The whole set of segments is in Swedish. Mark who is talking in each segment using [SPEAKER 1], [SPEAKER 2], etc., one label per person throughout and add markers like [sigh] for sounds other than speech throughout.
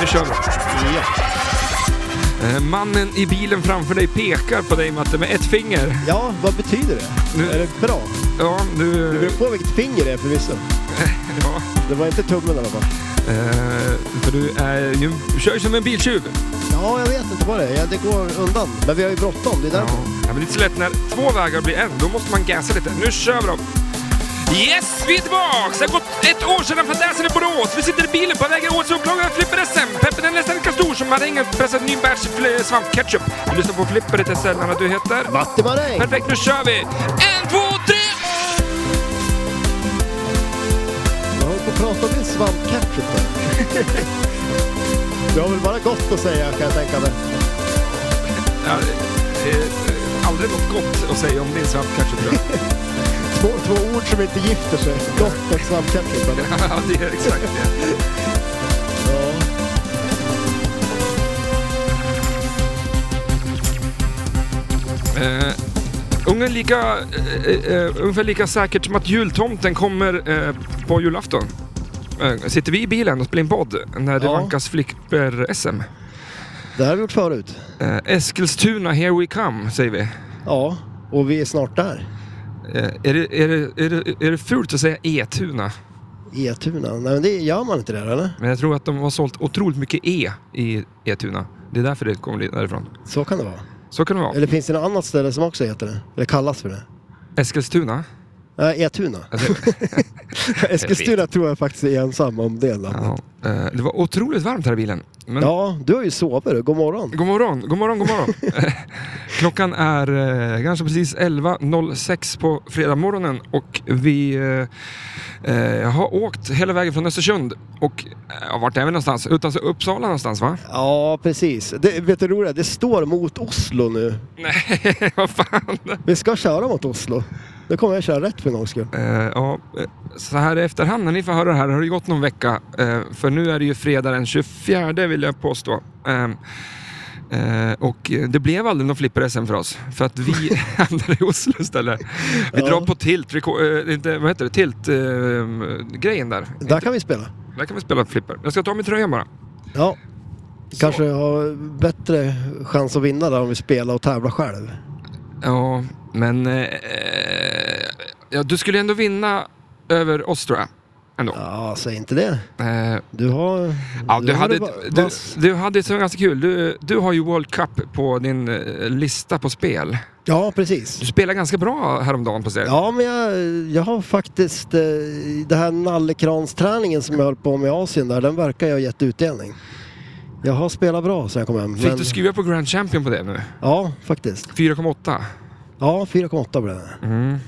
[SPEAKER 1] Nu kör vi.
[SPEAKER 2] Eh, Mannen i bilen framför dig pekar på dig Matte med ett finger.
[SPEAKER 1] Ja, vad betyder det?
[SPEAKER 2] Nu-
[SPEAKER 1] Är det bra?
[SPEAKER 2] Ja,
[SPEAKER 1] Det
[SPEAKER 2] nu...
[SPEAKER 1] beror på vilket finger det är förvisso.
[SPEAKER 2] [laughs] Ja,
[SPEAKER 1] Det var inte tummen i alla fall.
[SPEAKER 2] eh, för du är ju... kör ju som en biltjuv.
[SPEAKER 1] Ja, jag vet inte vad det är. Ja, det går undan. Men vi har ju bråttom, det är
[SPEAKER 2] Ja.
[SPEAKER 1] därför.
[SPEAKER 2] ja, men det är inte så lätt när två vägar blir en. Då måste man gasa lite. Nu kör vi dem. Yes, vi är tillbaks! Det har gått ett år sedan fadäsen i Borås. Vi sitter i bilen på vägen åt så åklagaren flipper SM. Peppen är nästan lika stor som marängen pressad ny batch fl- svampketchup. Du lyssnar på Flipper, det är sällan att du heter...
[SPEAKER 1] Vattenmaräng!
[SPEAKER 2] Perfekt, nu kör vi! En, två, tre!
[SPEAKER 1] Jag håller på att prata om din svampcatchup [laughs] där. Du har väl bara gott att säga kan jag tänka mig.
[SPEAKER 2] Ja, eh, eh, aldrig något gott att säga om din svampketchup.
[SPEAKER 1] Två, två ord som inte gifter sig. Gott och svampcatchup. eller?
[SPEAKER 2] [laughs] ja, det är exakt det.
[SPEAKER 1] Ja.
[SPEAKER 2] [laughs] Eh, ungefär, lika, eh, eh, ungefär lika säkert som att jultomten kommer eh, på julafton. Eh, sitter vi i bilen och spelar in podd när det
[SPEAKER 1] Ja.
[SPEAKER 2] vankas flipper-SM.
[SPEAKER 1] Det här har vi gjort förut.
[SPEAKER 2] Eh, Eskilstuna, here we come, säger vi.
[SPEAKER 1] Ja, och vi är snart där.
[SPEAKER 2] Eh, är, det, är, det, är, det, är det fult att säga E-tuna?
[SPEAKER 1] E-tuna. Nej, men det gör man inte där eller?
[SPEAKER 2] Men jag tror att de har sålt otroligt mycket E i E-tuna. Det är därför det kommer därifrån.
[SPEAKER 1] Så kan det vara.
[SPEAKER 2] Så kan det vara.
[SPEAKER 1] Eller finns det något annat ställe som också heter det? Eller kallas för det?
[SPEAKER 2] Eskilstuna? Alltså,
[SPEAKER 1] Nej, E-tuna. [laughs] Eskilstuna tror jag faktiskt är ensam om det namnet.
[SPEAKER 2] Ja, eh, det var otroligt varmt här i bilen. Men
[SPEAKER 1] Ja, du har ju sovit du. God morgon.
[SPEAKER 2] God morgon, god morgon, god morgon. Eh, [laughs] Klockan är eh, ganska precis 11.06 på fredag morgonen och vi eh, eh, har åkt hela vägen från Östersund och eh, vart är vi någonstans? Utanför Uppsala någonstans va?
[SPEAKER 1] [laughs] Ja, precis. Det, vet du roliga? Det står mot Oslo nu.
[SPEAKER 2] Nej, [laughs] vad fan.
[SPEAKER 1] Vi ska köra mot Oslo. Nu kommer jag köra rätt för en gångs skull.
[SPEAKER 2] Eh, ja, eh, så här i efterhand när ni får höra det här har det gått någon vecka. Eh, för nu är det ju fredag den 24 vill jag påstå. Ehm, eh, och eh, det blev aldrig någon flipper-SM för oss. För att vi [laughs] hamnade i Oslo istället. Vi
[SPEAKER 1] Ja.
[SPEAKER 2] drar på tilt, reko- eh, inte, vad heter det, tilt eh, grejen där.
[SPEAKER 1] Där kan vi spela.
[SPEAKER 2] Där kan vi spela flipper. Jag ska ta min tröja bara.
[SPEAKER 1] Ja. Kanske har bättre chans att vinna där om vi spelar och tävlar själv.
[SPEAKER 2] Ja, men... Eh, ja, du skulle ändå vinna över oss tror jag. Ändå.
[SPEAKER 1] Ja, säg inte det.
[SPEAKER 2] Eh,
[SPEAKER 1] Du har...
[SPEAKER 2] Ja, du, hade,
[SPEAKER 1] har det
[SPEAKER 2] du,
[SPEAKER 1] vass-
[SPEAKER 2] du hade ett så ganska kul. Du, du har ju World Cup på din eh, lista på spel.
[SPEAKER 1] Ja,
[SPEAKER 2] Du
[SPEAKER 1] precis.
[SPEAKER 2] spelade ganska bra häromdagen på spel.
[SPEAKER 1] Ja, men jag, jag har faktiskt... Eh, den här nallekransträningen som jag höll på med i Asien där, den verkar jag ha gett utdelning. Jag har spelat bra sen jag kom hem.
[SPEAKER 2] Fick
[SPEAKER 1] men-
[SPEAKER 2] du skruva på Grand Champion på det nu?
[SPEAKER 1] Ja, faktiskt.
[SPEAKER 2] 4,8.
[SPEAKER 1] Ja, 4,8 blev det.
[SPEAKER 2] Mm.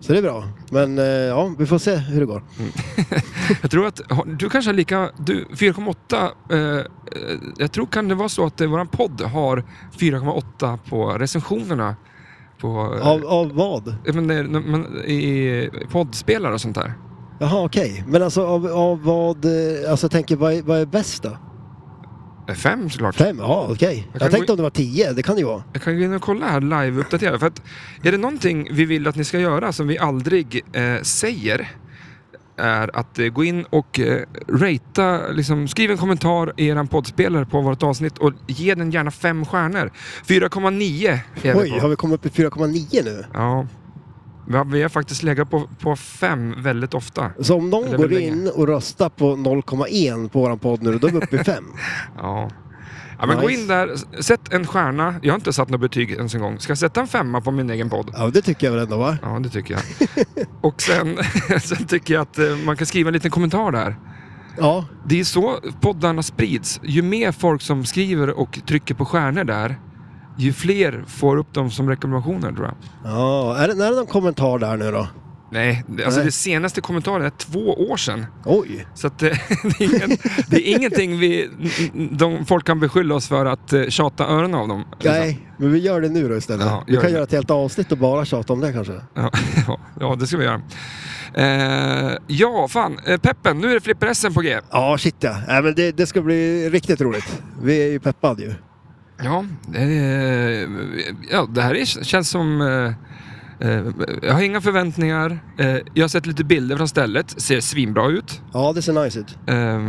[SPEAKER 1] Så det är bra. Men eh, ja, vi får se hur det går.
[SPEAKER 2] Mm. Jag tror att har- du kanske har lika... Du, 4,8... Eh, eh, jag tror kan det vara så att eh, våran podd har 4,8 på recensionerna. På, eh,
[SPEAKER 1] Av, av vad?
[SPEAKER 2] eh, men, eh, men, i, I poddspelare och sånt där.
[SPEAKER 1] Jaha, okej. Men alltså av, av vad... eh, Alltså jag tänker, vad är, vad är bäst då?
[SPEAKER 2] Eh, Fem såklart.
[SPEAKER 1] Fem? Ja, okej.
[SPEAKER 2] Jag kan
[SPEAKER 1] Jag tänkte
[SPEAKER 2] gå-
[SPEAKER 1] om det var tio, det kan det ju vara.
[SPEAKER 2] Jag kan gå in och kolla här live-uppdatera. För att är det någonting vi vill att ni ska göra som vi aldrig eh, säger är att eh, gå in och eh, ratea, liksom, skriv en kommentar i er poddspelare på vårt avsnitt och ge den gärna fem stjärnor. 4,9 är
[SPEAKER 1] Oj,
[SPEAKER 2] vi
[SPEAKER 1] har
[SPEAKER 2] på.
[SPEAKER 1] vi kommit upp i 4,9 nu?
[SPEAKER 2] Ja. Vi har, vi har faktiskt legat på, på fem väldigt ofta.
[SPEAKER 1] Så om
[SPEAKER 2] Det
[SPEAKER 1] någon
[SPEAKER 2] är väl
[SPEAKER 1] går
[SPEAKER 2] länge.
[SPEAKER 1] in och röstar på 0,1 på våran podd nu, då är vi uppe i 5.
[SPEAKER 2] [laughs] Ja. Ja, men Gå
[SPEAKER 1] Nice.
[SPEAKER 2] in där, s- sätt en stjärna. Jag har inte satt något betyg ens en gång. Ska jag sätta en femma på min egen podd?
[SPEAKER 1] Ja, det tycker jag väl ändå va?
[SPEAKER 2] Ja, det
[SPEAKER 1] [laughs]
[SPEAKER 2] tycker jag. Och sen, [laughs] sen tycker jag att eh, man kan skriva en liten kommentar där.
[SPEAKER 1] Ja,
[SPEAKER 2] Det är så poddarna sprids. Ju mer folk som skriver och trycker på stjärnor där, ju fler får upp dem som rekommendationer tror jag.
[SPEAKER 1] ja. Är, det, är det någon kommentar där nu då?
[SPEAKER 2] Nej, det- alltså
[SPEAKER 1] Nej.
[SPEAKER 2] det senaste kommentaren är två år sedan.
[SPEAKER 1] Oj,
[SPEAKER 2] Så att, [laughs] eh, det, är ingen, det är ingenting vi, de, folk kan beskylla oss för att eh, tjata öronen av dem.
[SPEAKER 1] nej, men vi gör det nu då istället.
[SPEAKER 2] Ja,
[SPEAKER 1] vi
[SPEAKER 2] gör
[SPEAKER 1] kan
[SPEAKER 2] det.
[SPEAKER 1] göra ett helt avsnitt och bara tjata om det kanske.
[SPEAKER 2] Ja, [laughs] ja, ja, det ska vi göra. Eh, ja, fan. Eh, Peppen, nu är det flipper-SM på G.
[SPEAKER 1] Ja, shit ja. Nej, men det, det ska bli riktigt roligt. Vi är ju peppade ju.
[SPEAKER 2] Ja, det, är- ja, det här är, känns som... eh, eh, Jag har inga förväntningar. Eh, Jag har sett lite bilder från stället. Ser svinbra ut.
[SPEAKER 1] Ja, det ser nice ut.
[SPEAKER 2] Eh,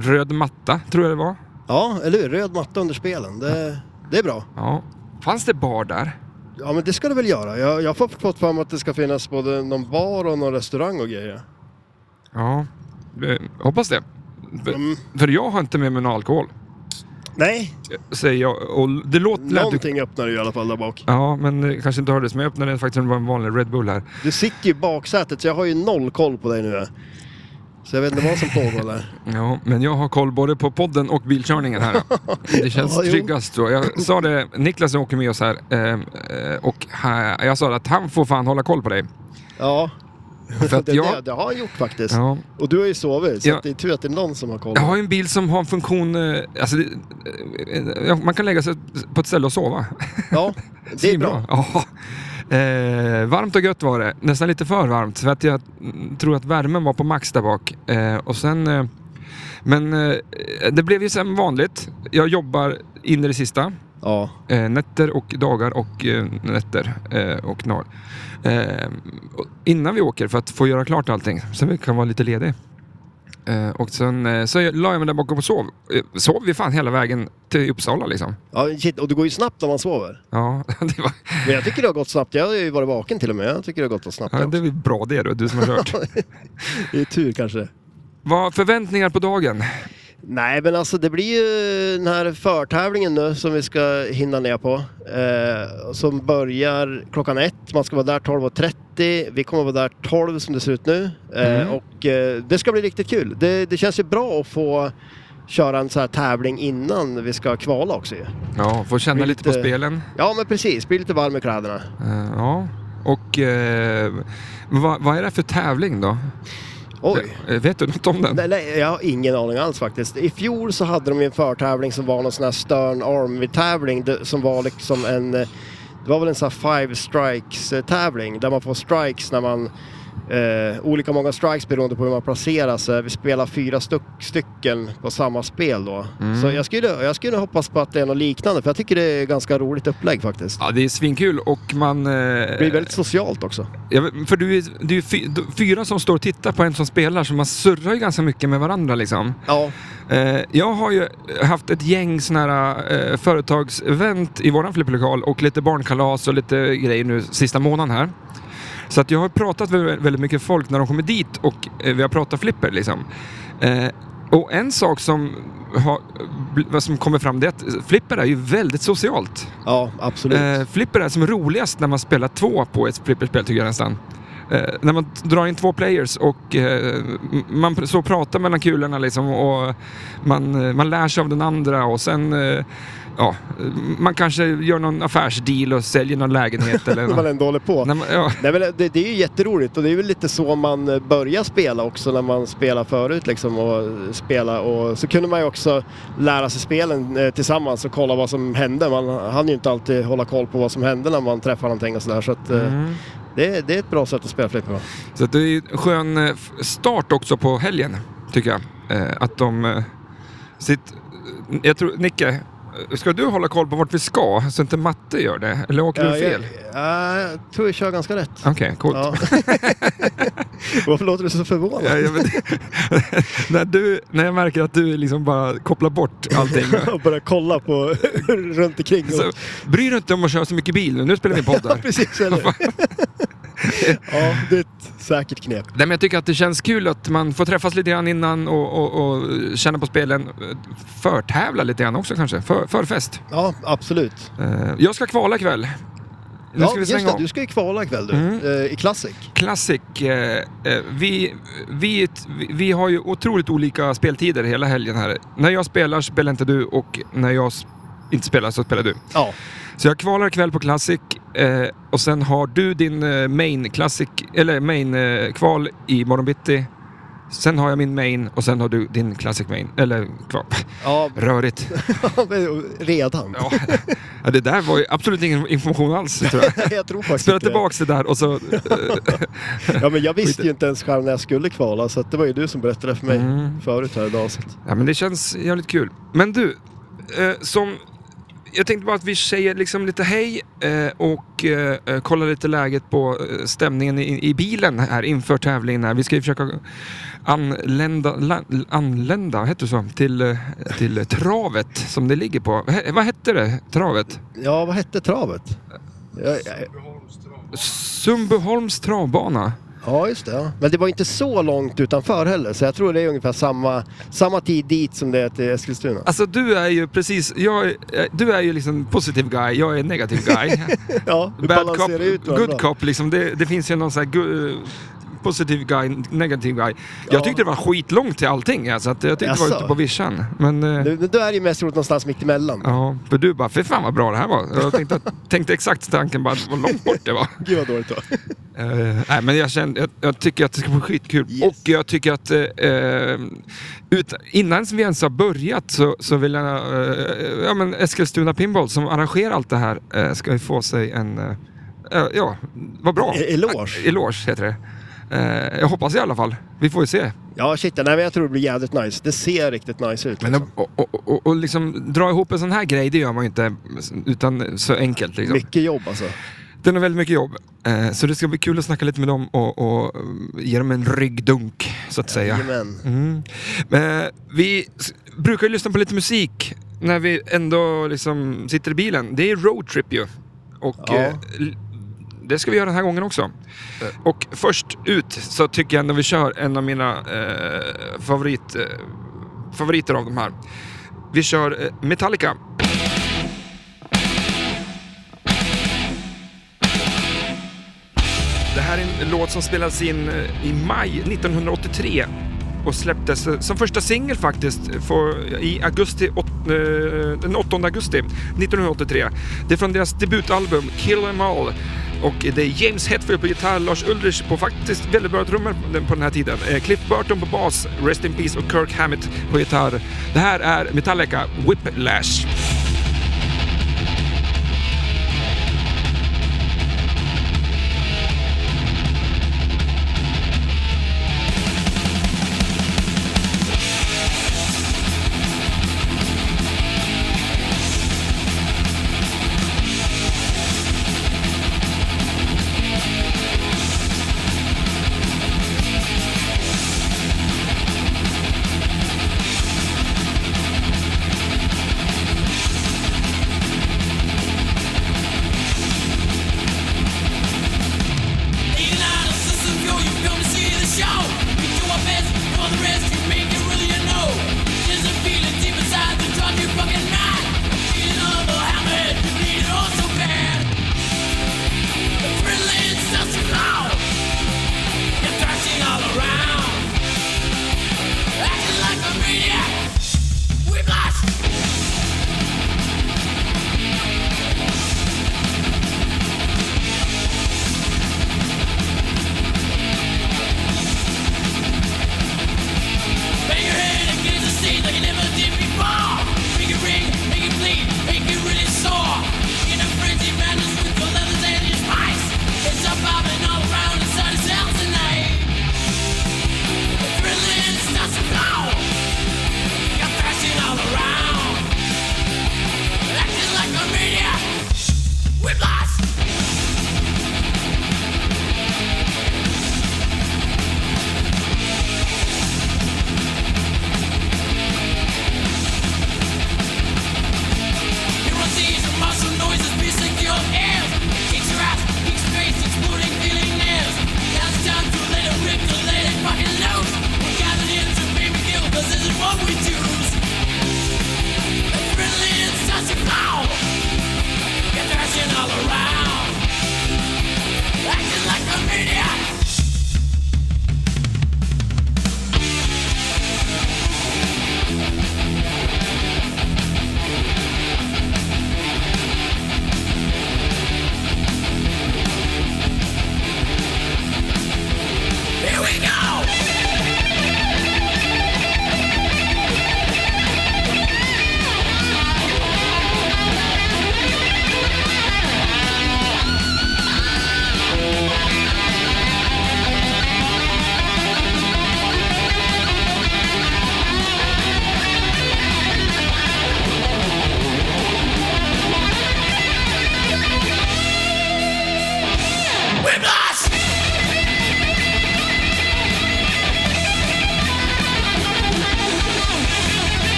[SPEAKER 2] Röd matta, tror jag det var.
[SPEAKER 1] Ja, eller hur? Röd matta under spelen. Det, det är bra.
[SPEAKER 2] Ja. Fanns det bar där?
[SPEAKER 1] Ja, men det ska det väl göra. Jag, jag har fått fram att det ska finnas både någon bar och någon restaurang och grejer.
[SPEAKER 2] Ja, eh, hoppas det. För,
[SPEAKER 1] Mm,
[SPEAKER 2] för jag har inte med mig någon alkohol,
[SPEAKER 1] nej,
[SPEAKER 2] säger jag. Och det låter...
[SPEAKER 1] någonting öppnar du i alla fall där bak.
[SPEAKER 2] Ja, men det kanske inte hördes, men jag öppnade faktiskt en vanlig Red Bull här.
[SPEAKER 1] Du sitter ju i baksätet så jag har ju noll koll på dig nu. Så jag vet inte vad som pågår där.
[SPEAKER 2] Ja, men jag har koll både på podden och bilkörningen
[SPEAKER 1] [laughs]
[SPEAKER 2] här. Det känns
[SPEAKER 1] Ja, jo.
[SPEAKER 2] tryggast tror jag. Jag sa det, Niklas som åker med oss här, eh, eh, och här, jag sa det att han får fan hålla koll på dig.
[SPEAKER 1] Ja,
[SPEAKER 2] [laughs] För att
[SPEAKER 1] [laughs] det,
[SPEAKER 2] jag,
[SPEAKER 1] det, det har han gjort faktiskt.
[SPEAKER 2] ja,
[SPEAKER 1] Och du har ju sovit, så
[SPEAKER 2] Ja.
[SPEAKER 1] att det är tur att det är någon som har koll.
[SPEAKER 2] jag har ju en bil som har en funktion, eh, alltså, det- eh, eh, man kan lägga sig på ett ställe och sova. [laughs]
[SPEAKER 1] Ja, det är bra.
[SPEAKER 2] Ja. [laughs] Eh, varmt och gött var det. Nästan lite för varmt. För att jag mm, tror att värmen var på max där bak. Eh, och sen, eh, men eh, det blev ju som vanligt. Jag jobbar in i det sista.
[SPEAKER 1] Ja,
[SPEAKER 2] Eh, nätter och dagar och eh, nätter eh, och dagar. Eh, och innan vi åker för att få göra klart allting. Så vi kan vara lite ledig. Eh, och sen eh, så jag- la jag mig där bakom och sov. Eh, sov vi fan hela vägen till Uppsala liksom.
[SPEAKER 1] ja shit, och det går ju snabbt när man sover.
[SPEAKER 2] [laughs] Ja, det var,
[SPEAKER 1] Men jag tycker det har gått snabbt. Jag har ju varit vaken till och med. Jag tycker det har gått snabbt.
[SPEAKER 2] ja, det var bra det du, du som har kört.
[SPEAKER 1] Det är tur kanske.
[SPEAKER 2] Vad förväntningar på dagen?
[SPEAKER 1] Nej, men alltså det blir ju den här förtävlingen nu som vi ska hinna ner på. Eh, som börjar klockan ett. Man ska vara där 12.30. Vi kommer vara där 12 som det ser ut nu. Eh,
[SPEAKER 2] Mm.
[SPEAKER 1] Och eh, det ska bli riktigt kul. Det, det känns ju bra att få köra en sån här tävling innan vi ska kvala också ju.
[SPEAKER 2] Ja, få känna
[SPEAKER 1] Blir
[SPEAKER 2] lite på
[SPEAKER 1] lite-
[SPEAKER 2] spelen.
[SPEAKER 1] Ja, men precis. Bli lite varm i kläderna.
[SPEAKER 2] Eh, ja. Och eh, vad, vad är det för tävling då?
[SPEAKER 1] Oj.
[SPEAKER 2] Eh, vet du något om den?
[SPEAKER 1] Nej, nej, jag har ingen aning alls faktiskt. I fjol så hade de ju en förtävling som var någon sån här Stern Army-tävling det- som var liksom en... eh, Det var väl en sån här Five Strikes-tävling där man får strikes när man... Eh, olika många strikes beroende på hur man placerar sig. Vi spelar fyra styck- stycken på samma spel då.
[SPEAKER 2] Mm.
[SPEAKER 1] Så jag skulle, jag skulle hoppas på att det är något liknande för jag tycker det är ganska roligt upplägg faktiskt.
[SPEAKER 2] Ja, det är svinkul och man...
[SPEAKER 1] Det blir
[SPEAKER 2] Eh,
[SPEAKER 1] väldigt socialt också.
[SPEAKER 2] jag vet- för du är, du är ju fy, du- fyra som står och tittar på en som spelar så man surrar ju ganska mycket med varandra liksom.
[SPEAKER 1] Ja,
[SPEAKER 2] Eh, jag har ju haft ett gäng sådana här eh, företagsevent i våran flipplokal och lite barnkalas och lite grejer nu sista månaden här. Så att jag har pratat med vä- väldigt mycket folk när de kommer dit och eh, vi har pratat flipper liksom. Eh, och en sak som, har, bl- vad som kommer fram det är att flipper är ju väldigt socialt.
[SPEAKER 1] ja absolut.
[SPEAKER 2] Eh, flipper är som roligast när man spelar två på ett flipperspel tycker jag nästan. Eh, när man t- drar in två players och eh, m- man pr- så pratar mellan kulorna liksom och man, eh, man lär sig av den andra och sen eh, ja, eh, man kanske gör någon affärsdeal och säljer någon lägenhet
[SPEAKER 1] [laughs]
[SPEAKER 2] eller
[SPEAKER 1] När man
[SPEAKER 2] något.
[SPEAKER 1] ändå håller på.
[SPEAKER 2] När man, ja,
[SPEAKER 1] Nej, men det, det är ju jätteroligt och det är väl lite så man eh, börjar spela också när man spelar förut liksom och eh, spela och så kunde man ju också lära sig spelen eh, tillsammans och kolla vad som hände. Man hann ju inte alltid hålla koll på vad som hände när man träffade någonting och sådär så att eh,
[SPEAKER 2] mm.
[SPEAKER 1] det, det är ett bra sätt att spela flipper. va?
[SPEAKER 2] Så att det är en skön eh, f- start också på helgen tycker jag. Eh, att de... Eh, sitt, jag tror, Nicke, eh, ska du hålla koll på vart vi ska så inte matte gör det? Eller åker du fel?
[SPEAKER 1] Ja, jag tror jag kör ganska rätt.
[SPEAKER 2] Okej, coolt. [laughs]
[SPEAKER 1] Ja. Varför låter du så förvånad?
[SPEAKER 2] Ja, jag vet- [laughs] när, du, när jag märker att du liksom bara kopplar bort
[SPEAKER 1] [laughs]
[SPEAKER 2] allting.
[SPEAKER 1] och börjar kolla på [laughs] runt omkring.
[SPEAKER 2] Så,
[SPEAKER 1] Och,
[SPEAKER 2] bryr du inte om att köra så mycket bil nu, nu spelar vi podd
[SPEAKER 1] [laughs] ja,
[SPEAKER 2] här.
[SPEAKER 1] precis. Eller?
[SPEAKER 2] [laughs]
[SPEAKER 1] ja, det är ett säkert knep.
[SPEAKER 2] Nej, men jag tycker att det känns kul att man får träffas lite grann innan och, och, och känna på spelen. Förtävla lite grann också kanske, för, förfest.
[SPEAKER 1] Ja, absolut.
[SPEAKER 2] Eh, Jag ska kvala ikväll. Nu
[SPEAKER 1] ja,
[SPEAKER 2] ska vi
[SPEAKER 1] just
[SPEAKER 2] slänga
[SPEAKER 1] det,
[SPEAKER 2] av.
[SPEAKER 1] du ska ju kvala ikväll du,
[SPEAKER 2] Mm.
[SPEAKER 1] eh, i Classic. [laughs]
[SPEAKER 2] Classic, eh, eh, vi, vi, vi- vi har ju otroligt olika speltider hela helgen här. När jag spelar spelar inte du och när jag s- inte spelar så spelar du.
[SPEAKER 1] Ja,
[SPEAKER 2] Så jag kvalar ikväll på Classic eh, och sen har du din eh, main Classic, eller main eh, kval i morgon bitti. Sen har jag min main och sen har du din Classic main, eller kval.
[SPEAKER 1] ja
[SPEAKER 2] [laughs] Rörigt.
[SPEAKER 1] redan.
[SPEAKER 2] Ja. [laughs] Ja, det där var ju absolut ingen information alls tror jag.
[SPEAKER 1] [laughs] jag tror faktiskt
[SPEAKER 2] Spela
[SPEAKER 1] inte det.
[SPEAKER 2] tillbaks det där och så... eh,
[SPEAKER 1] [laughs] Ja, men jag visste ju inte ens själv när jag skulle kvala så att det var ju du som berättade det för mig
[SPEAKER 2] Mm.
[SPEAKER 1] förut här idag. Så. att-
[SPEAKER 2] Ja men det känns jävligt kul. Men du, eh, som... jag tänkte bara att vi säger liksom lite hej eh, och eh, kollar lite läget på eh, stämningen i, i bilen här inför tävlingen. Här. Vi ska ju försöka anlända, la, anlända heter det så, till, eh, till travet som det ligger på. He, vad hette det, travet?
[SPEAKER 1] Ja, vad hette travet? Ja, ja,
[SPEAKER 2] Sundbyholms travbana.
[SPEAKER 1] ja just det. Ja. Men det var inte så långt utanför heller, så jag tror det är ungefär samma, samma tid dit som det är till Eskilstuna.
[SPEAKER 2] Alltså du är ju precis, jag, är- du är ju liksom positiv guy, jag är negativ guy.
[SPEAKER 1] [laughs]
[SPEAKER 2] [laughs]
[SPEAKER 1] Ja, vi
[SPEAKER 2] Bad cop,
[SPEAKER 1] balanserar ut varandra.
[SPEAKER 2] good cop liksom. Det, det finns ju någon sån här gu- eh, positiv guy, negativ guy.
[SPEAKER 1] Ja.
[SPEAKER 2] Jag tyckte det var skitlångt till allting. Alltså, att jag tyckte det var
[SPEAKER 1] Jaså?
[SPEAKER 2] ute på vischan. Men, eh,
[SPEAKER 1] Nu, nu är det ju mest roligt någonstans mitt emellan.
[SPEAKER 2] ja, för du bara, för fan vad bra det här var. Jag tänkte, att, tänkte exakt tanken bara, vad långt bort det
[SPEAKER 1] [laughs]
[SPEAKER 2] var.
[SPEAKER 1] Gud vad dåligt då.
[SPEAKER 2] Eh, nej, men jag, kände, jag, jag tycker att det ska bli skitkul.
[SPEAKER 1] Yes.
[SPEAKER 2] Och jag tycker att eh, eh, ut, innan vi ens har börjat så, så vill jag... Eh, ja, men Eskilstuna Pinball som arrangerar allt det här eh, ska ju få sig en... Eh, eh, ja, vad bra.
[SPEAKER 1] E- eloge.
[SPEAKER 2] Eh, Eloge heter det. Eh, jag hoppas i alla fall. Vi får ju se.
[SPEAKER 1] Ja, shit. Nej, men jag tror det blir jävligt nice. Det ser riktigt nice ut.
[SPEAKER 2] Men
[SPEAKER 1] liksom.
[SPEAKER 2] och, och, och, och liksom dra ihop en sån här grej, det gör man ju inte utan så enkelt. Liksom.
[SPEAKER 1] Mycket jobb alltså.
[SPEAKER 2] Den har väldigt mycket jobb. Eh, så det ska bli kul att snacka lite med dem och, och eh, ge dem en ryggdunk, så att säga.
[SPEAKER 1] Jajamän.
[SPEAKER 2] Mm. Men vi s- brukar ju lyssna på lite musik när vi ändå liksom sitter i bilen. Det är roadtrip ju. Och
[SPEAKER 1] Ja.
[SPEAKER 2] eh, l- det ska vi göra den här gången också.
[SPEAKER 1] Eh.
[SPEAKER 2] Och först ut så tycker jag ändå vi kör en av mina eh, favorit, eh, favoriter av de här. Vi kör eh, Metallica. Det här är en låt som spelades in eh, i maj 1983 och släpptes eh, som första singel faktiskt för, i augusti, åt, eh, den 8 augusti 1983. Det är från deras debutalbum Kill Em All och det är James Hetfield på gitarr, Lars Ulrich på faktiskt väldigt bra trummor på den- på den här tiden, eh, Cliff Burton på bas, Rest In Peace och Kirk Hammett på gitarr. Det här är Metallica Whiplash.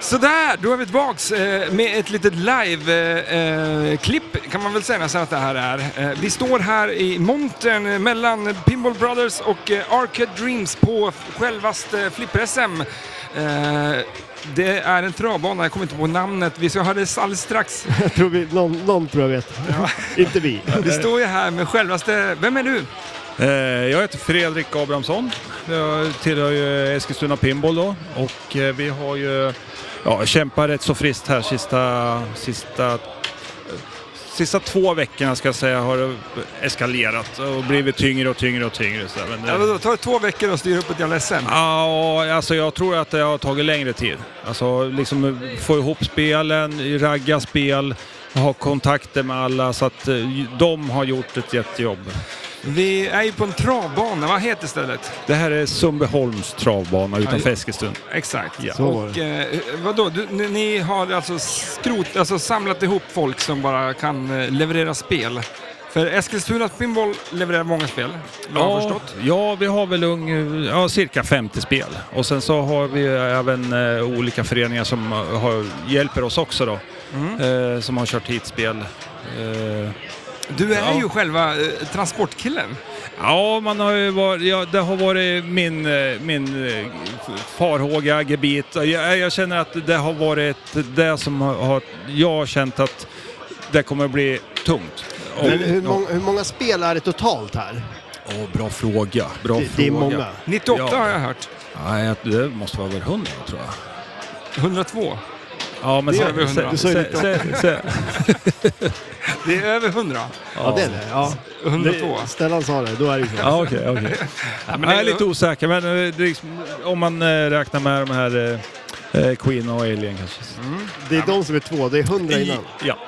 [SPEAKER 2] Sådär, då är vi tillbaks eh, med ett litet live-klipp kan man väl säga nästan att det här är. Eh, Vi står här i montern eh, mellan Pinball Brothers och eh, Arcade Dreams på f- självaste Flipper-SM. Eh, Det är en travbana, jag kommer inte på namnet. Vi ska höra det alldeles
[SPEAKER 3] [laughs]
[SPEAKER 2] strax.
[SPEAKER 1] [laughs] Jag tror vi, någon, någon tror jag vet. Inte vi.
[SPEAKER 2] [laughs] Vi står ju här med självaste... Vem är du?
[SPEAKER 3] Eh, Jag heter Fredrik Abrahamsson. Jag tillhör ju Eskilstuna Pinball då. Och eh, vi har ju ja, kämpat rätt så friskt här sista, sista, eh, sista två veckorna ska jag säga har det eskalerat och blivit tyngre och tyngre och tyngre. Så, där. men
[SPEAKER 2] Ja,
[SPEAKER 3] det,
[SPEAKER 2] vadå, tar det två veckor att styra upp ett jävla SM?
[SPEAKER 3] Ja, alltså jag tror att det har tagit längre tid. Alltså liksom få ihop spelen, ragga spel, ha kontakter med alla så att eh, de har gjort ett jättejobb.
[SPEAKER 2] Vi är ju på en travbana, vad heter stället?
[SPEAKER 3] Det här är Sundbyholms travbana utanför Eskilstuna.
[SPEAKER 2] Exakt.
[SPEAKER 3] Ja.
[SPEAKER 1] Så var
[SPEAKER 2] Och,
[SPEAKER 1] det.
[SPEAKER 2] eh, vadå, du, ni, ni har alltså, skrot, alltså samlat ihop folk som bara kan eh, leverera spel? För Eskilstuna Pinball levererar många spel, vad jag har förstått.
[SPEAKER 3] ja, vi har väl ung, ja, cirka 50 spel. Och sen så har vi även eh, olika föreningar som har, hjälper oss också då. Eh, som har kört hit spel. Eh,
[SPEAKER 2] Mm. Du är
[SPEAKER 3] Ja.
[SPEAKER 2] ju själva eh, transportkillen.
[SPEAKER 3] ja, man har ju varit, ja, det har varit min, eh, min eh, farhåga, gebit. Jag, eh, jag känner att det har varit det som har, har, jag har känt att det kommer att bli tungt. Och,
[SPEAKER 1] Men hur, mång, hur många spel är det totalt här?
[SPEAKER 3] Åh, bra fråga. Bra
[SPEAKER 1] Det, det är många.
[SPEAKER 2] 98
[SPEAKER 3] Ja.
[SPEAKER 2] har jag hört.
[SPEAKER 3] Nej, det måste vara över 100 tror jag.
[SPEAKER 2] 102.
[SPEAKER 3] Ja, men
[SPEAKER 2] Det
[SPEAKER 3] sen-
[SPEAKER 2] är över 100.
[SPEAKER 3] sen- sen- sen- sen-
[SPEAKER 2] Det är över 100.
[SPEAKER 1] Ja, det är det. Ja.
[SPEAKER 2] 102.
[SPEAKER 1] det Stellan sa det, då är det ju så.
[SPEAKER 3] Ja, okej,
[SPEAKER 2] [laughs]
[SPEAKER 3] okej.
[SPEAKER 2] men
[SPEAKER 3] Jag
[SPEAKER 2] det-
[SPEAKER 3] är lite osäker, men eh, det är liksom, om man eh, räknar med de här eh, eh, Queen och Alien kanske.
[SPEAKER 2] Mm.
[SPEAKER 1] Det är de som är två, det är hundra innan.
[SPEAKER 3] Ja.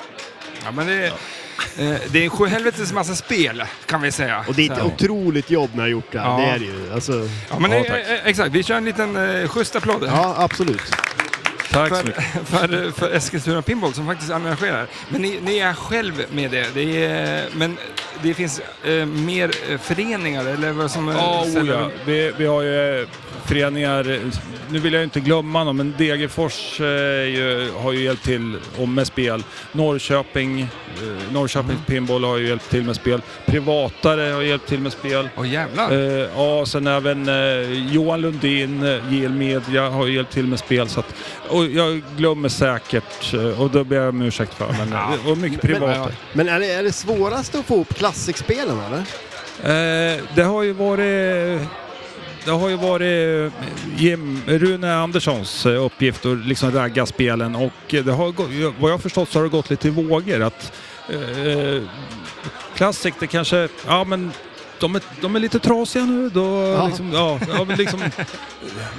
[SPEAKER 2] Ja, men det, eh, det är en sjuhelvetes massa spel, kan vi säga.
[SPEAKER 1] Och det är
[SPEAKER 2] Så.
[SPEAKER 1] ett otroligt jobb ni har gjort det här.
[SPEAKER 2] Ja.
[SPEAKER 1] Det är det ju. Alltså,
[SPEAKER 2] Ja, men
[SPEAKER 3] Ja,
[SPEAKER 2] eh,
[SPEAKER 3] tack.
[SPEAKER 2] eh, exakt. Vi kör en liten eh, schysst applåd.
[SPEAKER 1] ja, absolut.
[SPEAKER 3] Tack så
[SPEAKER 2] för,
[SPEAKER 3] mycket.
[SPEAKER 2] [laughs] för, för Eskilstuna Pinball som faktiskt arrangerar. Men ni, ni är själv med det. det är, men det finns eh, mer eh, föreningar eller vad som... eh,
[SPEAKER 3] Ja, oh,
[SPEAKER 2] säljer
[SPEAKER 3] ja.
[SPEAKER 2] dem?
[SPEAKER 3] Vi, vi har ju eh, föreningar, eh, nu vill jag ju inte glömma någon, men Degerfors eh, är ju, har ju hjälpt till och med spel. Norrköping, eh, Norrköping
[SPEAKER 2] Mm.
[SPEAKER 3] Pinball har ju hjälpt till med spel. Privatare har hjälpt till med spel.
[SPEAKER 2] Åh jävlar.
[SPEAKER 3] Eh, ja, sen även eh, Johan Lundin, eh, JL Media har ju hjälpt till med spel. Så att, och jag glömmer säkert, eh, och då ber jag om ursäkt för, men eh,
[SPEAKER 2] Ja.
[SPEAKER 3] och mycket privata.
[SPEAKER 2] ja.
[SPEAKER 1] Men är det, är det svårast att få ihop klassikspelen eller?
[SPEAKER 3] Eh, det har ju varit... Det har ju varit eh, Jim, Rune Anderssons eh, uppgift att liksom ragga spelen och eh, det har, gå- vad jag har förstått så har det gått lite i vågor. Att, eh, Classic, det kanske... Ja, men de är, de är lite trasiga nu. Då,
[SPEAKER 1] Ja.
[SPEAKER 3] Liksom, ja, ja, men liksom,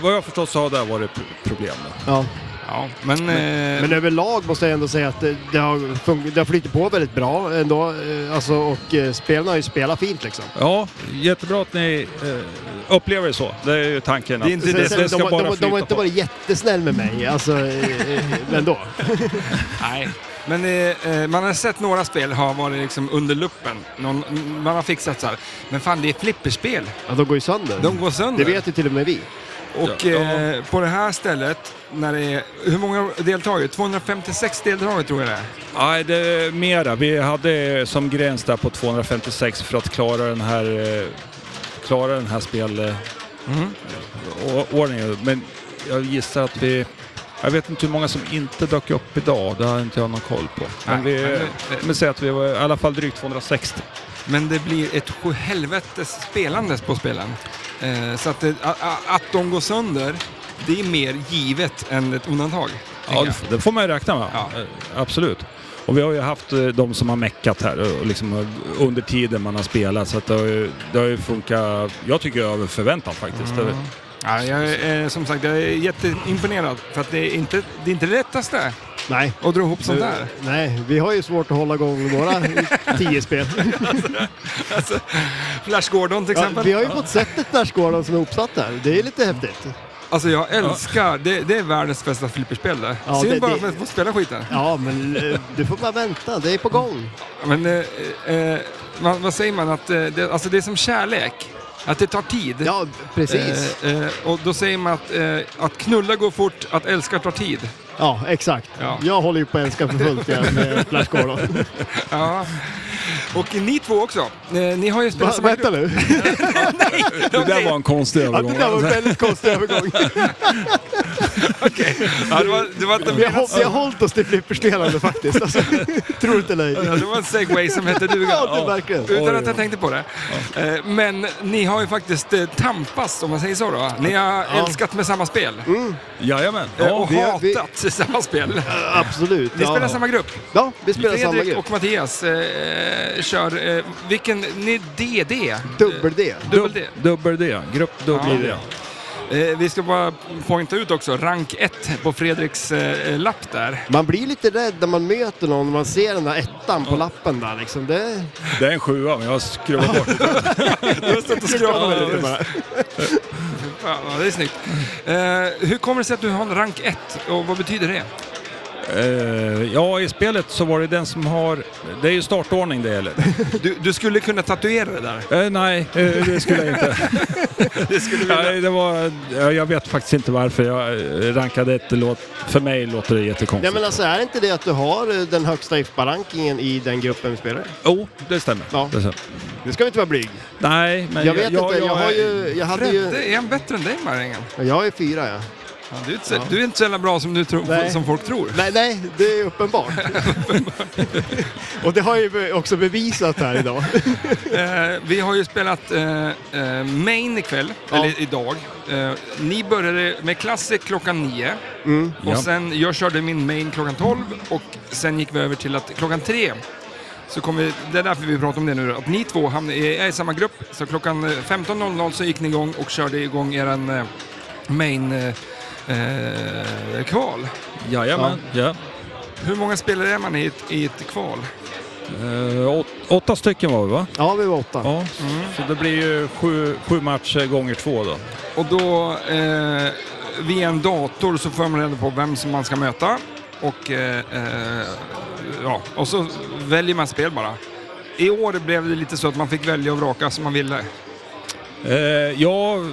[SPEAKER 3] vad jag har förstått så har det varit pro- problem. Då.
[SPEAKER 1] Ja.
[SPEAKER 2] Ja, men... eh,
[SPEAKER 1] Men överlag måste jag ändå säga att det, det, har, fun- det har flyttat på väldigt bra ändå. eh, Alltså, och eh, spelarna har ju spelat fint liksom.
[SPEAKER 3] Ja, jättebra att ni eh, upplever det så. Det är ju tanken.
[SPEAKER 2] Det är inte
[SPEAKER 3] att,
[SPEAKER 2] det-
[SPEAKER 1] Sen- sen,
[SPEAKER 3] det ska
[SPEAKER 1] de, har-
[SPEAKER 3] bara
[SPEAKER 1] de, har- de
[SPEAKER 3] flyta
[SPEAKER 1] har inte
[SPEAKER 3] på.
[SPEAKER 1] varit jättesnäll med mig, alltså, eh, eh, men då.
[SPEAKER 2] [laughs] nej. Men eh, eh, man har sett några spel ha varit liksom under luppen. Någon, man har fixat så här. Men fan, det är flipperspel.
[SPEAKER 1] Ja, de går ju sönder.
[SPEAKER 2] De går sönder.
[SPEAKER 1] det vet ju till och med vi.
[SPEAKER 2] Och
[SPEAKER 3] Ja.
[SPEAKER 2] eh, på det här stället, när det är... Hur många deltagare? 256 deltagare tror jag det är.
[SPEAKER 3] Nej, det är mera. Vi hade som gräns där på 256 för att klara den här, eh, klara den här spel... eh,
[SPEAKER 1] Mm.
[SPEAKER 3] å- ordningen. Men jag gissar att vi... Jag vet inte hur många som inte dök upp idag. Det har inte jag någon koll på. Men
[SPEAKER 2] Nej,
[SPEAKER 3] vi...
[SPEAKER 2] men,
[SPEAKER 3] Men,
[SPEAKER 2] eh,
[SPEAKER 3] säg att vi var i alla fall drygt 260.
[SPEAKER 2] Men det blir ett sjuhelvetes spelandes på spelen. Eh, så att, det, a, a, att de går sönder, det är mer givet än ett undantag.
[SPEAKER 3] Ja,
[SPEAKER 2] tänker jag.
[SPEAKER 3] det, f- det får man ju räkna med.
[SPEAKER 2] Ja.
[SPEAKER 3] Eh, Absolut. Och vi har ju haft eh, de som har meckat här eh, och liksom eh, under tiden man har spelat. Så att det, har ju, det har ju funkat, jag tycker, över förväntan faktiskt.
[SPEAKER 1] Mm.
[SPEAKER 3] Det-
[SPEAKER 2] Ja, jag är, eh, som sagt, jag är jätteimponerad. För att det är inte det, är inte det lättaste
[SPEAKER 1] Nej.
[SPEAKER 2] att dra ihop sånt där.
[SPEAKER 1] Nej, vi har ju svårt att hålla igång
[SPEAKER 2] [laughs]
[SPEAKER 1] våra tio spel.
[SPEAKER 2] Alltså, Flash Gordon till
[SPEAKER 1] Ja,
[SPEAKER 2] exempel.
[SPEAKER 1] vi har ju fått sett ett Nashgården som är uppsatt där. Det är lite häftigt.
[SPEAKER 2] Alltså jag älskar, det, det är världens bästa flipperspel det.
[SPEAKER 1] Ja,
[SPEAKER 2] Synd
[SPEAKER 1] det-
[SPEAKER 2] bara
[SPEAKER 1] det-
[SPEAKER 2] att man får spela skiten.
[SPEAKER 1] Ja, men eh, du får bara vänta. Det är på gång.
[SPEAKER 2] Men eh, eh, vad, vad säger man? Att, eh, det, alltså det är som kärlek. Att det tar tid.
[SPEAKER 1] Ja, precis.
[SPEAKER 2] Eh, eh, och då säger man att, eh, att knulla går fort, att älska tar tid.
[SPEAKER 1] Ja, exakt.
[SPEAKER 2] Ja.
[SPEAKER 1] Jag håller ju på älska för fullt
[SPEAKER 2] [laughs]
[SPEAKER 1] jag, med Flash Gordon.
[SPEAKER 2] Ja. Och ni två också. Eh, ni har ju
[SPEAKER 1] Va,
[SPEAKER 2] spelat samma
[SPEAKER 1] vänta nu.
[SPEAKER 2] [laughs] grupp.
[SPEAKER 3] Det där var en konstig
[SPEAKER 1] Ja,
[SPEAKER 3] övergång.
[SPEAKER 1] det där var en väldigt konstig
[SPEAKER 2] [laughs]
[SPEAKER 1] övergång.
[SPEAKER 2] Ja, det var, det var, inte-
[SPEAKER 1] Vi har, hå- vi har hållit oss till flipperspelande faktiskt. Alltså, [laughs] tror inte eller ej.
[SPEAKER 2] Ja, det var en segway som hette duga.
[SPEAKER 1] Ja, det är verkligen.
[SPEAKER 2] Utan
[SPEAKER 3] Oj,
[SPEAKER 2] att jag
[SPEAKER 3] oj.
[SPEAKER 2] tänkte på det. Eh, Men ni har ju faktiskt eh, tampats, om man säger så då. Ni har älskat med samma spel.
[SPEAKER 3] Jajamän.
[SPEAKER 2] Eh,
[SPEAKER 3] Ja,
[SPEAKER 2] Och
[SPEAKER 1] Mm. vi-
[SPEAKER 2] hatat [laughs]
[SPEAKER 1] vi-
[SPEAKER 2] samma spel.
[SPEAKER 1] Absolut.
[SPEAKER 2] Ni spelar
[SPEAKER 1] ja.
[SPEAKER 2] samma grupp.
[SPEAKER 1] Ja, vi spelar samma
[SPEAKER 2] Fredrik
[SPEAKER 1] grupp.
[SPEAKER 2] och Mattias eh, kör, eh, vilken, ni DD?
[SPEAKER 1] Dubbel-D.
[SPEAKER 2] Dubbel D.
[SPEAKER 3] Eh, Dubbel D. Grupp dubbel D.
[SPEAKER 2] Ja. Eh, vi ska bara poängtera ut också, rank 1 på Fredriks eh, lapp där.
[SPEAKER 1] Man blir lite rädd när man möter någon och man ser den där ettan på lappen där liksom. Det...
[SPEAKER 3] Det är en sjua, men jag har skruvat bort det.
[SPEAKER 2] Jag har stått och
[SPEAKER 1] Ja,
[SPEAKER 2] skrapat
[SPEAKER 1] det är bara-
[SPEAKER 2] Fan, vad det är snyggt. Eh, hur kommer det sig att du har en rank 1 och vad betyder det?
[SPEAKER 3] Eh, ja, i spelet så var det den som har... Det är ju startordning det gäller.
[SPEAKER 2] [laughs] Du, du skulle kunna tatuera det där.
[SPEAKER 3] Eh, nej, eh, det skulle jag inte.
[SPEAKER 2] Det skulle du vilja.
[SPEAKER 3] nej, det var, ja, jag vet faktiskt inte varför jag eh, rankade ett. Det låt, för mig låter det
[SPEAKER 1] [laughs] Nej
[SPEAKER 3] jättekonstigt.
[SPEAKER 1] men alltså är det inte det att du har eh, den högsta IFBA-rankingen i den gruppen vi spelar?
[SPEAKER 3] Jo, det stämmer.
[SPEAKER 1] Ja.
[SPEAKER 3] Det stämmer.
[SPEAKER 1] Nu ska vi inte vara blyg.
[SPEAKER 3] Nej, men...
[SPEAKER 1] [laughs] Jag vet inte, jag, har ju...
[SPEAKER 3] eh,
[SPEAKER 1] Jag hade ju...
[SPEAKER 2] Fredde, är han bättre än dig Marängen?
[SPEAKER 1] Jag är fyra ja.
[SPEAKER 2] Ja, du, är inte så- du är inte så jävla bra som, du tror,
[SPEAKER 1] Nej.
[SPEAKER 2] som folk tror.
[SPEAKER 1] Nej, nej, det är uppenbart.
[SPEAKER 2] [laughs]
[SPEAKER 1] och det har jag ju be- också bevisat här idag.
[SPEAKER 2] Eh, vi har ju spelat eh, eh, Main ikväll,
[SPEAKER 1] Ja.
[SPEAKER 2] eller idag. Eh, ni började med Classic klockan 9 och
[SPEAKER 3] Mm. Ja.
[SPEAKER 2] sen jag körde min Main klockan 12 och sen gick vi över till att klockan 3 så kom vi, det är därför vi pratar om det nu, att ni två hamnade, är i samma grupp. Så klockan eh, 15.00 så gick ni igång och körde igång eran eh, main eh, eh, kval.
[SPEAKER 3] Jajamän, ja.
[SPEAKER 2] Hur många spelare är man i ett, i ett kval?
[SPEAKER 3] Eh, åt, åtta stycken var vi va?
[SPEAKER 1] Ja, vi var åtta.
[SPEAKER 3] Ja.
[SPEAKER 2] Mm.
[SPEAKER 3] Så det blir ju sju, sju matcher gånger två då.
[SPEAKER 2] Och då, eh, via en dator så får man reda på vem som man ska möta. Och, eh, eh, ja, och så väljer man spel bara. I år blev det lite så att man fick välja och vraka som man ville.
[SPEAKER 3] Eh, ja, eh,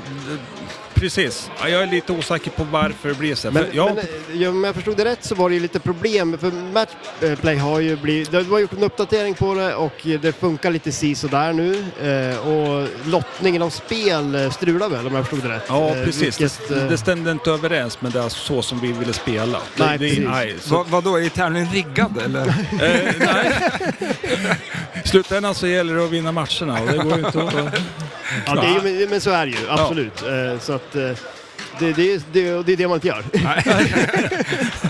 [SPEAKER 3] precis. Ja, Jag är lite osäker på varför det blir så. här.
[SPEAKER 1] Men,
[SPEAKER 3] För jag,
[SPEAKER 1] men, eh, ja, om jag förstod det rätt så var det ju lite problem för Matchplay har ju blivit, det har gjort en uppdatering på det och eh, det funkar lite si sådär nu. Eh, och lottningen av spel eh, strular väl om jag förstod det rätt.
[SPEAKER 3] ja,
[SPEAKER 1] Eh,
[SPEAKER 3] precis.
[SPEAKER 1] vilket,
[SPEAKER 3] det,
[SPEAKER 1] eh,
[SPEAKER 3] det stämde inte överens med det så som vi ville spela. det,
[SPEAKER 1] Nej, precis.
[SPEAKER 3] det, nej, så,
[SPEAKER 2] Va, vadå, är tävlingen riggad eller?
[SPEAKER 3] eh, nej. I slutändan så gäller det att vinna matcherna och det går ju inte att... [laughs]
[SPEAKER 1] ja, det är, ju- men, men så är det ju, absolut. Eh, så att, eh, det, det, är- det, och det är det man inte gör.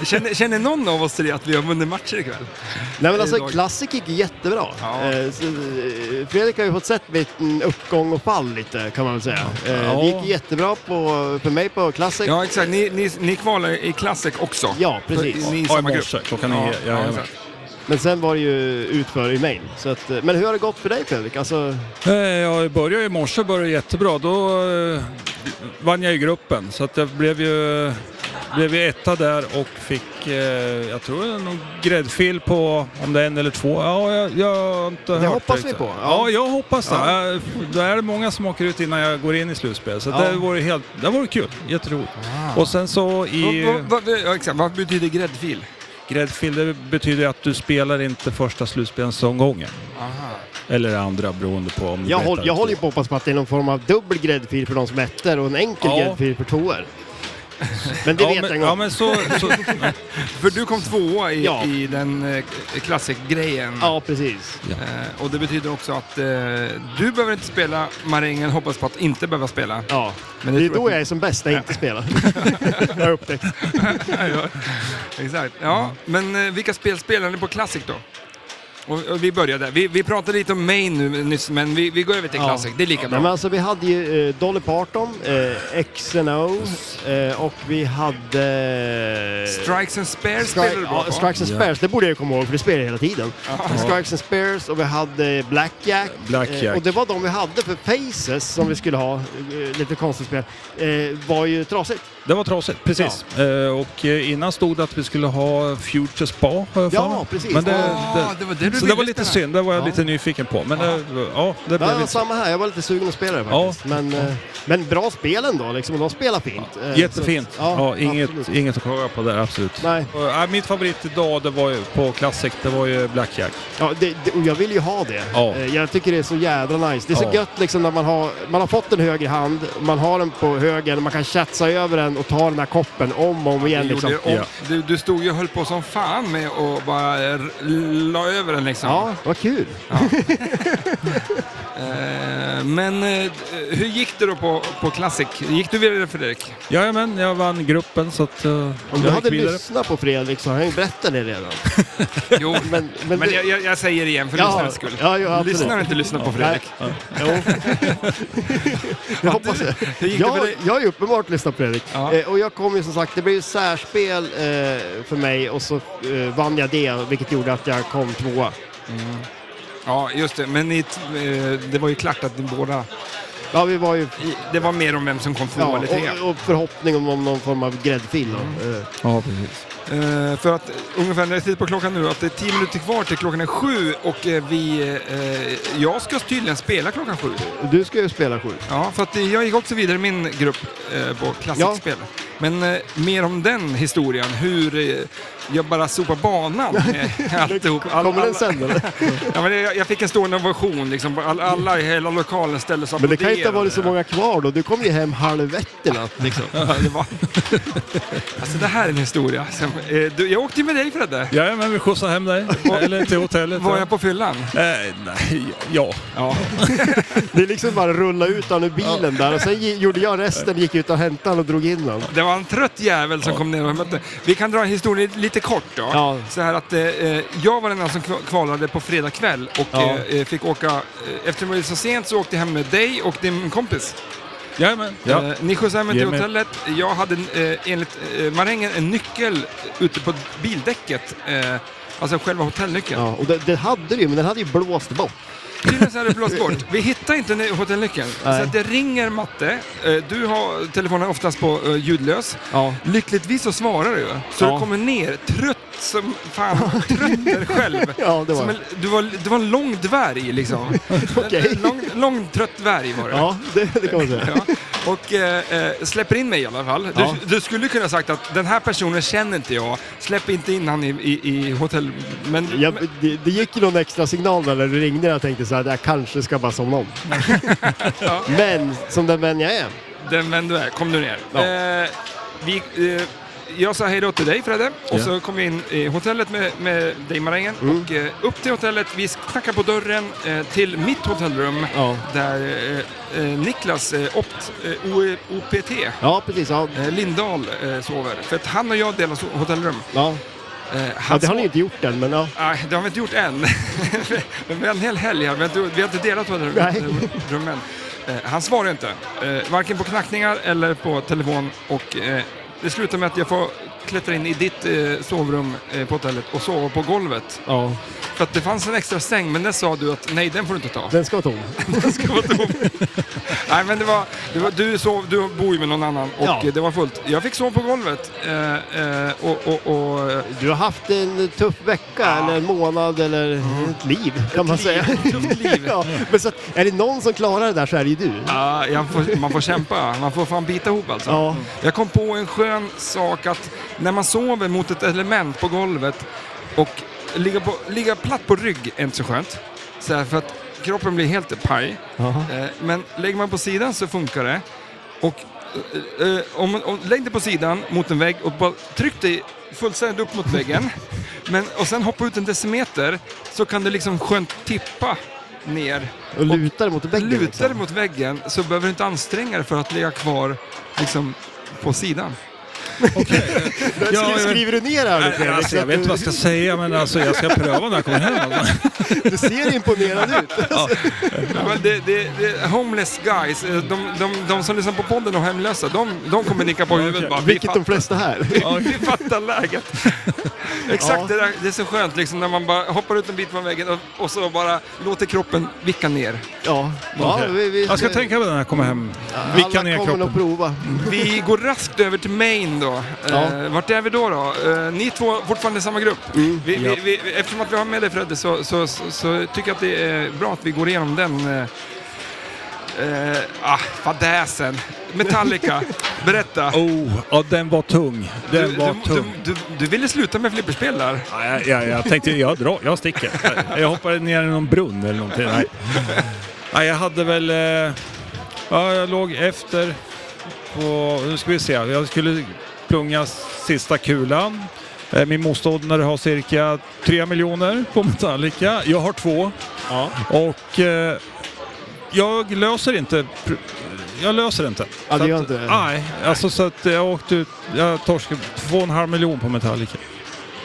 [SPEAKER 2] känner, känner någon av oss till det att vi har vunnit matcher ikväll?
[SPEAKER 1] Nej men alltså
[SPEAKER 2] idag.
[SPEAKER 1] Classic gick jättebra.
[SPEAKER 2] Ja.
[SPEAKER 1] Eh, så, eh, Fredrik har ju fått sett en uppgång och fall lite kan man väl säga. Eh,
[SPEAKER 3] Ja.
[SPEAKER 1] Det gick jättebra på, för mig på Classic.
[SPEAKER 2] Ja, exakt. Ni, ni, ni kvalar i Classic också.
[SPEAKER 1] Ja, precis.
[SPEAKER 2] Ni är i
[SPEAKER 3] Ja, i
[SPEAKER 2] samma
[SPEAKER 3] morse
[SPEAKER 2] grupp.
[SPEAKER 3] klockan nio. Ja, jajamän.
[SPEAKER 2] exakt.
[SPEAKER 1] Men sen var det ju utför i mail. Så att, eh, men hur har det gått för dig Fredrik? Alltså,
[SPEAKER 3] Eh, Jag började i morse, började jättebra. Då eh, vann jag i gruppen. Så att jag blev ju, blev ju etta där och fick, eh, jag tror det är någon gräddfil på om det är en eller två. Ja, jag, jag har inte hört
[SPEAKER 1] hoppas vi
[SPEAKER 3] riktigt.
[SPEAKER 1] på. Ja.
[SPEAKER 3] Ja, jag hoppas det. Ja. Då är det många som åker ut innan jag går in i slutspel. Så
[SPEAKER 1] Ja.
[SPEAKER 3] det vore helt, det vore kul. Jätteroligt. Och sen så i
[SPEAKER 2] Vad- vad- vad- ja, exakt. Vad betyder gräddfil?
[SPEAKER 3] gräddfil, det betyder att du spelar inte första slutspelsomgången.
[SPEAKER 2] Aha.
[SPEAKER 3] Eller andra beroende på om du
[SPEAKER 1] jag,
[SPEAKER 3] bettar
[SPEAKER 1] håll, jag
[SPEAKER 3] två.
[SPEAKER 1] håller ju på att hoppas på att det är någon form av dubbel gräddfil för de som ettor och en enkel
[SPEAKER 3] Ja.
[SPEAKER 1] gräddfil för tvåor. Men det
[SPEAKER 3] ja, men,
[SPEAKER 1] vet jag en gång.
[SPEAKER 3] ja, men så, så,
[SPEAKER 1] [laughs]
[SPEAKER 2] För du kom tvåa i,
[SPEAKER 1] Ja.
[SPEAKER 2] i den eh, Classic-grejen.
[SPEAKER 1] Ja, precis.
[SPEAKER 2] Eh, och det betyder också att eh, du behöver inte spela, marängen hoppas på att inte behöva spela.
[SPEAKER 1] Ja.
[SPEAKER 2] Men
[SPEAKER 1] Det är
[SPEAKER 2] tror
[SPEAKER 1] då jag är som bäst när jag inte spelar. [laughs] jag har upptäckt.
[SPEAKER 2] [laughs] Ja, Exakt. Ja, men eh, vilka spel spelar ni på Classic då? Och, och vi börjar där. Vi, vi pratade lite om main nu nyss, men vi, vi går över till
[SPEAKER 1] Ja.
[SPEAKER 2] Classic. Det är lika
[SPEAKER 1] Nej, men
[SPEAKER 2] bra.
[SPEAKER 1] alltså, vi hade ju eh, Dolly Parton, eh, XNO eh, och vi hade... eh,
[SPEAKER 2] Strikes and Spares
[SPEAKER 1] Stri-
[SPEAKER 2] spelar du bra
[SPEAKER 1] ja,
[SPEAKER 2] på.
[SPEAKER 1] Strikes and
[SPEAKER 3] Ja.
[SPEAKER 1] Spares, det borde jag komma ihåg för det spelar jag hela tiden. Strikes and Spares och vi hade Blackjack.
[SPEAKER 3] Eh,
[SPEAKER 1] eh,
[SPEAKER 3] Blackjack.
[SPEAKER 1] och det var de vi hade för Faces som vi skulle ha, eh, lite konstigt spel, eh, var ju trasigt.
[SPEAKER 3] Det var trasigt, precis. Eh, och eh, innan stod det att vi skulle ha Future Spa, har jag för
[SPEAKER 1] Ja,
[SPEAKER 3] mig.
[SPEAKER 1] precis.
[SPEAKER 3] Men det,
[SPEAKER 2] Ah,
[SPEAKER 3] det,
[SPEAKER 2] det var det du du
[SPEAKER 3] Så det
[SPEAKER 2] ville
[SPEAKER 3] var lite
[SPEAKER 2] spela.
[SPEAKER 3] synd, det var jag
[SPEAKER 2] Ja.
[SPEAKER 3] lite nyfiken på. Men
[SPEAKER 2] Ja.
[SPEAKER 3] det, ja, det blev
[SPEAKER 1] Ja,
[SPEAKER 3] lite...
[SPEAKER 1] samma här. Jag var lite sugen att spela det faktiskt. Men, eh, men bra spel ändå liksom. De spelar fint. Eh, så att-
[SPEAKER 3] Jättefint. Ja, inget,
[SPEAKER 1] absolut.
[SPEAKER 3] inget att klaga på där, absolut.
[SPEAKER 1] Nej,
[SPEAKER 3] Och, ja, mitt favorit idag det var ju, på Classic, det var ju Blackjack.
[SPEAKER 1] ja, det, det, och jag vill ju ha det.
[SPEAKER 3] Ja.
[SPEAKER 1] Eh, Jag tycker det är så jädra nice. Det är så
[SPEAKER 3] Ja.
[SPEAKER 1] gött liksom när man har, man har fått en höger hand, man har den på höger, man kan chatsa över den och ta den här koppen om och om igen.
[SPEAKER 2] Du,
[SPEAKER 1] Liksom.
[SPEAKER 2] gjorde,
[SPEAKER 3] Ja.
[SPEAKER 2] och, du, du stod ju och höll på som fan med och bara eh, la över den liksom.
[SPEAKER 1] Ja, vad kul.
[SPEAKER 2] Eh, men eh, hur gick det då på, på Classic? Gick du vidare Fredrik?
[SPEAKER 3] Jajamän, jag vann gruppen så att... eh, jag
[SPEAKER 1] Om du
[SPEAKER 3] gick
[SPEAKER 1] hade
[SPEAKER 2] [laughs]
[SPEAKER 3] vidare.
[SPEAKER 1] lyssnat på Fredrik så hade han ju berättat det redan.
[SPEAKER 2] Jo, men,
[SPEAKER 1] Men, men, du-
[SPEAKER 2] jag, jag, jag säger det igen för
[SPEAKER 1] Ja.
[SPEAKER 2] lyssnarens skull.
[SPEAKER 1] Ja, jo, absolut.
[SPEAKER 2] Lyssnar inte lyssna på Fredrik.
[SPEAKER 1] Jo. jag hoppas det.
[SPEAKER 2] [laughs] Hur gick det för
[SPEAKER 1] Jag,
[SPEAKER 2] dig?
[SPEAKER 1] jag har ju uppenbart lyssnat på Fredrik.
[SPEAKER 2] Ja.
[SPEAKER 1] Eh, och jag kom ju som sagt, det blev ju särspel eh, för mig och så eh, vann jag det, vilket gjorde att jag kom tvåa.
[SPEAKER 2] Ja, just det. Men ni, t- eh, det var ju klart att ni båda...
[SPEAKER 1] Ja, vi var ju...
[SPEAKER 2] i- Det var mer om vem som kom tvåa
[SPEAKER 1] Ja,
[SPEAKER 2] eller trea. Mm.
[SPEAKER 1] och, och förhoppning om, om någon form av gräddfil. då. Eh,
[SPEAKER 3] Ja, precis.
[SPEAKER 2] Eh, för att eh, ungefär när jag tittar på klockan nu att det är 10 minuter kvar till klockan är sju och eh, vi... Eh, jag ska tydligen spela klockan sju.
[SPEAKER 1] Du ska ju spela sju.
[SPEAKER 2] Ja, för att eh, jag gick också vidare i min grupp eh, på klassikspel. Men eh, mer om den historien, hur eh, jag bara sopar
[SPEAKER 1] [laughs]
[SPEAKER 2] banan med alltihop. All-
[SPEAKER 1] Kommer den
[SPEAKER 2] alla-
[SPEAKER 1] sen eller?
[SPEAKER 2] [laughs] ja, men jag, jag fick en stående ovation, liksom. All, alla i hela lokalen ställde sig och
[SPEAKER 1] Men det kan ju inte ha
[SPEAKER 2] applåderade.
[SPEAKER 1] varit så många kvar då. Du kom ju hem halv ett i natt liksom.
[SPEAKER 2] [laughs] Ja, det var... Alltså det här är en historia. Som, eh, du, jag åkte ju med dig Fredde.
[SPEAKER 3] Jajamän, vi skjutsade hem dig. Eller till hotellet.
[SPEAKER 2] Var
[SPEAKER 3] ja.
[SPEAKER 2] jag på fyllan?
[SPEAKER 3] Eh, nej, ja.
[SPEAKER 2] Ja.
[SPEAKER 1] [laughs] Det är liksom bara rulla ut han ur bilen där och sen gi- gjorde jag resten, gick ut och hämtade han och drog in han.
[SPEAKER 2] Det var en trött jävel som kom ner och mötte. Vi kan dra historien lite kort då.
[SPEAKER 1] Ja.
[SPEAKER 2] Så här att eh, jag var den enda som kva- kvalade på fredag kväll och
[SPEAKER 3] Ja.
[SPEAKER 2] eh, fick åka, eh, eftersom det var så sent så åkte jag hem med dig och din kompis.
[SPEAKER 3] Jajamän. Ja.
[SPEAKER 2] Eh, ni skjutsade hem mig till
[SPEAKER 3] Ge mig.
[SPEAKER 2] hotellet. Jag hade eh, enligt eh, marängen en nyckel ute på bildäcket. Eh, alltså själva hotellnyckeln.
[SPEAKER 1] Ja, och det, det hade du ju, men den hade ju blåst bort.
[SPEAKER 2] Tydligen så hade det blåst bort. Vi hittar inte ny- hotellnyckeln. Så
[SPEAKER 1] Nej.
[SPEAKER 2] att det ringer Matte. Eh, Du har telefonen oftast på eh, ljudlös.
[SPEAKER 1] Ja.
[SPEAKER 2] Lyckligtvis så svarar du. Så
[SPEAKER 1] Ja.
[SPEAKER 2] du kommer ner trött som fan. Trött är du själv.
[SPEAKER 1] [laughs] Ja, det var
[SPEAKER 2] Som en, du, var, du var en lång dvärg liksom.
[SPEAKER 1] [laughs] Okej.
[SPEAKER 2] En Lång, lång trött dvärg var du.
[SPEAKER 1] Ja, [laughs] det, det kan man säga.
[SPEAKER 2] Ja. Och eh, eh, släpper in mig i alla fall.
[SPEAKER 1] Ja.
[SPEAKER 2] Du, du skulle kunna ha sagt att den här personen känner inte jag. Släpp inte in han i, i, i hotell... Men,
[SPEAKER 1] Jag, det, det gick ju någon extra signal där när du ringde och jag tänkte så här, jag kanske ska bara somna om.
[SPEAKER 2] [laughs] Ja.
[SPEAKER 1] Men som den vän jag är.
[SPEAKER 2] Den vän du är, kom du ner.
[SPEAKER 1] Ja.
[SPEAKER 2] Eh, vi, eh, jag sa hej då till dig Fredde och
[SPEAKER 3] Ja.
[SPEAKER 2] så kom vi in i hotellet med, med dig Marängen.
[SPEAKER 1] Mm.
[SPEAKER 2] Och eh, upp till hotellet, vi knackar på dörren eh, till mitt hotellrum
[SPEAKER 1] Ja,
[SPEAKER 2] där eh, eh, Niklas eh, Opt, eh, O- OPT
[SPEAKER 1] ja precis. Ja.
[SPEAKER 2] eh, Lindahl eh, sover. För att han och jag delar so- hotellrum.
[SPEAKER 1] Ja.
[SPEAKER 2] Eh,
[SPEAKER 1] Ja,
[SPEAKER 2] han
[SPEAKER 1] det har
[SPEAKER 2] sov-
[SPEAKER 1] ni inte gjort än, men ja.
[SPEAKER 2] Nej, det har vi inte gjort än. [laughs] Men vi har en hel helg här. Vi har inte, vi har inte delat på
[SPEAKER 1] Nej.
[SPEAKER 2] rummen. Eh, han svarar inte. Eh, varken på knackningar eller på telefon. Och, eh, det slutar med att jag får klättra in i ditt eh, sovrum eh, på hotellet och sova på golvet.
[SPEAKER 1] ja.
[SPEAKER 2] För att det fanns en extra säng, men där sa du att nej, den får du inte
[SPEAKER 1] [laughs]
[SPEAKER 2] ta.
[SPEAKER 1] Den ska vara tom.
[SPEAKER 2] Den ska vara tom. nej, men det var, det var, du, sov, du bor ju med någon annan och
[SPEAKER 1] Ja.
[SPEAKER 2] eh, det var fullt. Jag fick sova på golvet. Eh, eh, och, och, och, eh,
[SPEAKER 1] Du har haft en tuff vecka, eller en månad, eller ett liv kan man
[SPEAKER 2] liv,
[SPEAKER 1] säga.
[SPEAKER 2] ett tufft liv.
[SPEAKER 1] [laughs] ja, men så, att, är det någon som klarar det där så är det ju du.
[SPEAKER 2] Ja, jag får, man får kämpa. Man får fan bita ihop alltså.
[SPEAKER 1] Ja.
[SPEAKER 2] Jag kom på en skön sak att när man sover mot ett element på golvet och ligga, på, ligga platt på rygg är inte så skönt. Så här, för att kroppen blir helt paj.
[SPEAKER 1] Aha.
[SPEAKER 2] Eh, Men lägger man på sidan så funkar det. Och, eh, eh, om, om, lägg dig på sidan mot en vägg och bara tryck dig fullständigt upp mot
[SPEAKER 1] [laughs]
[SPEAKER 2] väggen. Men, och sen hoppa ut en decimeter så kan du liksom skönt tippa ner
[SPEAKER 1] Och lutar mot väggen.
[SPEAKER 2] lutar
[SPEAKER 1] liksom.
[SPEAKER 2] mot väggen så behöver du inte anstränga dig för att ligga kvar liksom, på sidan.
[SPEAKER 1] Skri-
[SPEAKER 3] Ja,
[SPEAKER 2] [laughs]
[SPEAKER 3] jag-
[SPEAKER 1] Skriver du ner det här nu,
[SPEAKER 3] Alltså, jag vet inte vad jag ska säga, men alltså, jag ska pröva när jag kommer hem.
[SPEAKER 1] Du ser imponerad ut.
[SPEAKER 2] Ja, men det, det, det, homeless guys, eh, de, de, de som lyssnar på podden och hemlösa, de, de kommer nicka på huvudet bara. Vi
[SPEAKER 1] Vilket de
[SPEAKER 2] fattar,
[SPEAKER 1] flesta här.
[SPEAKER 2] [laughs] vi fattar läget.
[SPEAKER 1] [laughs]
[SPEAKER 2] Exakt
[SPEAKER 1] Ja.
[SPEAKER 2] det där, det är så skönt liksom när man bara hoppar ut en bit från väggen och, och så bara låter kroppen vicka ner.
[SPEAKER 1] Ja. ja vi, vi,
[SPEAKER 3] Jag ska tänka på det när jag kommer hem. Vicka
[SPEAKER 1] alla
[SPEAKER 3] ner
[SPEAKER 1] kommer att
[SPEAKER 3] kroppen.
[SPEAKER 1] prova.
[SPEAKER 2] Vi går raskt över till Maine då.
[SPEAKER 1] Ja.
[SPEAKER 2] Eh, vart är vi då? då? Eh, ni två fortfarande i samma grupp.
[SPEAKER 3] Mm.
[SPEAKER 2] Vi, vi, vi, eftersom att vi har med dig Fredde så, så, så, så tycker jag att det är bra att vi går igenom den eh, eh, ah, fadäsen.
[SPEAKER 3] [laughs]
[SPEAKER 2] Metallica, berätta.
[SPEAKER 3] Oh, ja, den var tung. Den
[SPEAKER 2] du,
[SPEAKER 3] var
[SPEAKER 2] du, du,
[SPEAKER 3] tung.
[SPEAKER 2] du, du ville sluta med flipperspel där.
[SPEAKER 3] Ja, jag, jag, jag tänkte, jag drar, jag sticker. [laughs] Jag, jag hoppade ner i någon brunn eller någonting. Nej, Nej jag hade väl... eh, Ja, jag låg efter på... Nu ska vi se. Jag skulle plunga sista kulan. Eh, Min motståndare har cirka 3 miljoner på Metallica. Jag har två.
[SPEAKER 1] Ja.
[SPEAKER 3] Och eh, jag löser inte... pr- Jag löser inte.
[SPEAKER 1] Ja,
[SPEAKER 3] Så
[SPEAKER 1] det gör
[SPEAKER 3] att-
[SPEAKER 1] inte det.
[SPEAKER 3] Nej, alltså så att jag åkte ut... Jag torskade 2,5 miljon på Metallica.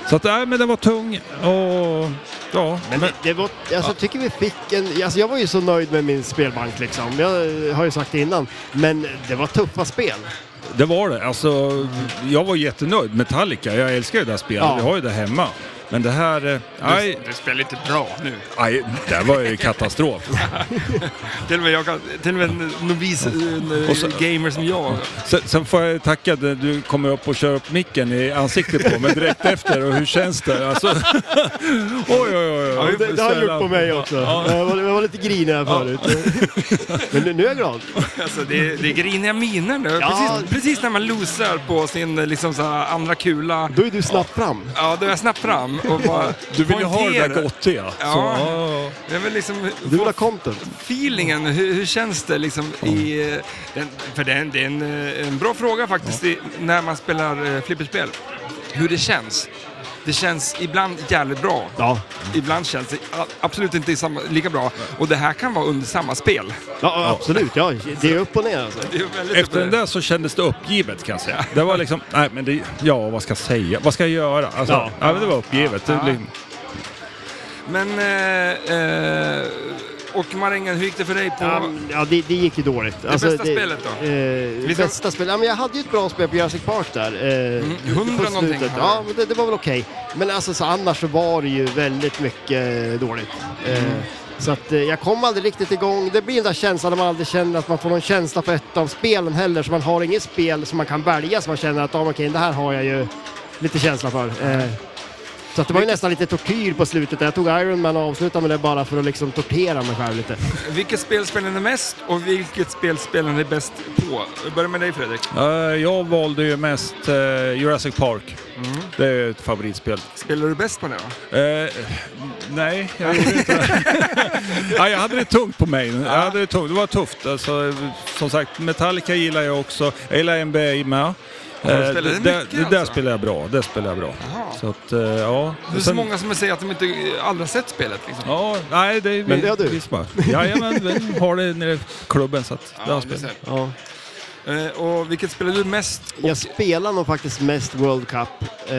[SPEAKER 3] Så att, nej, men den var tung och... Ja.
[SPEAKER 1] Men det, det var, alltså, Jag tycker vi fick en... Alltså, jag var ju så nöjd med min spelbank liksom. Jag eh, har ju sagt det innan. Men det var tuffa spel.
[SPEAKER 3] Det var det. Alltså, jag var jättenöjd. Metallica, jag älskar ju det här spelet.
[SPEAKER 1] Ja.
[SPEAKER 3] Vi har ju det hemma. Men det här... eh, Nej,
[SPEAKER 2] Du spelar inte bra nu.
[SPEAKER 3] nej det här var ju
[SPEAKER 1] [laughs]
[SPEAKER 3] katastrof.
[SPEAKER 2] Till och med, jag kan, till och med en novis eh, en,
[SPEAKER 3] Och så-
[SPEAKER 2] gamer som jag.
[SPEAKER 3] Sen, sen får jag tacka när du kommer upp och kör upp micken i ansiktet på mig direkt efter. Och hur känns det? Alltså, [laughs] oj, oj, oj.
[SPEAKER 2] Ja, vi
[SPEAKER 1] Det, det har han gjort på mig också.
[SPEAKER 3] Ja.
[SPEAKER 1] Jag, var, jag var lite grinig här förut. Men nu, nu är jag glad.
[SPEAKER 2] Alltså det, det är griniga miner nu.
[SPEAKER 1] Ja.
[SPEAKER 2] Precis, precis när man losar på sin liksom, så här, andra kula.
[SPEAKER 1] Då är du snabbt fram.
[SPEAKER 2] Ja, då är jag snabbt fram
[SPEAKER 1] [laughs]
[SPEAKER 2] och bara
[SPEAKER 3] Du vill ju ha det där
[SPEAKER 2] poängterar.
[SPEAKER 3] gottiga. Så,
[SPEAKER 2] Ja.
[SPEAKER 3] ja.
[SPEAKER 2] Jag vill liksom
[SPEAKER 1] Du vill
[SPEAKER 2] få
[SPEAKER 1] ha content.
[SPEAKER 2] feelingen, hur, hur känns det liksom i... eh, Den, för det är, en, det är en, eh, en bra fråga faktiskt i, när man spelar eh, flipperspel. Hur det känns. Det känns ibland jävligt bra.
[SPEAKER 1] Ja.
[SPEAKER 2] Ibland känns det a- absolut inte i samma, lika bra. Och det här kan vara under samma spel.
[SPEAKER 1] Ja, absolut. Ja, det är upp och ner alltså.
[SPEAKER 2] Det är väldigt
[SPEAKER 3] Efter den där så kändes det uppgivet kan jag säga. Det var liksom, nej men det, ja vad ska jag säga, vad ska jag göra? Alltså,
[SPEAKER 1] Ja.
[SPEAKER 3] ja. men det var uppgivet. Det
[SPEAKER 2] Ja.
[SPEAKER 3] blir-
[SPEAKER 2] Men... Eh, eh, och Marängen, hur gick det för dig på...
[SPEAKER 1] Ja, men, ja det, det gick ju dåligt. Alltså, Det
[SPEAKER 2] bästa spelet då?
[SPEAKER 1] Eh,
[SPEAKER 2] ska-
[SPEAKER 1] Bästa spelet? Ja, men jag hade ju ett bra spel på Jurassic Park där. Eh,
[SPEAKER 2] Mm,
[SPEAKER 1] på
[SPEAKER 2] 100
[SPEAKER 1] slutet.
[SPEAKER 2] någonting hade
[SPEAKER 1] Ja,
[SPEAKER 2] du.
[SPEAKER 1] men det, det var väl okej. Men alltså, så annars så var det ju väldigt mycket eh, dåligt. Eh,
[SPEAKER 2] Mm.
[SPEAKER 1] Så att eh, jag kom aldrig riktigt igång. Det blir den där känslan när man aldrig känner att man får någon känsla för ett av spelen heller. Så man har inget spel som man kan välja som man känner att ah, men okej, det här har jag ju lite känsla för. Eh, så att det var ju nästan lite tortyr på slutet. Jag tog Iron Man och avslutade med det bara för att liksom tortera mig själv lite.
[SPEAKER 2] Vilket spel spelar ni mest och vilket spel spelar ni bäst på? Jag börjar med dig Fredrik.
[SPEAKER 3] Eh, jag valde ju mest eh, Jurassic Park.
[SPEAKER 1] Mm.
[SPEAKER 3] Det är ju ett favoritspel.
[SPEAKER 2] Spelar du bäst på det då?
[SPEAKER 3] Eh, [laughs] nej, jag gjorde inte det. ja, jag hade det tungt på mig. Jag hade det, tungt. det var tufft. Alltså, som sagt, Metallica gillar jag också. Jag gillar NBA med.
[SPEAKER 2] du
[SPEAKER 3] Eh,
[SPEAKER 2] spelade
[SPEAKER 3] det,
[SPEAKER 2] mycket
[SPEAKER 3] det, det där
[SPEAKER 2] alltså?
[SPEAKER 3] spelar jag bra. Det spelar jag bra.
[SPEAKER 2] Jaha.
[SPEAKER 3] Så att, eh, ja.
[SPEAKER 2] [laughs] Det är så
[SPEAKER 3] Sen-
[SPEAKER 2] många som säger att de inte aldrig har sett spelet liksom.
[SPEAKER 3] Ja, nej det är
[SPEAKER 1] Men
[SPEAKER 3] vi-
[SPEAKER 1] det har du.
[SPEAKER 3] vi som har. Jajamän, vi har det nere i klubben så att det har
[SPEAKER 2] det är
[SPEAKER 3] spelat.
[SPEAKER 2] så.
[SPEAKER 1] Ja.
[SPEAKER 2] Eh, och vilket spelar du mest?
[SPEAKER 1] Jag spelar nog faktiskt mest World Cup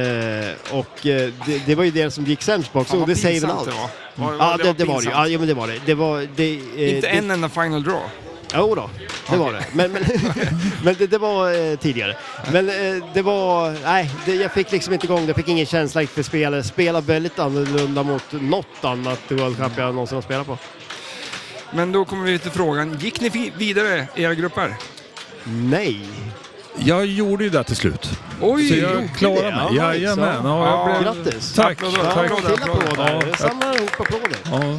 [SPEAKER 1] eh, och eh, det, det var ju det som gick sämst på också
[SPEAKER 2] Fan,
[SPEAKER 1] och
[SPEAKER 2] vad
[SPEAKER 1] det säger väl
[SPEAKER 2] pinsamt
[SPEAKER 1] allt.
[SPEAKER 2] det
[SPEAKER 1] Mm.
[SPEAKER 2] var. Var-
[SPEAKER 1] Ja, det, det var det
[SPEAKER 2] pinsamt.
[SPEAKER 1] ju. Ja, jo, men det var det. Det var... Det, eh,
[SPEAKER 2] Inte
[SPEAKER 1] det,
[SPEAKER 2] en enda final draw.
[SPEAKER 1] Jo då, det var det. Men, [laughs] men, men det, det var eh, tidigare. Men eh, det var... Nej, det, jag fick liksom inte igång det. Jag fick ingen känsla för spelet. Spelade väldigt annorlunda mot något annat World Cup jag någonsin har spelat på.
[SPEAKER 2] Men då kommer vi till frågan, gick ni fi- vidare i era grupper?
[SPEAKER 1] Nej.
[SPEAKER 3] Jag gjorde ju det till slut.
[SPEAKER 2] Oj!
[SPEAKER 3] Så jag klarade
[SPEAKER 1] det? Ja,
[SPEAKER 3] mig. Jajamän.
[SPEAKER 1] så.
[SPEAKER 3] Ja, jag
[SPEAKER 2] Ja,
[SPEAKER 3] blev...
[SPEAKER 1] Grattis!
[SPEAKER 3] Tack,
[SPEAKER 2] Applåder,
[SPEAKER 1] Ja,
[SPEAKER 3] tack.
[SPEAKER 2] applåder.
[SPEAKER 1] till applåder.
[SPEAKER 3] Ja.
[SPEAKER 1] Samla ihop applåder.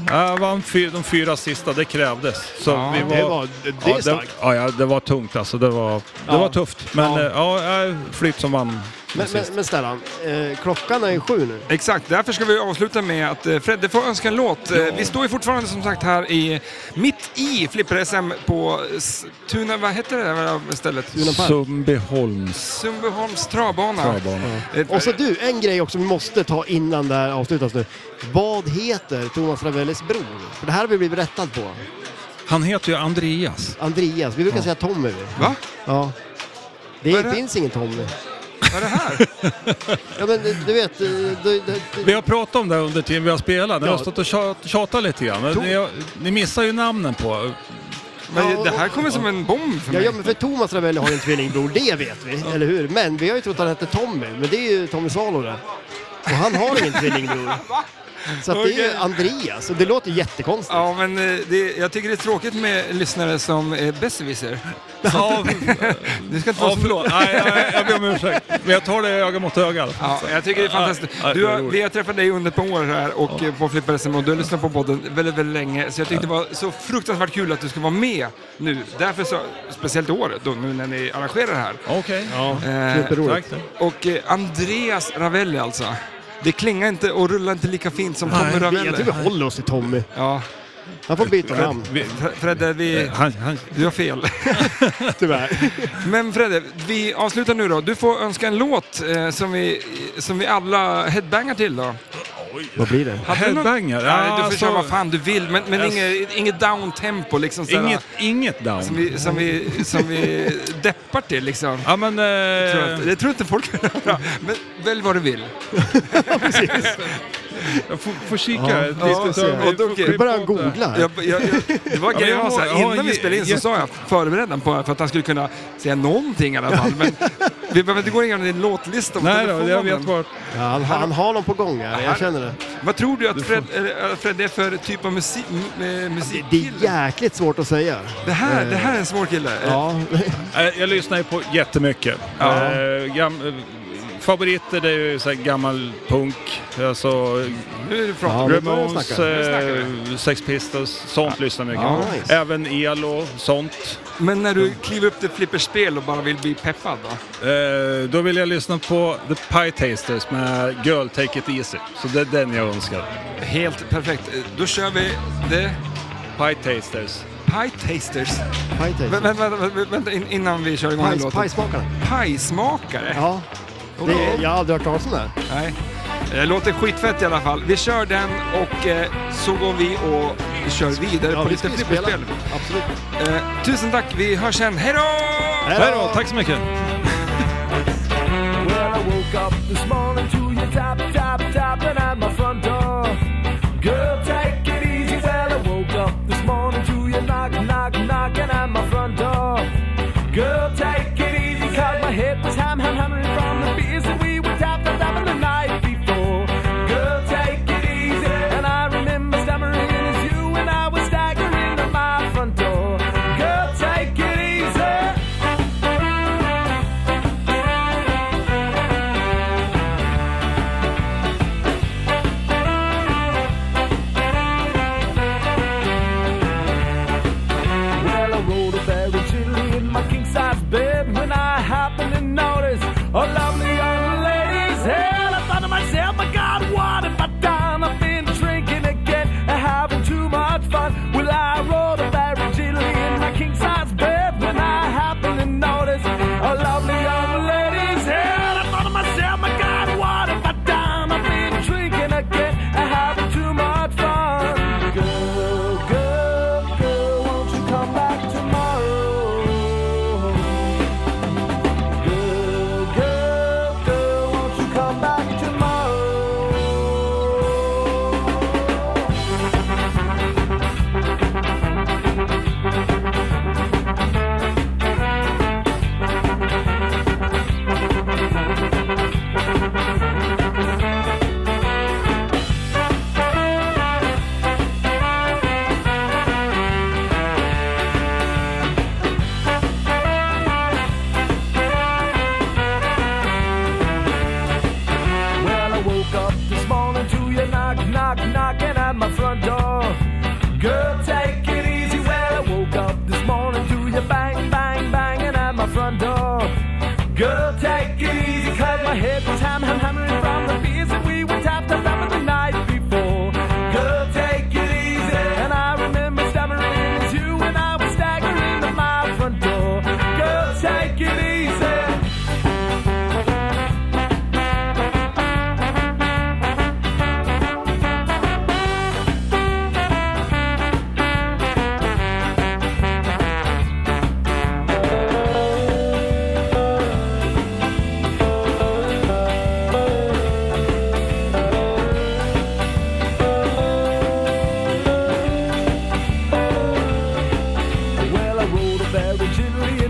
[SPEAKER 3] Ja, jag vann fy, de fyra sista, det krävdes. Så
[SPEAKER 2] Ja,
[SPEAKER 3] vi var,
[SPEAKER 1] Det var... Det
[SPEAKER 3] ja,
[SPEAKER 1] är starkt.
[SPEAKER 3] Ja, ja, det var tungt alltså. Det var, det
[SPEAKER 1] Ja.
[SPEAKER 3] var tufft. Men
[SPEAKER 1] Ja.
[SPEAKER 3] ja, ja jag flytt som vann.
[SPEAKER 1] Men, men,
[SPEAKER 3] sist.
[SPEAKER 1] men Stellan, eh, klockan är ju sju nu.
[SPEAKER 2] Exakt, därför ska vi avsluta med att eh, Fredde får önska en låt. Eh, Vi står ju fortfarande som sagt här i, mitt i Flipper-SM på S- Tuna, vad heter det där stället?
[SPEAKER 1] Tuna Park.
[SPEAKER 3] Sundbyholms
[SPEAKER 2] Sundbyholms travbana.
[SPEAKER 3] travbana.
[SPEAKER 2] Eh,
[SPEAKER 1] Och så du, en grej också vi måste ta innan det här avslutas nu. Vad heter Thomas Ravellis bror? För det här har vi blivit rättad på.
[SPEAKER 3] Han heter ju Andreas.
[SPEAKER 1] Andreas, vi brukar säga Tommy.
[SPEAKER 2] Va?
[SPEAKER 1] Ja. Det
[SPEAKER 2] Vad är det?
[SPEAKER 1] finns ingen Tommy.
[SPEAKER 2] Vad är det här?
[SPEAKER 1] Ja, men eh, du du vet, det, det,
[SPEAKER 3] Vi
[SPEAKER 1] det,
[SPEAKER 3] har pratat om det här under tiden vi har spelat. Ni har
[SPEAKER 1] Ja.
[SPEAKER 3] stått och tjat- tjatat lite grann. Men
[SPEAKER 1] Tog-
[SPEAKER 3] Ni, har- ni missar ju namnen på...
[SPEAKER 2] Men
[SPEAKER 1] Ja,
[SPEAKER 2] det här kommer som en bomb för
[SPEAKER 1] ja,
[SPEAKER 2] mig.
[SPEAKER 1] ja, men för Thomas Ravelli har ju en tvillingbror, det vet vi, eller hur? Men vi har ju trott att han hette Tommy, men det är ju Tommy Svalo det. Och han har
[SPEAKER 2] [laughs]
[SPEAKER 1] ingen tvillingbror. Så att det är ju
[SPEAKER 2] Okej.
[SPEAKER 1] Andreas, och det låter jättekonstigt.
[SPEAKER 2] Ja, men eh, det, jag tycker det är tråkigt med lyssnare som är besserwisser. [laughs]
[SPEAKER 3] Ja,
[SPEAKER 2] Det ska inte vara
[SPEAKER 3] ja
[SPEAKER 2] så-
[SPEAKER 3] förlåt. Nej, nej, jag ber om ursäkt. Men jag tar det öga mot öga. i alla fall.
[SPEAKER 2] Ja, jag tycker det är fantastiskt.
[SPEAKER 3] Ja, ja,
[SPEAKER 2] Du har,
[SPEAKER 3] det är roligt.
[SPEAKER 2] vi har träffat dig under ett par år här och eh, på Flipper-SM och du har lyssnat på podden väldigt, väldigt länge. Så jag tyckte det var så fruktansvärt kul att du skulle vara med nu. Därför så, speciellt i år då, nu när ni arrangerar det här.
[SPEAKER 3] Okej.
[SPEAKER 2] Eh,
[SPEAKER 3] Tack.
[SPEAKER 2] och eh, Andreas Ravelli alltså. Det klingar inte och rullar inte lika fint som Tommy
[SPEAKER 1] Vi- Jag
[SPEAKER 2] Ravelli.
[SPEAKER 1] tror vi håller oss till Tommy.
[SPEAKER 2] Ja,
[SPEAKER 1] Han får byta namn,
[SPEAKER 3] Vi-
[SPEAKER 2] Fre- Fredde, vi,
[SPEAKER 3] Eh, Han, han,
[SPEAKER 2] du har
[SPEAKER 3] [laughs]
[SPEAKER 2] fel.
[SPEAKER 1] tyvärr.
[SPEAKER 2] [laughs] Men Fredde, vi avslutar nu då. Du får önska en låt eh, som, vi, som vi alla headbangar till då.
[SPEAKER 1] Vad blir det?
[SPEAKER 2] Hade du någon-
[SPEAKER 3] Headbanger?
[SPEAKER 2] Nej, du får
[SPEAKER 3] Alltså-
[SPEAKER 2] köra vad fan du vill, men, men
[SPEAKER 3] Jag-
[SPEAKER 2] inget, inget downtempo liksom. Sådär,
[SPEAKER 3] inget, inget
[SPEAKER 2] Som
[SPEAKER 3] down.
[SPEAKER 2] vi, som, vi, som
[SPEAKER 3] [laughs]
[SPEAKER 2] vi deppar till liksom.
[SPEAKER 3] Ja, men... Eh,
[SPEAKER 2] Tror jag inte- Det tror inte folk [laughs] vill höra. Men välj vad du
[SPEAKER 3] [laughs]
[SPEAKER 2] vill. [laughs]
[SPEAKER 3] jag får, får kika.
[SPEAKER 1] Ja,
[SPEAKER 2] ja,
[SPEAKER 3] Lite-
[SPEAKER 2] så- och då-
[SPEAKER 1] Du börjar googla här.
[SPEAKER 2] Jag, jag, jag, det var
[SPEAKER 3] men
[SPEAKER 2] grejen
[SPEAKER 3] jag
[SPEAKER 2] var så
[SPEAKER 3] har-
[SPEAKER 2] här,
[SPEAKER 3] jag har
[SPEAKER 2] innan vi
[SPEAKER 3] ge-
[SPEAKER 2] spelade in så
[SPEAKER 3] jätte-
[SPEAKER 2] sa jag förbered den på för att han skulle kunna säga någonting i alla fall.
[SPEAKER 3] [laughs]
[SPEAKER 2] Men vi behöver inte gå igenom din låtlista. på
[SPEAKER 3] Nej då,
[SPEAKER 2] telefonen.
[SPEAKER 3] jag vet vart...
[SPEAKER 1] Ja, han, han har någon på gång här, jag känner det.
[SPEAKER 2] Vad tror du att Fred, eller, äh, Fred är för typ av musik, m- eh,
[SPEAKER 1] Det
[SPEAKER 2] musikkille?
[SPEAKER 1] är jäkligt svårt att säga. Eh,
[SPEAKER 2] Det här, det här är en svår kille.
[SPEAKER 1] Ja,
[SPEAKER 3] [laughs] Eh, Jag lyssnar ju på jättemycket.
[SPEAKER 2] Ja.
[SPEAKER 3] Eh, gam, eh, favoriter det är ju så här gammal punk, alltså
[SPEAKER 2] Nu pratar
[SPEAKER 1] Ja,
[SPEAKER 2] vi.
[SPEAKER 1] nu börjar vi
[SPEAKER 3] Ramones,
[SPEAKER 1] snacka.
[SPEAKER 2] Nu snackar
[SPEAKER 3] eh, Sex Pistols, sånt lyssnar jag mycket
[SPEAKER 2] Ja,
[SPEAKER 3] på.
[SPEAKER 1] nice.
[SPEAKER 3] Även elo, sånt.
[SPEAKER 2] Men när du kliver upp till flipperspel och bara vill bli peppad då?
[SPEAKER 3] Eh, då vill jag lyssna på The Pie Tasters med Girl Take It Easy. Så det är den jag önskar.
[SPEAKER 2] Helt perfekt. Eh, Då kör vi The
[SPEAKER 3] Pie Tasters.
[SPEAKER 2] Pie Tasters.
[SPEAKER 1] paj taste.
[SPEAKER 2] Vänta, vänta, vänta, vänta in- innan vi kör igång den
[SPEAKER 1] Paj-
[SPEAKER 2] låten.
[SPEAKER 1] Pajsmakarna.
[SPEAKER 2] Pajsmakare?
[SPEAKER 1] Ja, det är, jag har aldrig hört talas om det.
[SPEAKER 2] [laughs]
[SPEAKER 1] här.
[SPEAKER 2] Nej. Det låter skitfett i alla fall. Vi kör den och eh, så går vi och kör vidare
[SPEAKER 1] Ja,
[SPEAKER 2] på
[SPEAKER 1] vi
[SPEAKER 2] lite
[SPEAKER 1] ska ju spela.
[SPEAKER 2] flipperspel.
[SPEAKER 1] Absolut.
[SPEAKER 2] Eh, tusen tack, vi hörs sen. Hej då!
[SPEAKER 3] Hej då, tack så mycket.
[SPEAKER 4] Well, I woke up this morning to your tap, tap, tapping at my front door. Girl, take it easy. Well, I woke up this morning to your knock, knock, knocking at my front door. Girl, take it easy, cause my head was ham, ham, hammering from the beers that we were tapping, tapping the night before. Girl, take it easy, and I remember stammering as you and I was staggering at my front door. Girl, take it easy.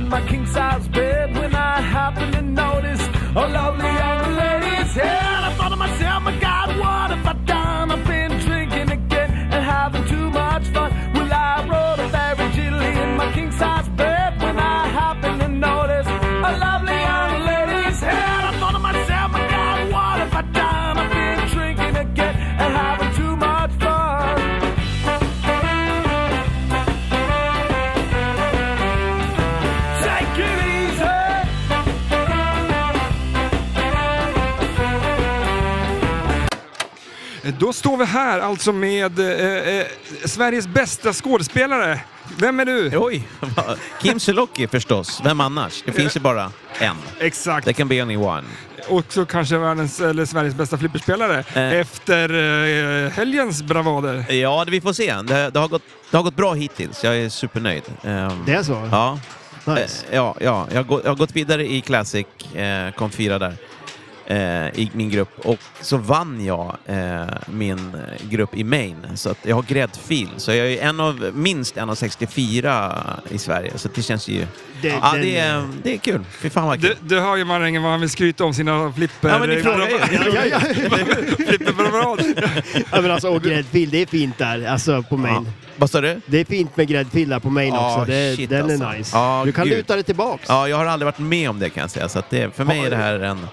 [SPEAKER 4] my king size bed when I happen to notice a lovely young lady's head. I thought to myself, my God, what have I done? I've been drinking again and having too much fun. Well, I rolled a very jilly in my king size bed when I happen to notice a lovely young lady's head. I thought to myself, my God, what have I done? I've been drinking again and having too much fun. Take it easy.
[SPEAKER 2] Eh, Då står vi här alltså med eh, eh, Sveriges bästa skådespelare. Vem är du?
[SPEAKER 5] Oj! [laughs] Kim Sulocki förstås. Vem annars? Det finns ju bara en.
[SPEAKER 2] Exakt.
[SPEAKER 5] There can be only one.
[SPEAKER 2] Också kanske världens, eller Sveriges bästa flipperspelare.
[SPEAKER 5] Eh.
[SPEAKER 2] Efter eh, helgens bravader.
[SPEAKER 5] Ja, det, vi får se. Det, det, har gått, det har gått bra hittills. Jag är supernöjd. Ehm,
[SPEAKER 1] Det är så?
[SPEAKER 5] Ja.
[SPEAKER 1] Nice.
[SPEAKER 5] Eh, Ja, ja. Jag, har gå, jag har gått vidare i Classic, eh, kom fyra där, eh, i min grupp. Och så vann jag eh, min grupp i Maine, så att jag har gräddfil. Så jag är en av, minst en av 64 i Sverige, så det känns ju...
[SPEAKER 1] Det-
[SPEAKER 5] ja,
[SPEAKER 1] den-
[SPEAKER 5] det, är, det är kul. Fy fan vad
[SPEAKER 2] Du,
[SPEAKER 5] kul.
[SPEAKER 2] du hör ju Marängen vad han vill skryta om sina flipper...
[SPEAKER 5] Ja, men det frågar jag ju.
[SPEAKER 1] Ja, ja, ja.
[SPEAKER 2] Flipperbravader.
[SPEAKER 1] ja men alltså, och gräddfil, det är fint där, alltså på main.
[SPEAKER 5] Ja. Vad sa du?
[SPEAKER 1] Det är fint med gräddfil där på main
[SPEAKER 5] Ja,
[SPEAKER 1] också. Det,
[SPEAKER 5] shit,
[SPEAKER 1] den är
[SPEAKER 5] alltså.
[SPEAKER 1] nice.
[SPEAKER 5] Ja,
[SPEAKER 1] du kan
[SPEAKER 5] gud.
[SPEAKER 1] luta dig tillbaks.
[SPEAKER 5] Ja, jag har aldrig varit med om det kan jag säga, så att det, för mig är det här en,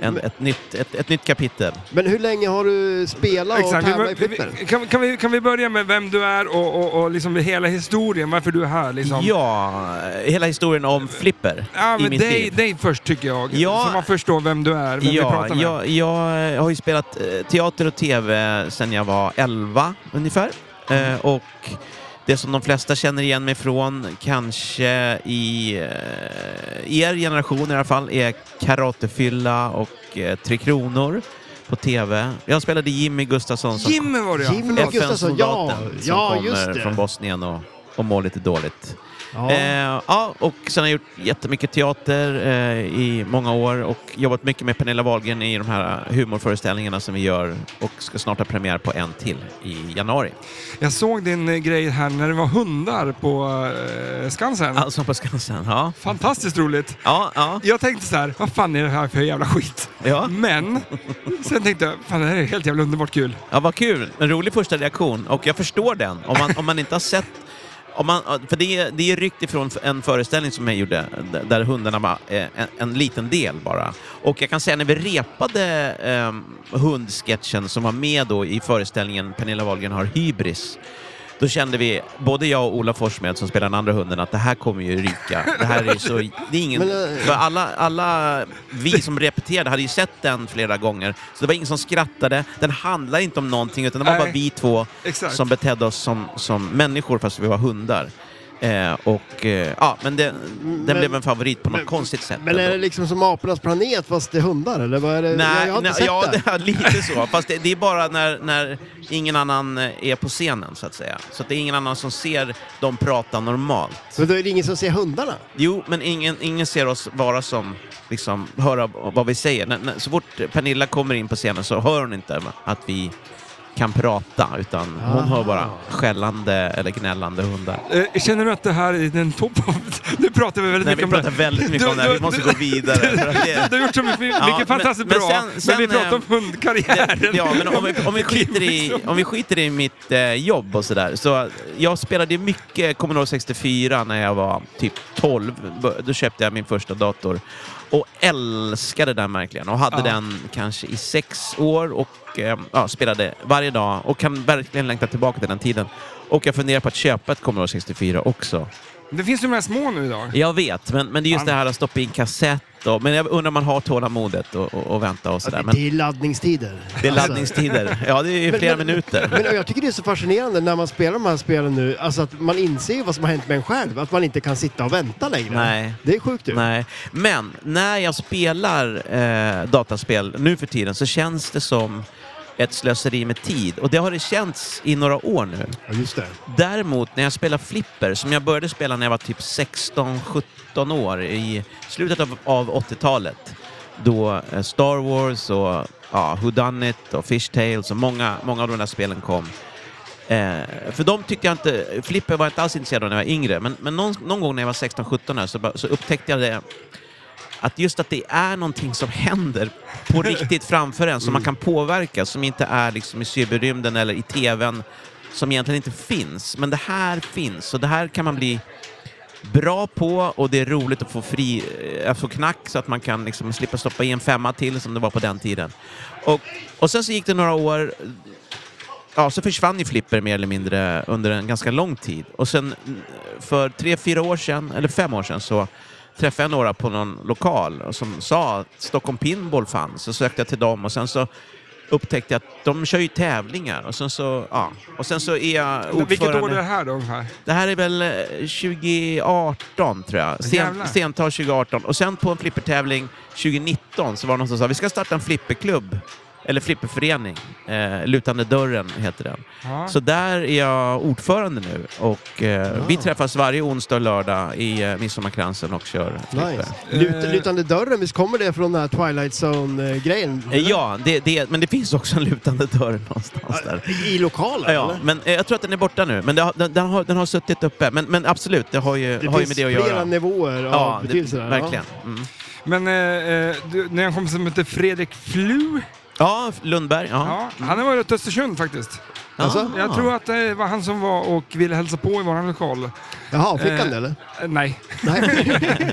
[SPEAKER 5] en, ett, nytt, ett, ett nytt kapitel.
[SPEAKER 1] Men hur länge har du spelat och
[SPEAKER 2] Exakt. Vi,
[SPEAKER 1] tävlat i
[SPEAKER 2] bör-
[SPEAKER 1] flipper?
[SPEAKER 2] vi, kan, kan, vi, kan vi börja med vem du är och, och, och liksom hela historien, varför du är här? Liksom?
[SPEAKER 5] Ja, hela historien om flipper
[SPEAKER 2] Ja,
[SPEAKER 5] i
[SPEAKER 2] men
[SPEAKER 5] mitt
[SPEAKER 2] dig,
[SPEAKER 5] liv.
[SPEAKER 2] dig först tycker jag,
[SPEAKER 5] Ja.
[SPEAKER 2] så man förstår vem du är, vem vi
[SPEAKER 5] ja,
[SPEAKER 2] pratar med.
[SPEAKER 5] jag, jag har ju spelat eh, teater och tv sedan jag var 11 ungefär. Eh, Och det som de flesta känner igen mig från, kanske i eh, er generation i alla fall, är Karatefylla och eh, Tre Kronor på tv. Jag spelade Jimmy Gustafsson som
[SPEAKER 2] Jimmy var det ja.
[SPEAKER 1] Jimmy
[SPEAKER 5] FN-soldaten
[SPEAKER 1] Gustafsson, ja!
[SPEAKER 5] som
[SPEAKER 1] Ja, just
[SPEAKER 5] kommer
[SPEAKER 1] det.
[SPEAKER 5] från Bosnien och, och mår lite dåligt.
[SPEAKER 1] ja.
[SPEAKER 5] Eh, ja, och sen har jag gjort jättemycket teater eh, i många år och jobbat mycket med Pernilla Wahlgren i de här humorföreställningarna som vi gör och ska snart ha premiär på en till i januari.
[SPEAKER 2] Jag såg din eh, grej här när det var hundar på eh, Skansen.
[SPEAKER 5] Allsång på Skansen, ja.
[SPEAKER 2] Fantastiskt roligt.
[SPEAKER 5] Ja, ja,
[SPEAKER 2] Jag tänkte så här, vad fan är det här för jävla skit?
[SPEAKER 5] ja.
[SPEAKER 2] Men sen tänkte jag, fan det här är helt jävla underbart kul.
[SPEAKER 5] ja vad kul! En rolig första reaktion och jag förstår den om man, om man inte har sett om man, för det är, det är ryckt ifrån en föreställning som jag gjorde d- där hundarna var eh, en, en liten del bara. Och jag kan säga när vi repade eh, hundsketchen som var med då i föreställningen Pernilla Wahlgren har hybris då kände vi, både jag och Ola Forssmed som spelar den andra hunden, att det här kommer ju ryka. Det här är så... Det är ingen,
[SPEAKER 1] Men, eh,
[SPEAKER 5] för alla, alla vi som repeterade hade ju sett den flera gånger, så det var ingen som skrattade. Den handlar inte om någonting, utan det var
[SPEAKER 2] Nej.
[SPEAKER 5] bara vi två
[SPEAKER 2] Exakt.
[SPEAKER 5] som betedde oss som, som människor fast vi var hundar. Eh, och, eh, ja, men det, den
[SPEAKER 1] Men-
[SPEAKER 5] blev en favorit på något
[SPEAKER 1] men-
[SPEAKER 5] konstigt sätt.
[SPEAKER 1] Men är
[SPEAKER 5] ändå.
[SPEAKER 1] det liksom som apornas planet fast det är hundar eller vad är det?
[SPEAKER 5] Nej,
[SPEAKER 1] jag har inte
[SPEAKER 5] nej,
[SPEAKER 1] sett
[SPEAKER 5] ja,
[SPEAKER 1] det.
[SPEAKER 5] [laughs] det. lite så. Fast det, det är bara när, när ingen annan eh, är på scenen, så att säga. Så att det är ingen annan som ser dem prata normalt.
[SPEAKER 1] Men då är det ingen som ser hundarna?
[SPEAKER 5] Jo, men ingen, ingen ser oss vara som, liksom, höra vad vi säger. När, när, så fort Pernilla kommer in på scenen så hör hon inte att vi kan prata, utan hon
[SPEAKER 1] Aha.
[SPEAKER 5] hör bara skällande eller gnällande hundar.
[SPEAKER 2] Eh, Känner du att det här är en topp av... [laughs] Nu pratar vi väldigt
[SPEAKER 5] Nej, vi
[SPEAKER 2] mycket om
[SPEAKER 5] pratar
[SPEAKER 2] det.
[SPEAKER 5] väldigt mycket
[SPEAKER 2] Du-
[SPEAKER 5] om det här. Vi
[SPEAKER 2] du-
[SPEAKER 5] måste
[SPEAKER 2] du-
[SPEAKER 5] gå vidare. för att det-
[SPEAKER 2] Du har gjort så mycket, mycket
[SPEAKER 5] Ja, men-
[SPEAKER 2] fantastiskt
[SPEAKER 5] men
[SPEAKER 2] bra,
[SPEAKER 5] sen- sen,
[SPEAKER 2] men vi pratar om
[SPEAKER 5] eh,
[SPEAKER 2] hundkarriären.
[SPEAKER 5] Det- Ja, men om vi,
[SPEAKER 2] [laughs]
[SPEAKER 5] om vi, skiter, i,
[SPEAKER 2] liksom.
[SPEAKER 5] om vi skiter i mitt eh, jobb och sådär. Så jag spelade ju mycket Commodore 64 när jag var typ 12. B- Då köpte jag min första dator. Och älskade den verkligen. Och hade
[SPEAKER 2] Ja.
[SPEAKER 5] den kanske i sex år och eh, ja, spelade varje dag. Och kan verkligen längta tillbaka till den tiden. Och jag funderar på att köpa ett Commodore 64 också.
[SPEAKER 2] Det finns ju de här små nu idag.
[SPEAKER 5] Jag vet, men, men det är just
[SPEAKER 2] Ja.
[SPEAKER 5] det här att stoppa in kassett. Och, men jag undrar om man har tålamodet och, och, och vänta och sådär. Men,
[SPEAKER 1] Alltså, Det är laddningstider.
[SPEAKER 5] det är
[SPEAKER 1] Alltså.
[SPEAKER 5] laddningstider. Ja, det är ju
[SPEAKER 1] Men-
[SPEAKER 5] flera
[SPEAKER 1] men-
[SPEAKER 5] minuter.
[SPEAKER 1] Men jag tycker det är så fascinerande när man spelar de här spelen nu, alltså att man inser ju vad som har hänt med en själv, att man inte kan sitta och vänta längre.
[SPEAKER 5] Nej.
[SPEAKER 1] Det är sjukt ju.
[SPEAKER 5] Nej. Men när jag spelar eh, dataspel nu för tiden så känns det som ett slöseri med tid. Och det har det känts i några år nu.
[SPEAKER 1] Ja, just det.
[SPEAKER 5] Däremot när jag spelar flipper, som jag började spela när jag var typ 16-17 år i slutet av, av 80-talet, då eh, Star Wars och ja, Who Done It och Fish Tales och många, många av de där spelen kom. Eh, för de tyckte jag inte, flipper var jag inte alls intresserad av när jag var yngre, men, men någon, någon gång när jag var 16-17 här så, bara- så upptäckte jag det att just att det är någonting som händer på riktigt framför en som man kan påverka, som inte är liksom i cyberrymden eller i tvn, som egentligen inte finns. Men det här finns och det här kan man bli bra på och det är roligt att få fri, eh, att få knack så att man kan liksom slippa stoppa i en femma till som det var på den tiden. Och, och sen så gick det några år, ja, så försvann ju Flipper mer eller mindre under en ganska lång tid. Och sen mm, för tre, fyra år sedan, eller fem år sedan, så träffade jag några på någon lokal som sa att Stockholm Pinball fanns. Så sökte jag till dem och sen så upptäckte jag att de kör ju tävlingar. Och sen så, ja. och sen så är jag ordförande...
[SPEAKER 2] Vilket år är det här då? Här?
[SPEAKER 5] Det här är väl eh, 2018 tror jag.
[SPEAKER 2] Jävlar.
[SPEAKER 5] Sen, sental 2018. Och sen på en flippertävling 2019 så var det någon som sa vi ska starta en flipperklubb. Eller flipperförening. Eh, Lutande dörren heter den.
[SPEAKER 2] Ja.
[SPEAKER 5] Så där är jag ordförande nu. Och eh, vi träffas varje onsdag och lördag i eh, Midsommarkransen och kör flipper.
[SPEAKER 1] Nice.
[SPEAKER 2] Eh.
[SPEAKER 1] Lut, lutande dörren, visst kommer det från den här Twilight Zone-grejen?
[SPEAKER 5] Eh, Ja, det, det, men det finns också en lutande dörr någonstans där.
[SPEAKER 1] I lokalen?
[SPEAKER 5] Ja,
[SPEAKER 1] eller?
[SPEAKER 5] men eh, jag tror att den är borta nu. Men det har, den, den, har, den har suttit uppe. Men, men absolut, det har ju,
[SPEAKER 1] Det
[SPEAKER 5] har ju
[SPEAKER 1] finns
[SPEAKER 5] med det att
[SPEAKER 1] flera
[SPEAKER 5] göra.
[SPEAKER 1] nivåer av
[SPEAKER 5] det-
[SPEAKER 1] betydelse där.
[SPEAKER 5] verkligen. Mm.
[SPEAKER 2] Men eh, eh, du, när jag kom som heter Fredrik Flu,
[SPEAKER 5] Ja, Lundberg. Ja.
[SPEAKER 2] ja, han har varit i Östersund faktiskt.
[SPEAKER 5] Ja.
[SPEAKER 1] Alltså,
[SPEAKER 2] Jag tror att eh, det var han som var och ville hälsa på i vår lokal.
[SPEAKER 1] Ja. Jaha, fick han
[SPEAKER 2] Eh,
[SPEAKER 1] det eller?
[SPEAKER 2] Eh, Nej.
[SPEAKER 1] Nej,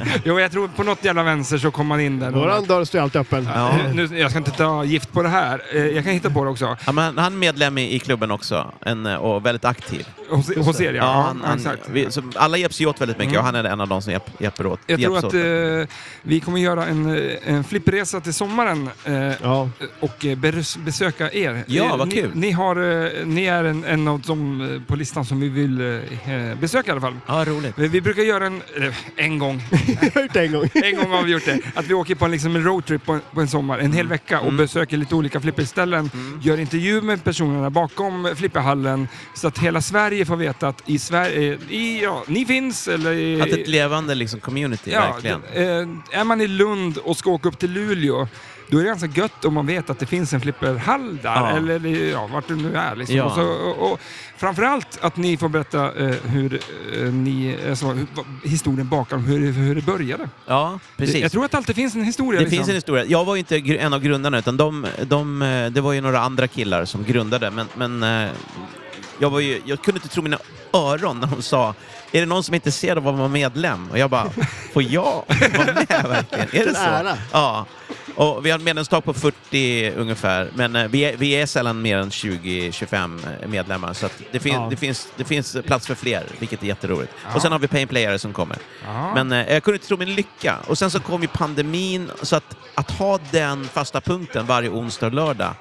[SPEAKER 2] [laughs] Jo, jag tror på något jävla vänster så kom han in där.
[SPEAKER 1] våran dörr står ju alltid öppen. [laughs]
[SPEAKER 5] Ja.
[SPEAKER 2] Nu, jag ska inte ta gift på det här. Eh, Jag kan hitta på det också.
[SPEAKER 5] Ja, men han är medlem i, i klubben också en, eh, och väldigt aktiv.
[SPEAKER 2] Hos, hos er, ja. ja
[SPEAKER 5] han, han,
[SPEAKER 2] exakt.
[SPEAKER 5] vi, så alla hjälps ju åt väldigt mycket
[SPEAKER 2] Mm.
[SPEAKER 5] och han är en av de som hjälp, hjälper åt.
[SPEAKER 2] jag tror
[SPEAKER 5] hjälps
[SPEAKER 2] att
[SPEAKER 5] åt.
[SPEAKER 2] eh, vi kommer göra en, eh, en flippresa till sommaren eh,
[SPEAKER 1] Ja.
[SPEAKER 2] och eh, bers- besöka er.
[SPEAKER 5] Ja,
[SPEAKER 2] Eh,
[SPEAKER 5] vad
[SPEAKER 2] ni,
[SPEAKER 5] kul.
[SPEAKER 2] Ni, har, eh, ni är en, en av de eh, på listan som vi vill eh, besöka i alla fall. Eh,
[SPEAKER 5] Ja, roligt.
[SPEAKER 2] Vi vi brukar göra en, eller,
[SPEAKER 5] [laughs]
[SPEAKER 2] en gång,
[SPEAKER 1] Jag har gjort det en gång.
[SPEAKER 2] en gång har vi gjort det, att vi åker på en, liksom, en roadtrip på en, på en sommar, en
[SPEAKER 5] Mm.
[SPEAKER 2] hel vecka och besöker lite olika flipperställen, gör intervju med personerna bakom flipperhallen så att hela Sverige får veta att i Sverige, i, ja, ni finns eller... i-
[SPEAKER 5] Att ett levande liksom, community,
[SPEAKER 2] Ja,
[SPEAKER 5] verkligen.
[SPEAKER 2] det- eh, är man i Lund och ska åka upp till Luleå, då är det ganska gött om man vet att det finns en flipperhall där,
[SPEAKER 5] Ja.
[SPEAKER 2] eller det- ja, vart det nu är. Liksom.
[SPEAKER 5] Ja.
[SPEAKER 2] Och så, och, och, framförallt att ni får berätta eh, hur eh, ni, alltså, hur, vad- historien bakom, hur, hur det började.
[SPEAKER 5] Ja, precis.
[SPEAKER 2] Jag tror att det alltid finns en historia.
[SPEAKER 5] Det
[SPEAKER 2] liksom.
[SPEAKER 5] finns en historia. Jag var ju inte gr- en av grundarna, utan de, de, eh, det var ju några andra killar som grundade. Men, men eh, jag, var ju, jag kunde inte tro mina öron när de sa är det någon som är intresserad av att vara medlem? Och jag bara,
[SPEAKER 2] [laughs]
[SPEAKER 5] får jag vara med verkligen? Är det
[SPEAKER 1] Vilken
[SPEAKER 5] så?
[SPEAKER 1] ära.
[SPEAKER 5] Ja. Och vi har ett medlemstak på 40 ungefär, men eh, vi är, vi är sällan mer än 20-25 medlemmar. Så att det, fin-
[SPEAKER 1] Ja.
[SPEAKER 5] det, finns, det finns plats för fler, vilket är jätteroligt. Och sen har vi painplayare som kommer.
[SPEAKER 2] Ja.
[SPEAKER 5] Men eh, jag kunde inte tro min lycka. Och sen så kom ju pandemin, så att, att ha den fasta punkten varje onsdag och lördag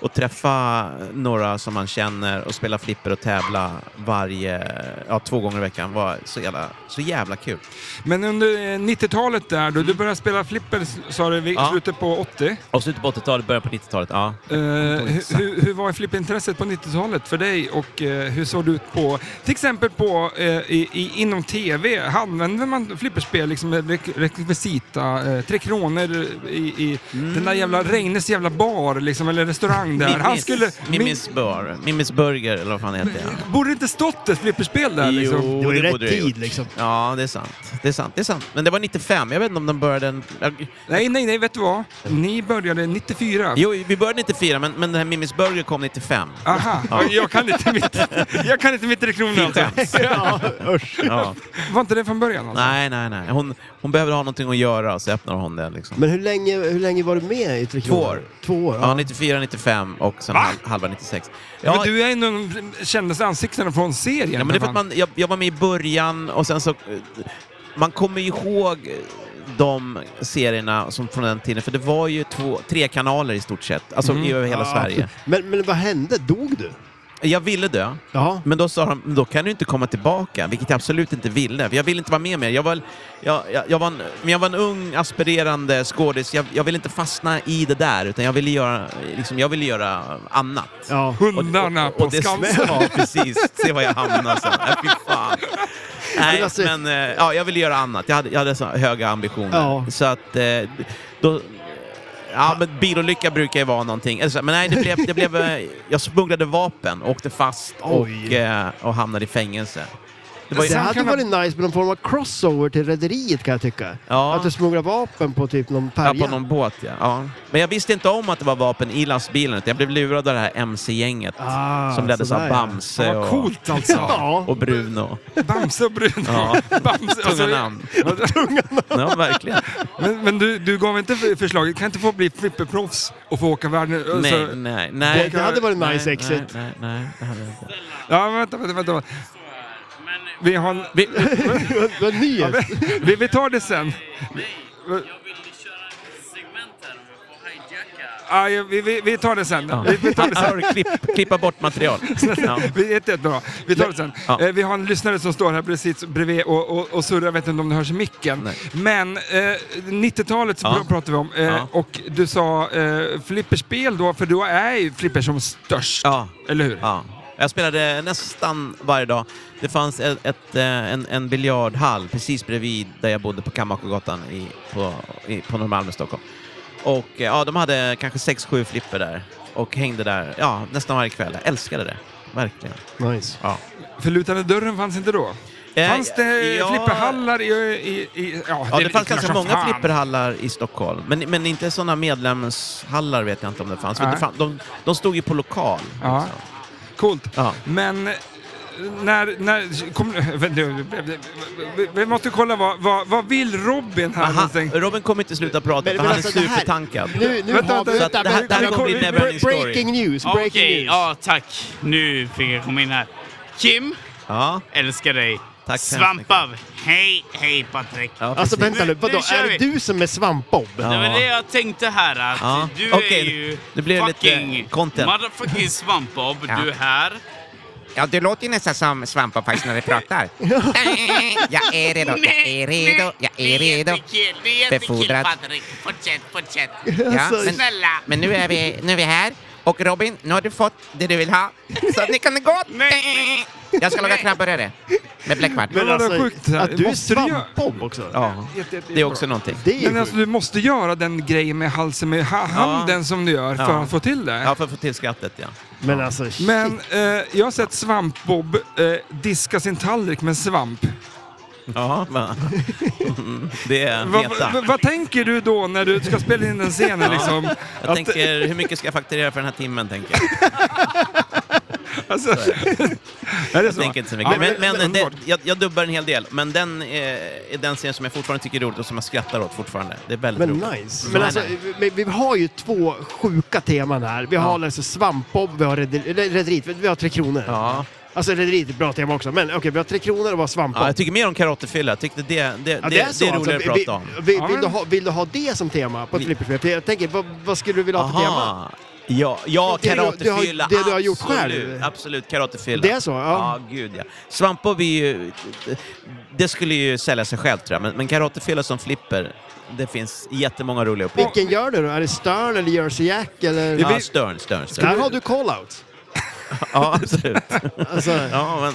[SPEAKER 5] och träffa några som man känner och spela flipper och tävla varje, ja, två gånger i veckan var så jävla, så jävla kul.
[SPEAKER 2] Men under eh, 90-talet där, då du började spela flipper, s- sa du, i
[SPEAKER 5] Mm. Ja.
[SPEAKER 2] slutet på 80.
[SPEAKER 5] Och slutet på 80-talet, början på 90-talet. Ja.
[SPEAKER 2] Eh, hur, hur- hur var flipperintresset på 90-talet för dig och eh, hur såg det ut på, till exempel på, eh, i, i, inom TV? Använde man flipperspel liksom med rek- rekvisita, eh, Tre Kronor i, i den där jävla Reines jävla bar liksom, eller restaurang där? Han
[SPEAKER 5] Mimmis,
[SPEAKER 2] skulle...
[SPEAKER 5] Mimmis, Bör, Mimmis Burger, eller vad fan heter jag?
[SPEAKER 2] min- Borde det inte stått ett flipperspel där liksom?
[SPEAKER 1] Det var ju
[SPEAKER 5] borde
[SPEAKER 1] rätt
[SPEAKER 5] jag ha
[SPEAKER 1] tid
[SPEAKER 5] gjort.
[SPEAKER 1] liksom.
[SPEAKER 5] Ja, det är sant. Det är sant, det är sant. Men det var 95, jag vet inte om de började... En, jag,
[SPEAKER 2] Nej, nej, nej, vet du vad? Ni började 94.
[SPEAKER 5] jo, vi började 94, men, men den här Mimmis Burger kom 95.
[SPEAKER 2] Aha, Ah, [laughs] jag kan inte mitt, jag kan inte mitt Tre Kronor alltså. [laughs]
[SPEAKER 1] Ja, usch.
[SPEAKER 5] Ja.
[SPEAKER 2] Var inte det från början alltså?
[SPEAKER 5] Nej, nej, nej. Hon, hon behöver ha någonting att göra, så öppnar hon det. Liksom.
[SPEAKER 1] Men hur länge, hur länge var du med i Tre
[SPEAKER 5] Två
[SPEAKER 1] Kronor?
[SPEAKER 5] år.
[SPEAKER 1] Två år?
[SPEAKER 5] Ja,
[SPEAKER 1] Ja.
[SPEAKER 5] 94, 95 och sen
[SPEAKER 2] Va?
[SPEAKER 5] hal- halva 96.
[SPEAKER 2] Ja,
[SPEAKER 5] Ja,
[SPEAKER 2] men du är ändå den kändaste ansiktena från serien.
[SPEAKER 5] ja, men det är för
[SPEAKER 2] för
[SPEAKER 5] att
[SPEAKER 2] fan.
[SPEAKER 5] man, jag, jag var med i början och sen så... eh, Man kommer ju ihåg eh, de serierna som från den tiden, för det var ju två, tre kanaler i stort sett, alltså
[SPEAKER 2] Mm.
[SPEAKER 5] i över hela
[SPEAKER 1] Ja,
[SPEAKER 5] Sverige.
[SPEAKER 1] absolut. Men, men vad hände? Dog du?
[SPEAKER 5] Jag ville dö,
[SPEAKER 1] Ja.
[SPEAKER 5] men då sa de, "Men då kan du inte komma tillbaka, vilket jag absolut inte ville. för Jag ville inte vara med mer. Jag var, jag, jag, jag var, en, men jag var en ung, aspirerande skådis. Jag, jag ville inte fastna i det där, utan jag ville göra, liksom, jag ville göra annat.
[SPEAKER 1] Ja.
[SPEAKER 2] Hundarna på
[SPEAKER 5] det
[SPEAKER 2] Skansen.
[SPEAKER 5] [laughs] Ja, precis. Se vad jag hamnar sen. Nej, fy fan. Nej,
[SPEAKER 1] Men alltså-
[SPEAKER 5] men eh, ja, jag ville göra annat. Jag hade, jag hade så höga ambitioner.
[SPEAKER 1] Ja.
[SPEAKER 5] Så att eh, då... Ja, men bilolycka brukar ju vara någonting. Eller så, Men nej, det blev, det blev, eh, jag smugglade vapen, åkte fast och,
[SPEAKER 1] Oj.
[SPEAKER 5] eh, och hamnade i fängelse. Det var ju,
[SPEAKER 1] Det
[SPEAKER 2] Sen
[SPEAKER 1] hade
[SPEAKER 2] kan man-
[SPEAKER 1] varit nice med någon form av crossover till rederiet kan jag tycka.
[SPEAKER 5] Ja.
[SPEAKER 1] Att du smugglar vapen på typ någon
[SPEAKER 5] ja,
[SPEAKER 1] färja.
[SPEAKER 5] på någon båt, ja. ja. Men jag visste inte om att det var vapen i lastbilen. utan Jag blev lurad av det här MC-gänget
[SPEAKER 1] Ah,
[SPEAKER 5] som leddes
[SPEAKER 1] sådär,
[SPEAKER 5] av
[SPEAKER 1] ja.
[SPEAKER 5] Bamse
[SPEAKER 2] Fan, vad
[SPEAKER 5] och,
[SPEAKER 2] coolt alltså!
[SPEAKER 1] [laughs] Ja,
[SPEAKER 5] och Bruno.
[SPEAKER 2] Bamse och Bruno.
[SPEAKER 5] Ja.
[SPEAKER 2] [laughs] Bamse, alltså,
[SPEAKER 5] Tunga
[SPEAKER 2] [laughs]
[SPEAKER 5] namn. Ja, verkligen.
[SPEAKER 2] Men, men du, du gav inte för- förslaget, kan inte få bli flipperproffs och få åka världen... Alltså,
[SPEAKER 5] Nej, nej, nej.
[SPEAKER 1] Det- det hade varit
[SPEAKER 5] nej,
[SPEAKER 1] nice
[SPEAKER 5] nej,
[SPEAKER 1] exit.
[SPEAKER 5] Nej, nej, det hade jag inte.
[SPEAKER 2] Ja, vänta, vänta, vänta. Vi, har en,
[SPEAKER 1] [laughs]
[SPEAKER 5] Vi,
[SPEAKER 1] det var en ny gäst.
[SPEAKER 2] vi, vi tar det sen.
[SPEAKER 6] Jag vill köra ett segment här och hijacka.
[SPEAKER 2] Ja, ja, vi, vi, vi tar det sen.
[SPEAKER 5] ja.
[SPEAKER 2] Vi, vi tar det sen.
[SPEAKER 5] Hör, klipp, klippa bort
[SPEAKER 2] [laughs]
[SPEAKER 5] material. Ja.
[SPEAKER 2] Vi, ett, ett, bra. vi tar det sen.
[SPEAKER 5] Ja.
[SPEAKER 2] Eh, vi har en lyssnare som står här precis bredvid och, och, och surrar, jag vet inte om det hörs i micken.
[SPEAKER 5] Nej.
[SPEAKER 2] Men eh, 90-talet
[SPEAKER 5] Ja.
[SPEAKER 2] pr- pratar vi om eh,
[SPEAKER 5] Ja.
[SPEAKER 2] och du sa eh, flipperspel då, för då är ju flipper som störst,
[SPEAKER 5] Ja.
[SPEAKER 2] eller hur?
[SPEAKER 5] Ja. Jag spelade nästan varje dag. Det fanns ett, ett, eh, en, en biljardhall precis bredvid där jag bodde på Kammarkogatan i, på, i, på Norrmalm i Stockholm. Och eh, ja, de hade kanske sex sju flipper där och hängde där ja, nästan varje kväll. Jag älskade det. Verkligen.
[SPEAKER 1] Nice.
[SPEAKER 5] Ja.
[SPEAKER 2] Förlutade dörren fanns inte då?
[SPEAKER 5] Eh,
[SPEAKER 2] Fanns det
[SPEAKER 5] ja,
[SPEAKER 2] flipperhallar i... i, i ja,
[SPEAKER 5] Ja,
[SPEAKER 2] är
[SPEAKER 5] det, fanns
[SPEAKER 2] väl klart
[SPEAKER 5] ganska
[SPEAKER 2] som
[SPEAKER 5] många
[SPEAKER 2] fan.
[SPEAKER 5] flipperhallar i Stockholm, men, men inte sådana medlemshallar vet jag inte om det fanns. Men
[SPEAKER 2] Nej.
[SPEAKER 5] det fan, de, de stod ju på lokal.
[SPEAKER 2] Ja.
[SPEAKER 5] liksom.
[SPEAKER 2] Coolt.
[SPEAKER 5] Ja.
[SPEAKER 2] Men eh, när... när kom, [laughs] vänta, nu, vi- vi måste kolla vad, vad, vad vill Robin här
[SPEAKER 5] Aha,
[SPEAKER 2] någonstans?
[SPEAKER 5] Robin kommer inte sluta prata,
[SPEAKER 1] Men-
[SPEAKER 5] för
[SPEAKER 1] men
[SPEAKER 5] han
[SPEAKER 1] alltså,
[SPEAKER 5] är
[SPEAKER 1] det här-
[SPEAKER 5] supertankad.
[SPEAKER 1] Nu, nu
[SPEAKER 2] Vänta,
[SPEAKER 1] har vi...
[SPEAKER 5] vänta, det här- det här
[SPEAKER 1] vänta,
[SPEAKER 5] kommer bli
[SPEAKER 1] vi-
[SPEAKER 5] never ending story.
[SPEAKER 1] Breaking news, breaking
[SPEAKER 6] Okej,
[SPEAKER 1] news.
[SPEAKER 6] ja tack. Nu fick jag komma in här. Kim,
[SPEAKER 5] Ja.
[SPEAKER 6] älskar dig.
[SPEAKER 5] Tack så
[SPEAKER 6] Svampav. Hej, hej Patrik.
[SPEAKER 5] Ja,
[SPEAKER 1] Alltså
[SPEAKER 5] precis.
[SPEAKER 1] vänta nu,
[SPEAKER 6] Nu-
[SPEAKER 1] vadå?
[SPEAKER 6] nu kör
[SPEAKER 1] Är det
[SPEAKER 6] vi.
[SPEAKER 1] du som är svampbob?
[SPEAKER 5] Ja.
[SPEAKER 6] Det var det jag tänkte här. Att
[SPEAKER 5] Ja,
[SPEAKER 6] Du
[SPEAKER 5] okej,
[SPEAKER 6] är ju
[SPEAKER 5] det blev lite
[SPEAKER 6] fucking
[SPEAKER 5] content.
[SPEAKER 6] motherfucking svampbob.
[SPEAKER 7] Ja.
[SPEAKER 6] Du är här.
[SPEAKER 7] Ja, du låter ju nästan som Svampa faktiskt när du pratar. Jag är redo, jag är redo, jag är redo.
[SPEAKER 6] Det är
[SPEAKER 7] Befordrad.
[SPEAKER 6] jättekul Patrik. Fortsätt, fortsätt.
[SPEAKER 7] Ja, men,
[SPEAKER 6] Snälla.
[SPEAKER 7] men nu, är vi, nu är vi här. Och Robin, nu har du fått det du vill ha. Så ni kan gå. Jag ska laga krabbburgare med bläckbart.
[SPEAKER 2] Men vadå
[SPEAKER 5] alltså,
[SPEAKER 2] sjukt?
[SPEAKER 1] att du är
[SPEAKER 2] Måste du göra-
[SPEAKER 1] svampbob också?
[SPEAKER 5] Ja,
[SPEAKER 2] Jätte, jätte,
[SPEAKER 5] det är
[SPEAKER 2] jättebra.
[SPEAKER 5] också någonting.
[SPEAKER 1] Det är ju
[SPEAKER 2] Men alltså,
[SPEAKER 1] sjukt.
[SPEAKER 2] du måste göra den grejen med halsen, med ha handen som du gör för
[SPEAKER 5] Ja.
[SPEAKER 2] att få till det.
[SPEAKER 5] Ja, för att få till skrattet, ja.
[SPEAKER 1] Men alltså shit.
[SPEAKER 2] Men eh, jag har sett svampbob eh, diska sin tallrik med svamp.
[SPEAKER 5] ja
[SPEAKER 2] [laughs]
[SPEAKER 5] men, Mm, det är
[SPEAKER 2] Va, va,
[SPEAKER 5] meta.
[SPEAKER 2] vad tänker du då när du ska spela in den scenen? Liksom?
[SPEAKER 5] Jag tänker, hur mycket ska jag fakturera för den här timmen, tänker jag.
[SPEAKER 2] [laughs] Alltså, [laughs] är det
[SPEAKER 5] Jag
[SPEAKER 2] så?
[SPEAKER 5] tänker inte så mycket.
[SPEAKER 2] Ja,
[SPEAKER 5] men men, det,
[SPEAKER 2] underbart.
[SPEAKER 5] jag, jag dubbar en hel del, men den eh, är den scen som jag fortfarande tycker är roligt och som jag skrattar åt fortfarande. Det är väldigt
[SPEAKER 1] Men
[SPEAKER 5] roligt.
[SPEAKER 1] nice. Men alltså, vi, vi har ju två sjuka teman här. Vi har alltså svampbob, vi har reder- eller rederiet, vi har Tre Kronor.
[SPEAKER 5] Ja.
[SPEAKER 1] Alltså rederiet är ett bra tema också, men okej, vi har Tre Kronor och vi har
[SPEAKER 5] Ja,
[SPEAKER 1] svampbob.
[SPEAKER 5] jag tycker mer om karatefylla. Jag tyckte det, det, det, det, är, roligare att
[SPEAKER 1] alltså, vi,
[SPEAKER 5] prata om.
[SPEAKER 1] Vi,
[SPEAKER 2] Ja,
[SPEAKER 1] vill, du
[SPEAKER 2] men-
[SPEAKER 1] ha, vill du ha det som tema på ett
[SPEAKER 5] Vi-
[SPEAKER 1] flipperspel? För jag tänker, vad, vad skulle du vilja ha för tema?
[SPEAKER 5] Aha. Ja, ja
[SPEAKER 1] Det du- du har-
[SPEAKER 5] karatefylla.
[SPEAKER 1] det du har gjort
[SPEAKER 5] absolut,
[SPEAKER 1] själv.
[SPEAKER 5] Absolut, karatefylla.
[SPEAKER 1] Det är så? Ja.
[SPEAKER 5] Ja, gud ja. Svampbob är ju... Det skulle ju sälja sig själv tror jag, men, men karatefylla som flipper, det finns jättemånga roliga uppgifter.
[SPEAKER 1] Vilken gör du då? Är det Stern eller Jersey Jack eller?
[SPEAKER 5] Ja, Stern, Stern,
[SPEAKER 1] Där
[SPEAKER 5] Stern.
[SPEAKER 1] har du call-out.
[SPEAKER 5] Ja, absolut.
[SPEAKER 1] Alltså,
[SPEAKER 5] Ja, men...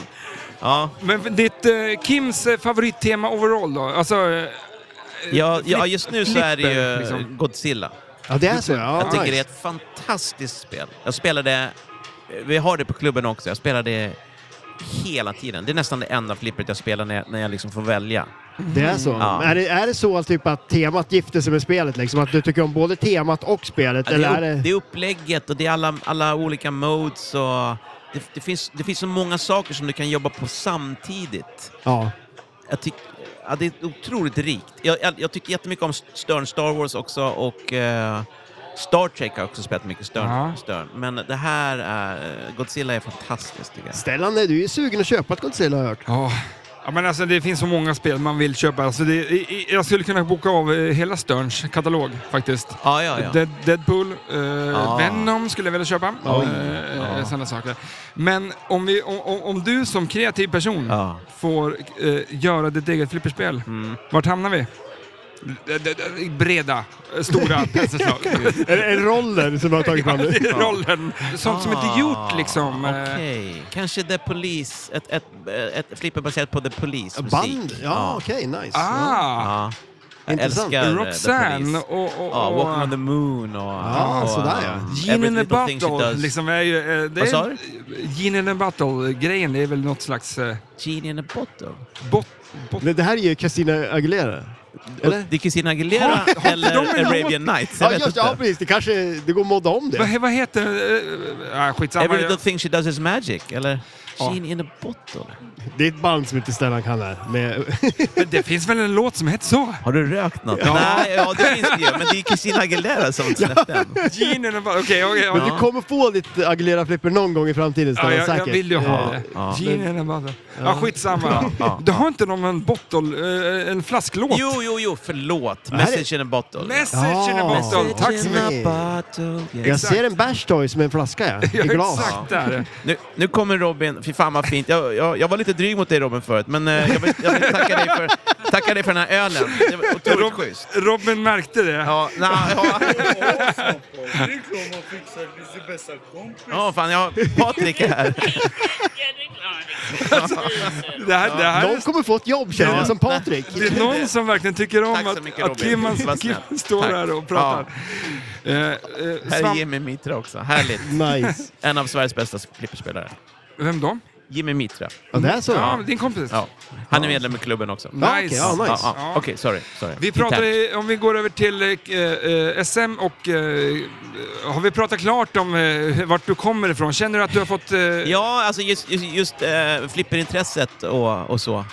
[SPEAKER 5] Ja,
[SPEAKER 2] Men ditt eh, Kims eh, favorittema overall då? Alltså, eh,
[SPEAKER 5] ja, ja, just nu så är det
[SPEAKER 2] Flipper,
[SPEAKER 5] ju
[SPEAKER 2] liksom.
[SPEAKER 5] Godzilla.
[SPEAKER 1] ja, det är så. Ja,
[SPEAKER 5] Jag tycker
[SPEAKER 1] nice.
[SPEAKER 5] det är ett fantastiskt spel. Jag spelade... Vi har det på klubben också. Jag spelade hela tiden. Det är nästan det enda flippret jag spelar när jag, när jag liksom får välja. Mm.
[SPEAKER 1] Det är så?
[SPEAKER 5] Ja.
[SPEAKER 1] Är, det, är det så att typ att temat gifter sig med spelet? Liksom? Att du tycker om både temat och spelet?
[SPEAKER 5] Ja,
[SPEAKER 1] eller är
[SPEAKER 5] det, är
[SPEAKER 1] det...
[SPEAKER 5] upp, det är upplägget och det är alla, alla olika modes och det, det, finns, det finns så många saker som du kan jobba på samtidigt.
[SPEAKER 1] Ja.
[SPEAKER 5] Jag tyck, ja, det är otroligt rikt. Jag, jag, jag tycker jättemycket om Stern Star Wars också och eh, Star Trek har jag också spelat mycket Stern.
[SPEAKER 2] Ja.
[SPEAKER 5] Stern. Men det här är... Godzilla är fantastiskt tycker jag.
[SPEAKER 1] Stellan, är du ju sugen att köpa ett Godzilla har jag hört.
[SPEAKER 2] Ja. Ja, men alltså, det finns så många spel man vill köpa. Alltså, det, i- i- jag skulle kunna boka av eh, hela Sterns katalog faktiskt.
[SPEAKER 5] Ja, ja, ja.
[SPEAKER 2] Dead, Deadpool, eh,
[SPEAKER 5] Ah.
[SPEAKER 2] Venom skulle jag vilja köpa. Eh,
[SPEAKER 5] Ja.
[SPEAKER 2] Sådana saker. Men om, vi, om, om- om du som kreativ person
[SPEAKER 5] Ja.
[SPEAKER 2] får eh, göra ditt eget flipperspel, vart hamnar vi? D- d- d- Breda,
[SPEAKER 5] [laughs]
[SPEAKER 2] eh, stora penselslag. [laughs]
[SPEAKER 1] Är det roller som jag har tagit fram nu?
[SPEAKER 2] Det är Rollen. Sånt som inte är gjort liksom. eh,
[SPEAKER 5] Ah, Okej. Kanske The Police. Ett, ett, ett flipper baserat på The Police. musik.
[SPEAKER 1] Band? Ja, okej, nice.
[SPEAKER 2] Ah.
[SPEAKER 5] Ja. Jag
[SPEAKER 1] Intressant.
[SPEAKER 5] älskar eh, The
[SPEAKER 2] Roxanne
[SPEAKER 5] Police.
[SPEAKER 2] och... och,
[SPEAKER 5] Ja,
[SPEAKER 2] och
[SPEAKER 5] Walking on the Moon och...
[SPEAKER 1] Ah,
[SPEAKER 5] och,
[SPEAKER 1] sådär, ja.
[SPEAKER 5] um,
[SPEAKER 2] Gene in
[SPEAKER 5] Every Little
[SPEAKER 2] a
[SPEAKER 5] Thing She
[SPEAKER 2] bottle,
[SPEAKER 5] Does.
[SPEAKER 2] liksom är ju... eh, Det
[SPEAKER 5] Vad sa
[SPEAKER 2] är, Gene in a bottle-grejen, det är väl något slags eh,
[SPEAKER 5] Genie in a bottle.
[SPEAKER 2] bot... bot
[SPEAKER 1] Men det här är ju Christina Aguilera. Eller?
[SPEAKER 5] Det är Christina Aguilera [laughs] eller
[SPEAKER 2] de en
[SPEAKER 5] Arabian Nights. Jag
[SPEAKER 1] Ja,
[SPEAKER 5] vet
[SPEAKER 1] just, ja,
[SPEAKER 5] inte.
[SPEAKER 1] precis. Det kanske det går att modda om det.
[SPEAKER 2] vad, vad heter... eh, eh, ah, skitsamma.
[SPEAKER 5] Every
[SPEAKER 2] jag-
[SPEAKER 5] little thing she does is magic, eller?
[SPEAKER 2] Ja.
[SPEAKER 5] Genie in a bottle.
[SPEAKER 1] Det är ett band som inte Stellan kan här. Med
[SPEAKER 2] Men det finns väl en låt som heter så?
[SPEAKER 5] Har du rökt något? Nej, ja, det finns det ju. Men det är Christina Aguilera som släppte den.
[SPEAKER 2] Gene in a bottle, okej, okej.
[SPEAKER 1] Men
[SPEAKER 2] ja.
[SPEAKER 1] du kommer få lite Aguilera-flipper någon gång i framtiden,
[SPEAKER 2] Ja,
[SPEAKER 1] Stellan,
[SPEAKER 2] jag, jag
[SPEAKER 1] säkert.
[SPEAKER 2] vill ju ha det.
[SPEAKER 5] ja.
[SPEAKER 2] Gene in a bottle. Ja, skitsamma.
[SPEAKER 5] ja,
[SPEAKER 2] Du har inte någon en bottle... eh, En flasklåt?
[SPEAKER 5] Jo, jo, jo, förlåt.
[SPEAKER 1] här är-
[SPEAKER 5] Message in a bottle.
[SPEAKER 2] Message in a
[SPEAKER 1] Ja.
[SPEAKER 2] bottle. Tack så
[SPEAKER 5] in
[SPEAKER 2] mycket.
[SPEAKER 1] mycket.
[SPEAKER 5] a bottle.
[SPEAKER 1] Jag
[SPEAKER 5] Yes.
[SPEAKER 2] Exakt.
[SPEAKER 1] ser en Bash Toys med en flaska, ja. I
[SPEAKER 2] Ja,
[SPEAKER 1] glas.
[SPEAKER 2] exakt där.
[SPEAKER 5] Nu, nu kommer Robin. Fy fan vad fint. Jag, jag, jag var lite dryg mot dig Robin förut, men eh, jag vill, jag vill tacka, dig för, tacka dig för den här ölen. Det var otroligt
[SPEAKER 2] Rob,
[SPEAKER 5] schysst.
[SPEAKER 2] Robin märkte det.
[SPEAKER 5] Ja, na, ja. ja, fan, jag har Patrik är här.
[SPEAKER 6] [laughs] Ja, det
[SPEAKER 5] [laughs]
[SPEAKER 6] är klart.
[SPEAKER 2] Det här, det här
[SPEAKER 1] Någon
[SPEAKER 2] är,
[SPEAKER 1] kommer få ett jobb, känner jag, som Patrik.
[SPEAKER 2] det är någon som verkligen tycker om
[SPEAKER 5] Tack så
[SPEAKER 2] att,
[SPEAKER 5] mycket,
[SPEAKER 2] att
[SPEAKER 5] Robin.
[SPEAKER 2] Kimman
[SPEAKER 5] Vad
[SPEAKER 2] Kim
[SPEAKER 5] snällt.
[SPEAKER 2] står
[SPEAKER 5] Tack.
[SPEAKER 2] här och pratar. Eh, eh,
[SPEAKER 5] Här är
[SPEAKER 2] Svamp-
[SPEAKER 5] Jimmy Mitra också. Härligt.
[SPEAKER 1] [laughs] Nice.
[SPEAKER 5] En av Sveriges bästa flipperspelare.
[SPEAKER 2] Vem då?
[SPEAKER 5] Jimmy Mitra.
[SPEAKER 1] Ja, det är så?
[SPEAKER 2] Ja,
[SPEAKER 1] Ja,
[SPEAKER 2] din kompis.
[SPEAKER 5] Ja. Han är medlem i klubben också.
[SPEAKER 1] Ja, okej,
[SPEAKER 2] Nice.
[SPEAKER 1] ja, nice.
[SPEAKER 5] Ja, ja.
[SPEAKER 2] Ja.
[SPEAKER 5] Okej, sorry. sorry.
[SPEAKER 2] Vi pratar, i- om vi går över till eh, eh, SM och eh, har vi pratat klart om eh, vart du kommer ifrån? Känner du att du har fått... Eh,
[SPEAKER 5] Ja, alltså just, just, just eh, flipperintresset och, och så.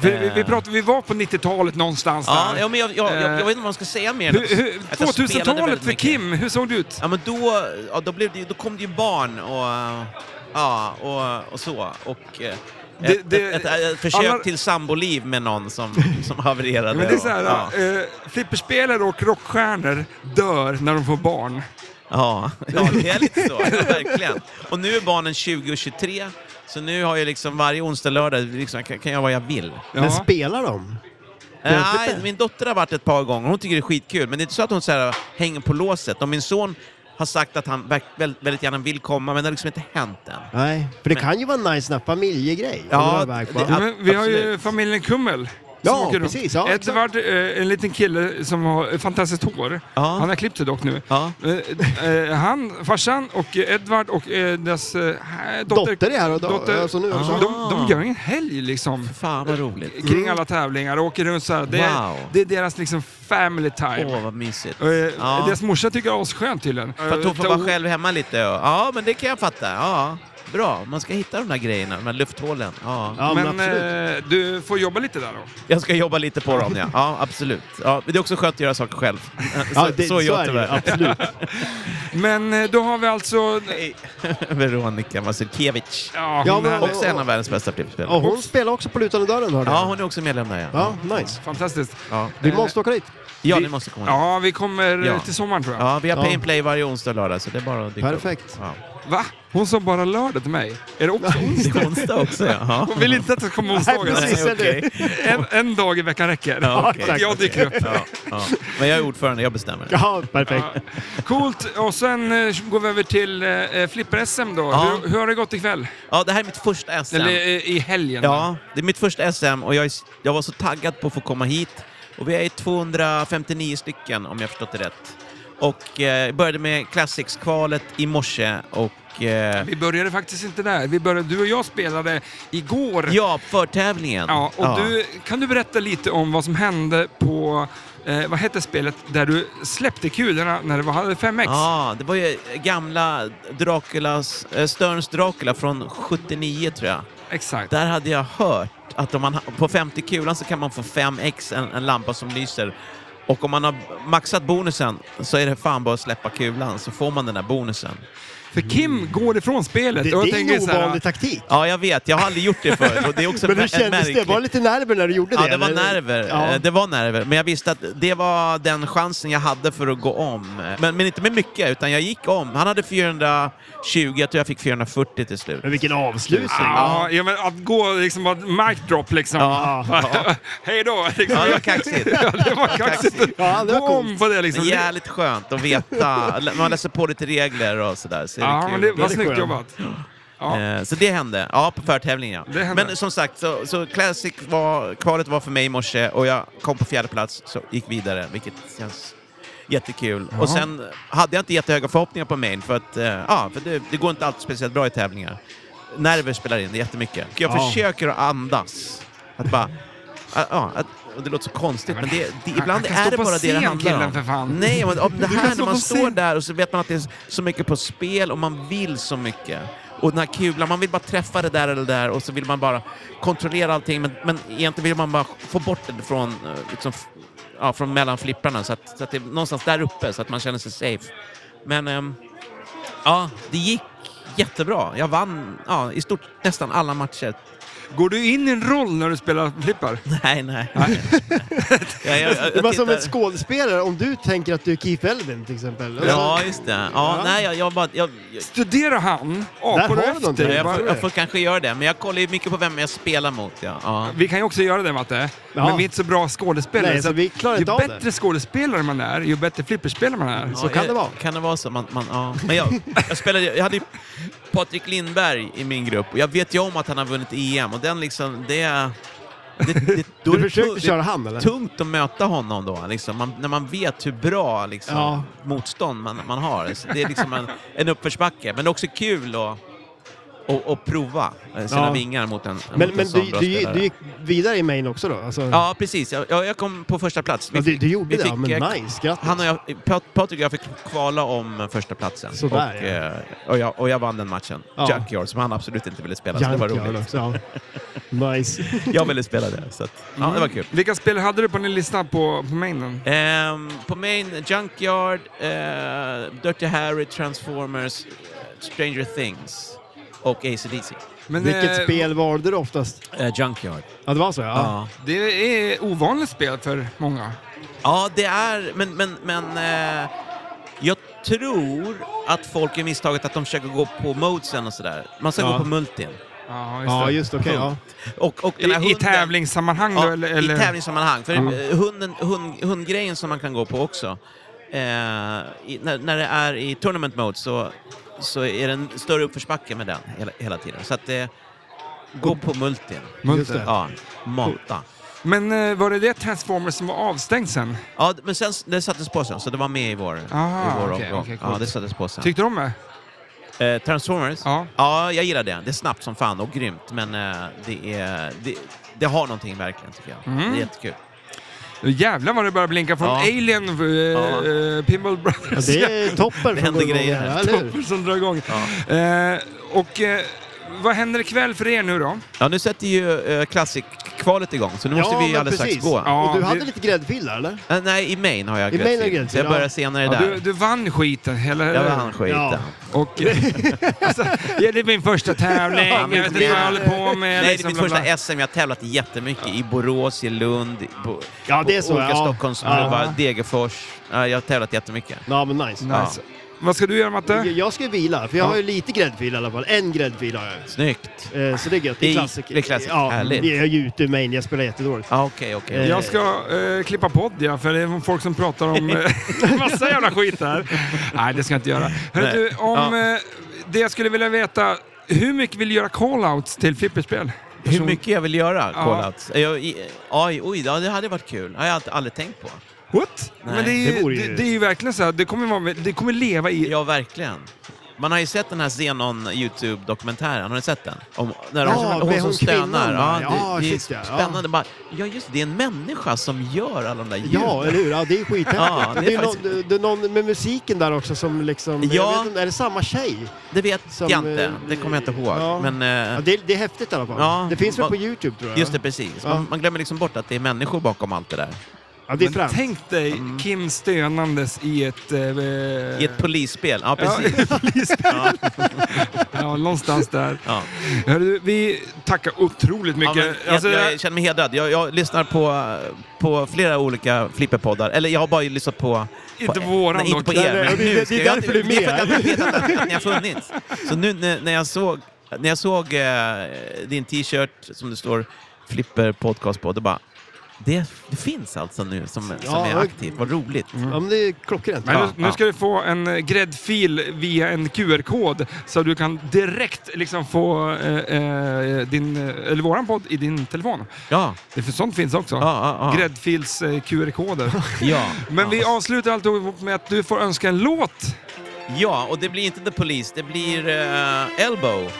[SPEAKER 2] vi, vi, vi,
[SPEAKER 5] eh.
[SPEAKER 2] pratar, vi var på 90-talet någonstans
[SPEAKER 5] Ja,
[SPEAKER 2] där.
[SPEAKER 5] ja, men jag, jag, jag, jag vet inte vad man ska säga mer. än
[SPEAKER 2] Eh, Hur- hur-
[SPEAKER 5] att jag spelade väldigt
[SPEAKER 2] 2000-talet för
[SPEAKER 5] mycket.
[SPEAKER 2] Kim, hur såg det ut?
[SPEAKER 5] Ja, men då, ja, då, blev det, ju- då kom det ju barn och, ja, och, och så. Och, eh,
[SPEAKER 2] Det-
[SPEAKER 5] ett,
[SPEAKER 2] det-
[SPEAKER 5] ett, ett, ett försök
[SPEAKER 2] alla-
[SPEAKER 5] till samboliv med någon som,
[SPEAKER 2] [laughs]
[SPEAKER 5] som havererade.
[SPEAKER 2] Men det är
[SPEAKER 5] och-
[SPEAKER 2] så här,
[SPEAKER 5] ja.
[SPEAKER 2] eh, flipperspelare och rockstjärnor dör när de får barn.
[SPEAKER 5] Ja, ja, det är lite så. Ja, verkligen. Och nu är barnen 20 och 23, så nu har jag liksom varje onsdag och lördag liksom, kan kan jag vad jag vill.
[SPEAKER 2] Ja.
[SPEAKER 1] Men spelar de?
[SPEAKER 5] Nej, min dotter har varit ett par gånger. Hon tycker det är skitkul, men det är inte så att hon så här, hänger på låset. Och min son har sagt att han verk- väl- väldigt gärna vill komma, men det har liksom inte hänt än.
[SPEAKER 1] Nej, för det kan ju vara en nice na- familjegrej. om
[SPEAKER 5] Ja,
[SPEAKER 1] man är iväg på.
[SPEAKER 5] det-
[SPEAKER 2] Ja, men vi har ju
[SPEAKER 5] absolut.
[SPEAKER 2] familjen Kummel. som
[SPEAKER 1] Ja,
[SPEAKER 2] åker runt.
[SPEAKER 1] precis, ja,
[SPEAKER 2] Edvard, eh, en liten kille som har fantastiskt hår.
[SPEAKER 5] Ja.
[SPEAKER 2] Han har klippt det dock nu.
[SPEAKER 5] Ja.
[SPEAKER 2] Eh, eh, han, farsan och eh, Edvard och eh, dess eh, dotter,
[SPEAKER 1] Dotter är här och då- alltså Mm. nu också.
[SPEAKER 2] de, de gör en helg liksom.
[SPEAKER 5] Ah. Fan vad roligt.
[SPEAKER 2] Kring alla tävlingar och åker runt så här. Det, är-
[SPEAKER 5] Wow.
[SPEAKER 2] det är deras liksom family time.
[SPEAKER 5] Åh, vad mysigt.
[SPEAKER 2] Eh,
[SPEAKER 5] Ja.
[SPEAKER 2] Deras morsa tycker det är asskönt tydligen.
[SPEAKER 5] För att hon får
[SPEAKER 2] Eh,
[SPEAKER 5] vara själv hemma lite. och- Ja, men det kan jag fatta. Ja, bra. Man ska hitta de där grejerna, de här lufthålen. Ja.
[SPEAKER 1] Ja, men,
[SPEAKER 2] Men
[SPEAKER 1] absolut.
[SPEAKER 2] eh, du får jobba lite där då.
[SPEAKER 5] Jag ska jobba lite på dem, ja. Ja, absolut. Ja, men det är också skönt att göra saker själv. Så,
[SPEAKER 1] Ja, det,
[SPEAKER 5] så är jag
[SPEAKER 1] det,
[SPEAKER 5] tyvärr. [laughs]
[SPEAKER 1] absolut.
[SPEAKER 2] Men eh, då har vi alltså...
[SPEAKER 5] Hej. Veronica Masurkiewicz.
[SPEAKER 2] Ja,
[SPEAKER 1] Ja,
[SPEAKER 2] hon
[SPEAKER 1] men-
[SPEAKER 2] är
[SPEAKER 5] Också en av världens bästa flipperspelare.
[SPEAKER 1] Och hon spelar också på lutande dörren, hörde
[SPEAKER 5] Ja,
[SPEAKER 1] jag.
[SPEAKER 5] hon är också medlem där, ja.
[SPEAKER 1] Ja, nice.
[SPEAKER 2] fantastisk.
[SPEAKER 5] Ja,
[SPEAKER 1] Vi måste åka dit.
[SPEAKER 5] ja ni måste komma
[SPEAKER 2] Ja, vi kommer eh,
[SPEAKER 5] Ja.
[SPEAKER 2] till sommaren tror jag.
[SPEAKER 5] Ja, vi har pay
[SPEAKER 1] Ja.
[SPEAKER 5] and play varje onsdag och lördag, så det är bara att dyka
[SPEAKER 1] Perfekt.
[SPEAKER 5] upp. Ja.
[SPEAKER 2] Va? Hon sa bara lördag till mig. Är det också
[SPEAKER 5] [laughs] Det
[SPEAKER 2] onsdag?
[SPEAKER 5] är onsdag också, ja. ja.
[SPEAKER 2] Hon vill inte att jag ska komma onsdagar.
[SPEAKER 1] Nej, precis.
[SPEAKER 5] Nej, okej.
[SPEAKER 2] [laughs] En, en dag i veckan räcker.
[SPEAKER 5] Ja, okej.
[SPEAKER 2] Jag dyker upp.
[SPEAKER 5] Ja, ja. Men jag är ordförande, jag bestämmer.
[SPEAKER 1] Ja, perfekt.
[SPEAKER 2] Coolt. Och sen eh, går vi över till eh, Flipper-SM då.
[SPEAKER 5] Ja.
[SPEAKER 2] Hur, hur har det gått ikväll?
[SPEAKER 5] Ja, det här är mitt första SM.
[SPEAKER 2] Eller eh, i helgen?
[SPEAKER 5] Ja, det är mitt första SM och jag, är, jag var så taggad på att få komma hit. Och vi är 259 stycken om jag förstått det rätt. Och eh, började med Classics-kvalet i morse och... Eh,
[SPEAKER 2] Vi började faktiskt inte där. Vi började, du och jag spelade igår.
[SPEAKER 5] ja, förtävlingen.
[SPEAKER 2] Ja, och Du, kan du berätta lite om vad som hände på, eh, vad hette spelet, där du släppte kulorna när det var hade 5x?
[SPEAKER 5] Ja, det var ju eh, gamla Draculas, eh, Sterns Dracula från 79 tror jag.
[SPEAKER 2] Exakt.
[SPEAKER 5] Där hade jag hört att om man, ha- på 50 kulan så kan man få 5x, en, en lampa som lyser. Och om man har maxat bonusen så är det fan bara att släppa kulan så får man den där bonusen.
[SPEAKER 2] För Kim går ifrån spelet.
[SPEAKER 1] Det, Mm. det
[SPEAKER 2] och jag
[SPEAKER 1] är
[SPEAKER 2] tänker
[SPEAKER 1] en
[SPEAKER 2] så här,
[SPEAKER 1] ovanlig taktik.
[SPEAKER 5] Ja, jag vet. Jag har aldrig gjort det förut och det är också
[SPEAKER 1] [laughs] Men
[SPEAKER 5] en
[SPEAKER 1] hur kändes det?
[SPEAKER 5] märklig-
[SPEAKER 1] Var det lite nerver när du gjorde det?
[SPEAKER 5] Ja, det var
[SPEAKER 1] eller?
[SPEAKER 5] nerver.
[SPEAKER 1] Ja.
[SPEAKER 5] Eh, Det var nerver. Men jag visste att det var den chansen jag hade för att gå om. Men, men inte med mycket, utan jag gick om. Han hade 420, jag tror jag fick 440 till slut.
[SPEAKER 1] Men vilken avslutning!
[SPEAKER 2] Ja, ja, men att gå liksom bara mic drop liksom.
[SPEAKER 5] Ja, ja.
[SPEAKER 2] [laughs] Hej då! Liksom.
[SPEAKER 5] Ja, det var kaxigt.
[SPEAKER 2] Ja, det var kaxigt.
[SPEAKER 1] Ja, det var
[SPEAKER 2] Gå
[SPEAKER 1] coolt.
[SPEAKER 2] om på det liksom.
[SPEAKER 5] Men jävligt skönt att veta. Man läser på lite regler och sådär. Så är det
[SPEAKER 2] Ja,
[SPEAKER 5] kul.
[SPEAKER 2] men det var
[SPEAKER 1] Det är
[SPEAKER 2] snyggt
[SPEAKER 1] skönt.
[SPEAKER 2] jobbat. Ja.
[SPEAKER 5] Eh, Så det hände. Ja, på förtävlingen
[SPEAKER 2] Det
[SPEAKER 5] ja.
[SPEAKER 2] hände.
[SPEAKER 5] Men som sagt, så, så Classic var, kvalet var för mig i morse och jag kom på fjärde plats så gick vidare, vilket känns jättekul. Och sen hade jag inte jättehöga förhoppningar på mail för att eh, ja, för det, det går inte alltid speciellt bra i tävlingar. Nerver spelar in jättemycket. Jag försöker att andas. Att bara... Ja, ja, att, och det låter så konstigt, men det, det, ibland
[SPEAKER 2] kan
[SPEAKER 5] är
[SPEAKER 2] stå
[SPEAKER 5] det
[SPEAKER 2] på
[SPEAKER 5] bara det det
[SPEAKER 2] scen,
[SPEAKER 5] handlar om.
[SPEAKER 2] killen, för fan.
[SPEAKER 5] Nej, men om det
[SPEAKER 2] Du kan
[SPEAKER 5] här
[SPEAKER 2] stå
[SPEAKER 5] när man
[SPEAKER 2] på
[SPEAKER 5] står
[SPEAKER 2] scen.
[SPEAKER 5] där och så vet man att det är så mycket på spel och man vill så mycket. Och den här kulan, man vill bara träffa det där eller det där och så vill man bara kontrollera allting men, men egentligen vill man bara få bort det från, eh, liksom, f- ja, från mellan flipprarna så att, så att det är någonstans där uppe så att man känner sig safe. Men ehm, ja, det gick jättebra. Jag vann ja, i stort nästan alla matcher.
[SPEAKER 2] Går du in i en roll när du spelar flippar?
[SPEAKER 5] [laughs] Nej, nej. [laughs] jag, jag, jag,
[SPEAKER 1] Det är bara som
[SPEAKER 5] tittar-
[SPEAKER 1] en skådespelare, om du tänker att du är Keith Elvin till exempel. Och så-
[SPEAKER 5] Ja, just det. Ja,
[SPEAKER 1] Ja.
[SPEAKER 5] Nej, jag, jag, bara, jag, jag,
[SPEAKER 2] Studera han,
[SPEAKER 1] Där
[SPEAKER 2] apor
[SPEAKER 1] har
[SPEAKER 2] och
[SPEAKER 1] du någonting.
[SPEAKER 5] Ja,
[SPEAKER 2] efter.
[SPEAKER 5] jag,
[SPEAKER 2] Bara-
[SPEAKER 5] får, jag får kanske göra det, men jag kollar ju mycket på vem jag spelar mot. Ja. Ja.
[SPEAKER 2] Vi kan ju också göra det Matte,
[SPEAKER 1] Ja.
[SPEAKER 2] men vi är inte så bra skådespelare.
[SPEAKER 1] Nej, så
[SPEAKER 2] att
[SPEAKER 1] vi klarar inte
[SPEAKER 2] ju
[SPEAKER 1] av det.
[SPEAKER 2] bättre skådespelare man är, ju bättre flipperspelare man är.
[SPEAKER 1] Så kan det vara.
[SPEAKER 5] Kan det vara så? Man, man, ja. Men jag, jag, spelade, jag hade ju Patrik Lindberg i min grupp och jag vet ju om att han har vunnit EM och den liksom, det... är- det, det, då är det
[SPEAKER 1] Du försökte
[SPEAKER 5] tu- det-
[SPEAKER 1] köra han eller?
[SPEAKER 5] tungt att möta honom då, liksom. man, när man vet hur bra liksom,
[SPEAKER 1] Ja.
[SPEAKER 5] motstånd man, man har. Så det är liksom en, en uppförsbacke, men det är också kul att och, och prova eh, sina
[SPEAKER 1] Ja.
[SPEAKER 5] vingar mot en,
[SPEAKER 1] Men,
[SPEAKER 5] mot
[SPEAKER 1] men
[SPEAKER 5] en sån
[SPEAKER 1] du,
[SPEAKER 5] bra
[SPEAKER 1] du,
[SPEAKER 5] spelare.
[SPEAKER 1] du gick vidare i main också då? Alltså,
[SPEAKER 5] Ja, precis. Jag, jag jag kom på första plats. Vi
[SPEAKER 1] Ja, du,
[SPEAKER 5] fick-
[SPEAKER 1] du gjorde
[SPEAKER 5] vi
[SPEAKER 1] det?
[SPEAKER 5] fick,
[SPEAKER 1] Ja, men
[SPEAKER 5] eh,
[SPEAKER 1] nice, grattis!
[SPEAKER 5] Han och jag, Pat- Patrik och jag fick kvala om första platsen.
[SPEAKER 1] Sådär,
[SPEAKER 5] och,
[SPEAKER 1] ja.
[SPEAKER 5] eh, och, jag, och jag vann den matchen.
[SPEAKER 1] Ja.
[SPEAKER 5] Junkyard, som han absolut inte ville spela. Så det var
[SPEAKER 1] Jank gör det
[SPEAKER 5] roligt.
[SPEAKER 1] också,
[SPEAKER 5] [laughs]
[SPEAKER 1] ja. Nice.
[SPEAKER 5] Jag ville spela det, så att, ja, det var kul.
[SPEAKER 2] Vilka spel hade du på din lista på, på mainen?
[SPEAKER 5] Ehm, på main, Junkyard, eh, Dirty Harry, Transformers, Stranger Things och ACDC.
[SPEAKER 2] Men,
[SPEAKER 1] Vilket
[SPEAKER 2] eh,
[SPEAKER 1] spel valde du oftast?
[SPEAKER 5] Eh, junkyard.
[SPEAKER 1] Ja, det var så ja.
[SPEAKER 5] Ja.
[SPEAKER 2] Det är ovanligt spel för många.
[SPEAKER 5] Ja, det är... Men, men, men eh, jag tror att folk är misstaget att de försöker gå på modesen och sådär. Man ska
[SPEAKER 1] Ja.
[SPEAKER 5] gå på multin.
[SPEAKER 2] Ja, just
[SPEAKER 1] Ja,
[SPEAKER 2] det.
[SPEAKER 1] just okej. ja.
[SPEAKER 5] Och, och den här
[SPEAKER 2] I, I
[SPEAKER 5] hunden-
[SPEAKER 2] tävlingssammanhang då?
[SPEAKER 5] Ja,
[SPEAKER 2] Eller, eller?
[SPEAKER 5] I tävlingssammanhang. För eh, hunden, hund, hundgrejen som man kan gå på också. Eh, i, när, när det är i tournament mode så, så är det en större uppförsbacke med den hela, hela tiden. Så att eh, gå på multin.
[SPEAKER 1] Just det.
[SPEAKER 5] Ja, mata.
[SPEAKER 2] Men eh, var det det Transformers som var avstängd sen?
[SPEAKER 5] Ja, men sen s- det sattes på sen, så det var med i vår,
[SPEAKER 2] Ah,
[SPEAKER 5] i vår
[SPEAKER 2] okej,
[SPEAKER 5] omgång.
[SPEAKER 2] okej,
[SPEAKER 5] ja,
[SPEAKER 2] coolt.
[SPEAKER 5] det sattes på sen.
[SPEAKER 2] Tyckte du om det?
[SPEAKER 5] Eh, Transformers?
[SPEAKER 2] Ja.
[SPEAKER 5] ja, jag gillar det. Det är snabbt som fan och grymt, men eh, det, är, det, det har någonting verkligen tycker jag. Det är jättekul.
[SPEAKER 2] Mm. Jävlar vad det börjar blinka från
[SPEAKER 5] Ja.
[SPEAKER 2] Alien, eh,
[SPEAKER 5] Ja.
[SPEAKER 2] eh, Pinball
[SPEAKER 1] Ja,
[SPEAKER 2] Brothers. [laughs]
[SPEAKER 1] det är toppen
[SPEAKER 5] Det
[SPEAKER 1] som
[SPEAKER 5] händer
[SPEAKER 1] går igång
[SPEAKER 5] grejer
[SPEAKER 1] här,
[SPEAKER 5] här.
[SPEAKER 1] eller hur?
[SPEAKER 2] Topper som drar igång. Eh, och eh, vad händer ikväll för er nu då?
[SPEAKER 5] Ja, nu sätter ju eh, Classic-kvalet igång, så nu måste vi
[SPEAKER 1] men
[SPEAKER 5] alldeles strax gå.
[SPEAKER 2] Ja,
[SPEAKER 1] och du
[SPEAKER 2] det-
[SPEAKER 1] hade lite gräddfil där eller?
[SPEAKER 5] Eh, nej, i Maine har jag
[SPEAKER 1] I Maine har
[SPEAKER 5] gräddfil,
[SPEAKER 1] gräddfil,
[SPEAKER 5] så jag
[SPEAKER 1] ja.
[SPEAKER 5] börjar senare
[SPEAKER 2] Ja,
[SPEAKER 5] där.
[SPEAKER 2] du, du vann skiten, eller
[SPEAKER 5] Jag
[SPEAKER 1] [laughs]
[SPEAKER 5] vann skiten.
[SPEAKER 1] Ja.
[SPEAKER 2] Och, [laughs] eh, alltså, ja, det är min första tävling, jag vet inte vad jag håller på med.
[SPEAKER 5] Nej, det är
[SPEAKER 2] liksom,
[SPEAKER 5] mitt
[SPEAKER 2] bla, bla.
[SPEAKER 5] första SM. Jag har tävlat jättemycket i Borås, i Lund, i bo,
[SPEAKER 1] Ja, det är så,
[SPEAKER 5] olika
[SPEAKER 1] ja.
[SPEAKER 5] Stockholmsklubbar,
[SPEAKER 2] Ja.
[SPEAKER 5] Degerfors. Ja, jag har tävlat jättemycket.
[SPEAKER 1] Ja, men nice.
[SPEAKER 2] Nice. Vad ska du göra Matte?
[SPEAKER 1] Jag ska ju vila, för jag har ju lite gräddfil i alla fall. En gräddfil har jag.
[SPEAKER 5] Snyggt!
[SPEAKER 1] Eh, Så det är gött. Det
[SPEAKER 5] I-
[SPEAKER 1] är klassik.
[SPEAKER 5] det är klassik.
[SPEAKER 1] Ja,
[SPEAKER 5] Härligt.
[SPEAKER 1] Jag är ju ute i main, jag spelar jättedåligt.
[SPEAKER 5] Ja, Okej, okej.
[SPEAKER 1] Eh,
[SPEAKER 2] Jag ska eh, klippa podd ja, för det är folk som pratar om eh, [laughs] massa jävla skit här. Nej, det ska jag inte göra. Hör
[SPEAKER 5] Nej.
[SPEAKER 2] du, om eh, det jag skulle vilja veta, hur mycket vill du göra call-outs till flipperspel?
[SPEAKER 5] Hur mycket jag vill göra,
[SPEAKER 2] Ja.
[SPEAKER 5] callouts? Eh, Jag, i, oj, oj, ja, det hade varit kul. Det har jag alltid- aldrig tänkt på.
[SPEAKER 2] What?
[SPEAKER 5] Nej,
[SPEAKER 2] Men det är,
[SPEAKER 1] det
[SPEAKER 2] ju,
[SPEAKER 1] vore
[SPEAKER 2] det,
[SPEAKER 1] ju-
[SPEAKER 2] det är ju verkligen så här, det kommer, vara, det kommer leva i...
[SPEAKER 5] Ja, verkligen. Man har ju sett den här Zenon Youtube-dokumentären, har ni sett den? Om, när de,
[SPEAKER 1] Ja,
[SPEAKER 5] hon,
[SPEAKER 1] med
[SPEAKER 5] som
[SPEAKER 1] hon kvinnan
[SPEAKER 5] stönar.
[SPEAKER 1] där.
[SPEAKER 5] Ja, det,
[SPEAKER 1] Ja,
[SPEAKER 5] det är
[SPEAKER 1] shit, ja.
[SPEAKER 5] spännande. Bara, ja, just det, det är en människa som gör alla de där ljuden.
[SPEAKER 1] Ja, eller hur? Ja, det är skithäftigt.
[SPEAKER 5] Ja, det
[SPEAKER 1] det
[SPEAKER 5] är
[SPEAKER 1] är,
[SPEAKER 5] faktiskt-
[SPEAKER 1] någon, det är någon med musiken där också som liksom...
[SPEAKER 5] Ja.
[SPEAKER 1] Jag vet inte, är det samma tjej?
[SPEAKER 5] det vet
[SPEAKER 1] Som,
[SPEAKER 5] jag inte,
[SPEAKER 1] eh,
[SPEAKER 5] det kommer jag inte ihåg.
[SPEAKER 1] ja.
[SPEAKER 5] Men,
[SPEAKER 1] Ja,
[SPEAKER 5] eh,
[SPEAKER 1] det, är, det är häftigt i alla fall.
[SPEAKER 5] Ja,
[SPEAKER 1] det finns väl
[SPEAKER 5] vad-
[SPEAKER 1] på Youtube tror jag?
[SPEAKER 5] just det, precis. Man, man glömmer liksom bort att det är människor bakom allt det där.
[SPEAKER 1] Ja, det är
[SPEAKER 2] Men
[SPEAKER 1] främst.
[SPEAKER 2] tänk dig Kim stönandes i ett... Eh,
[SPEAKER 5] Mm. I ett polisspel, ja
[SPEAKER 2] ja,
[SPEAKER 5] precis.
[SPEAKER 2] [laughs] polisbil. ja, någonstans där.
[SPEAKER 5] Ja.
[SPEAKER 2] Hörru, vi tackar otroligt
[SPEAKER 5] Ja,
[SPEAKER 2] mycket.
[SPEAKER 5] men jag,
[SPEAKER 2] Alltså,
[SPEAKER 5] jag känner mig hedrad. Jag, jag lyssnar på, på flera olika flipperpoddar. Eller jag har bara lyssnat på...
[SPEAKER 2] Inte
[SPEAKER 5] på,
[SPEAKER 2] våran
[SPEAKER 5] nej, inte
[SPEAKER 2] dock.
[SPEAKER 5] på
[SPEAKER 1] Nej,
[SPEAKER 5] er,
[SPEAKER 1] nej,
[SPEAKER 5] men
[SPEAKER 1] det-
[SPEAKER 5] nu
[SPEAKER 1] det är
[SPEAKER 5] ska jag-
[SPEAKER 1] därför du är
[SPEAKER 5] Det är för att
[SPEAKER 1] med.
[SPEAKER 5] jag vet att att ni har funnits. Så nu när, när jag såg, när jag såg eh, din t-shirt som det står Flipper Podcast på, då bara... Det, det finns alltså nu som, som
[SPEAKER 1] Ja,
[SPEAKER 5] är
[SPEAKER 1] och-
[SPEAKER 5] aktivt. Vad roligt.
[SPEAKER 1] Ja, men det är klockrent.
[SPEAKER 2] Men
[SPEAKER 5] Ja,
[SPEAKER 2] nu, nu
[SPEAKER 5] ja.
[SPEAKER 2] ska du få en eh, gräddfil via en QR-kod så du kan direkt liksom få eh, eh, din, eh, eller våran podd i din telefon.
[SPEAKER 5] Ja,
[SPEAKER 2] Det, för sånt finns också.
[SPEAKER 5] ja, ja. ja.
[SPEAKER 2] Gräddfils eh, QR-koder.
[SPEAKER 5] [laughs] ja.
[SPEAKER 2] Men vi avslutar alltihop med att du får önska en låt.
[SPEAKER 5] Ja, och det blir inte The Police, det blir eh, Elbow.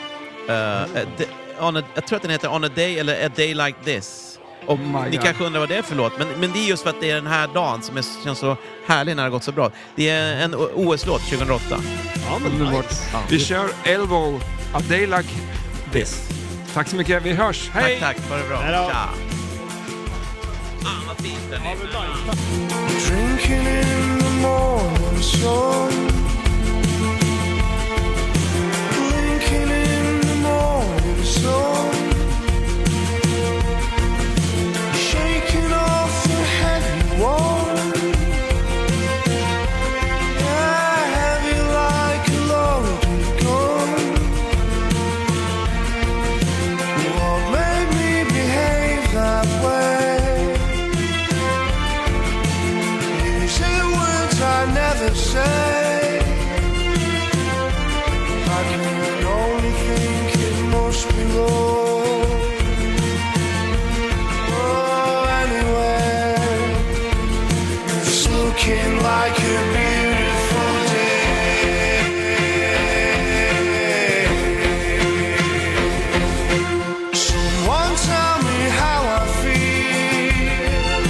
[SPEAKER 5] Eh, eh, d- on a, jag tror att den heter On a Day eller A Day Like This. Och
[SPEAKER 2] Oh my
[SPEAKER 5] ni
[SPEAKER 2] God.
[SPEAKER 5] kanske undrar vad det är för låt, men, men det är just för att det är den här dagen som är, känns så härlig när det har gått så bra. Det är en O- OS-låt 2008.
[SPEAKER 2] Underbart. Vi kör Elbow, A Day Like This. Tack så mycket, vi hörs. Hej!
[SPEAKER 5] Tack, tack. Ha det bra.
[SPEAKER 1] Hej då.
[SPEAKER 5] Tja. Fan vad fint den är.
[SPEAKER 4] Drinking in the morning sun. Drinking in the morning sun. Shaking off the heavy wall. Yeah, heavy like a loaded gun. What made me behave that way? You say the words I never say. I can only think it must be love. Oh, anyway, it's looking like a beautiful day. Someone tell me how I feel.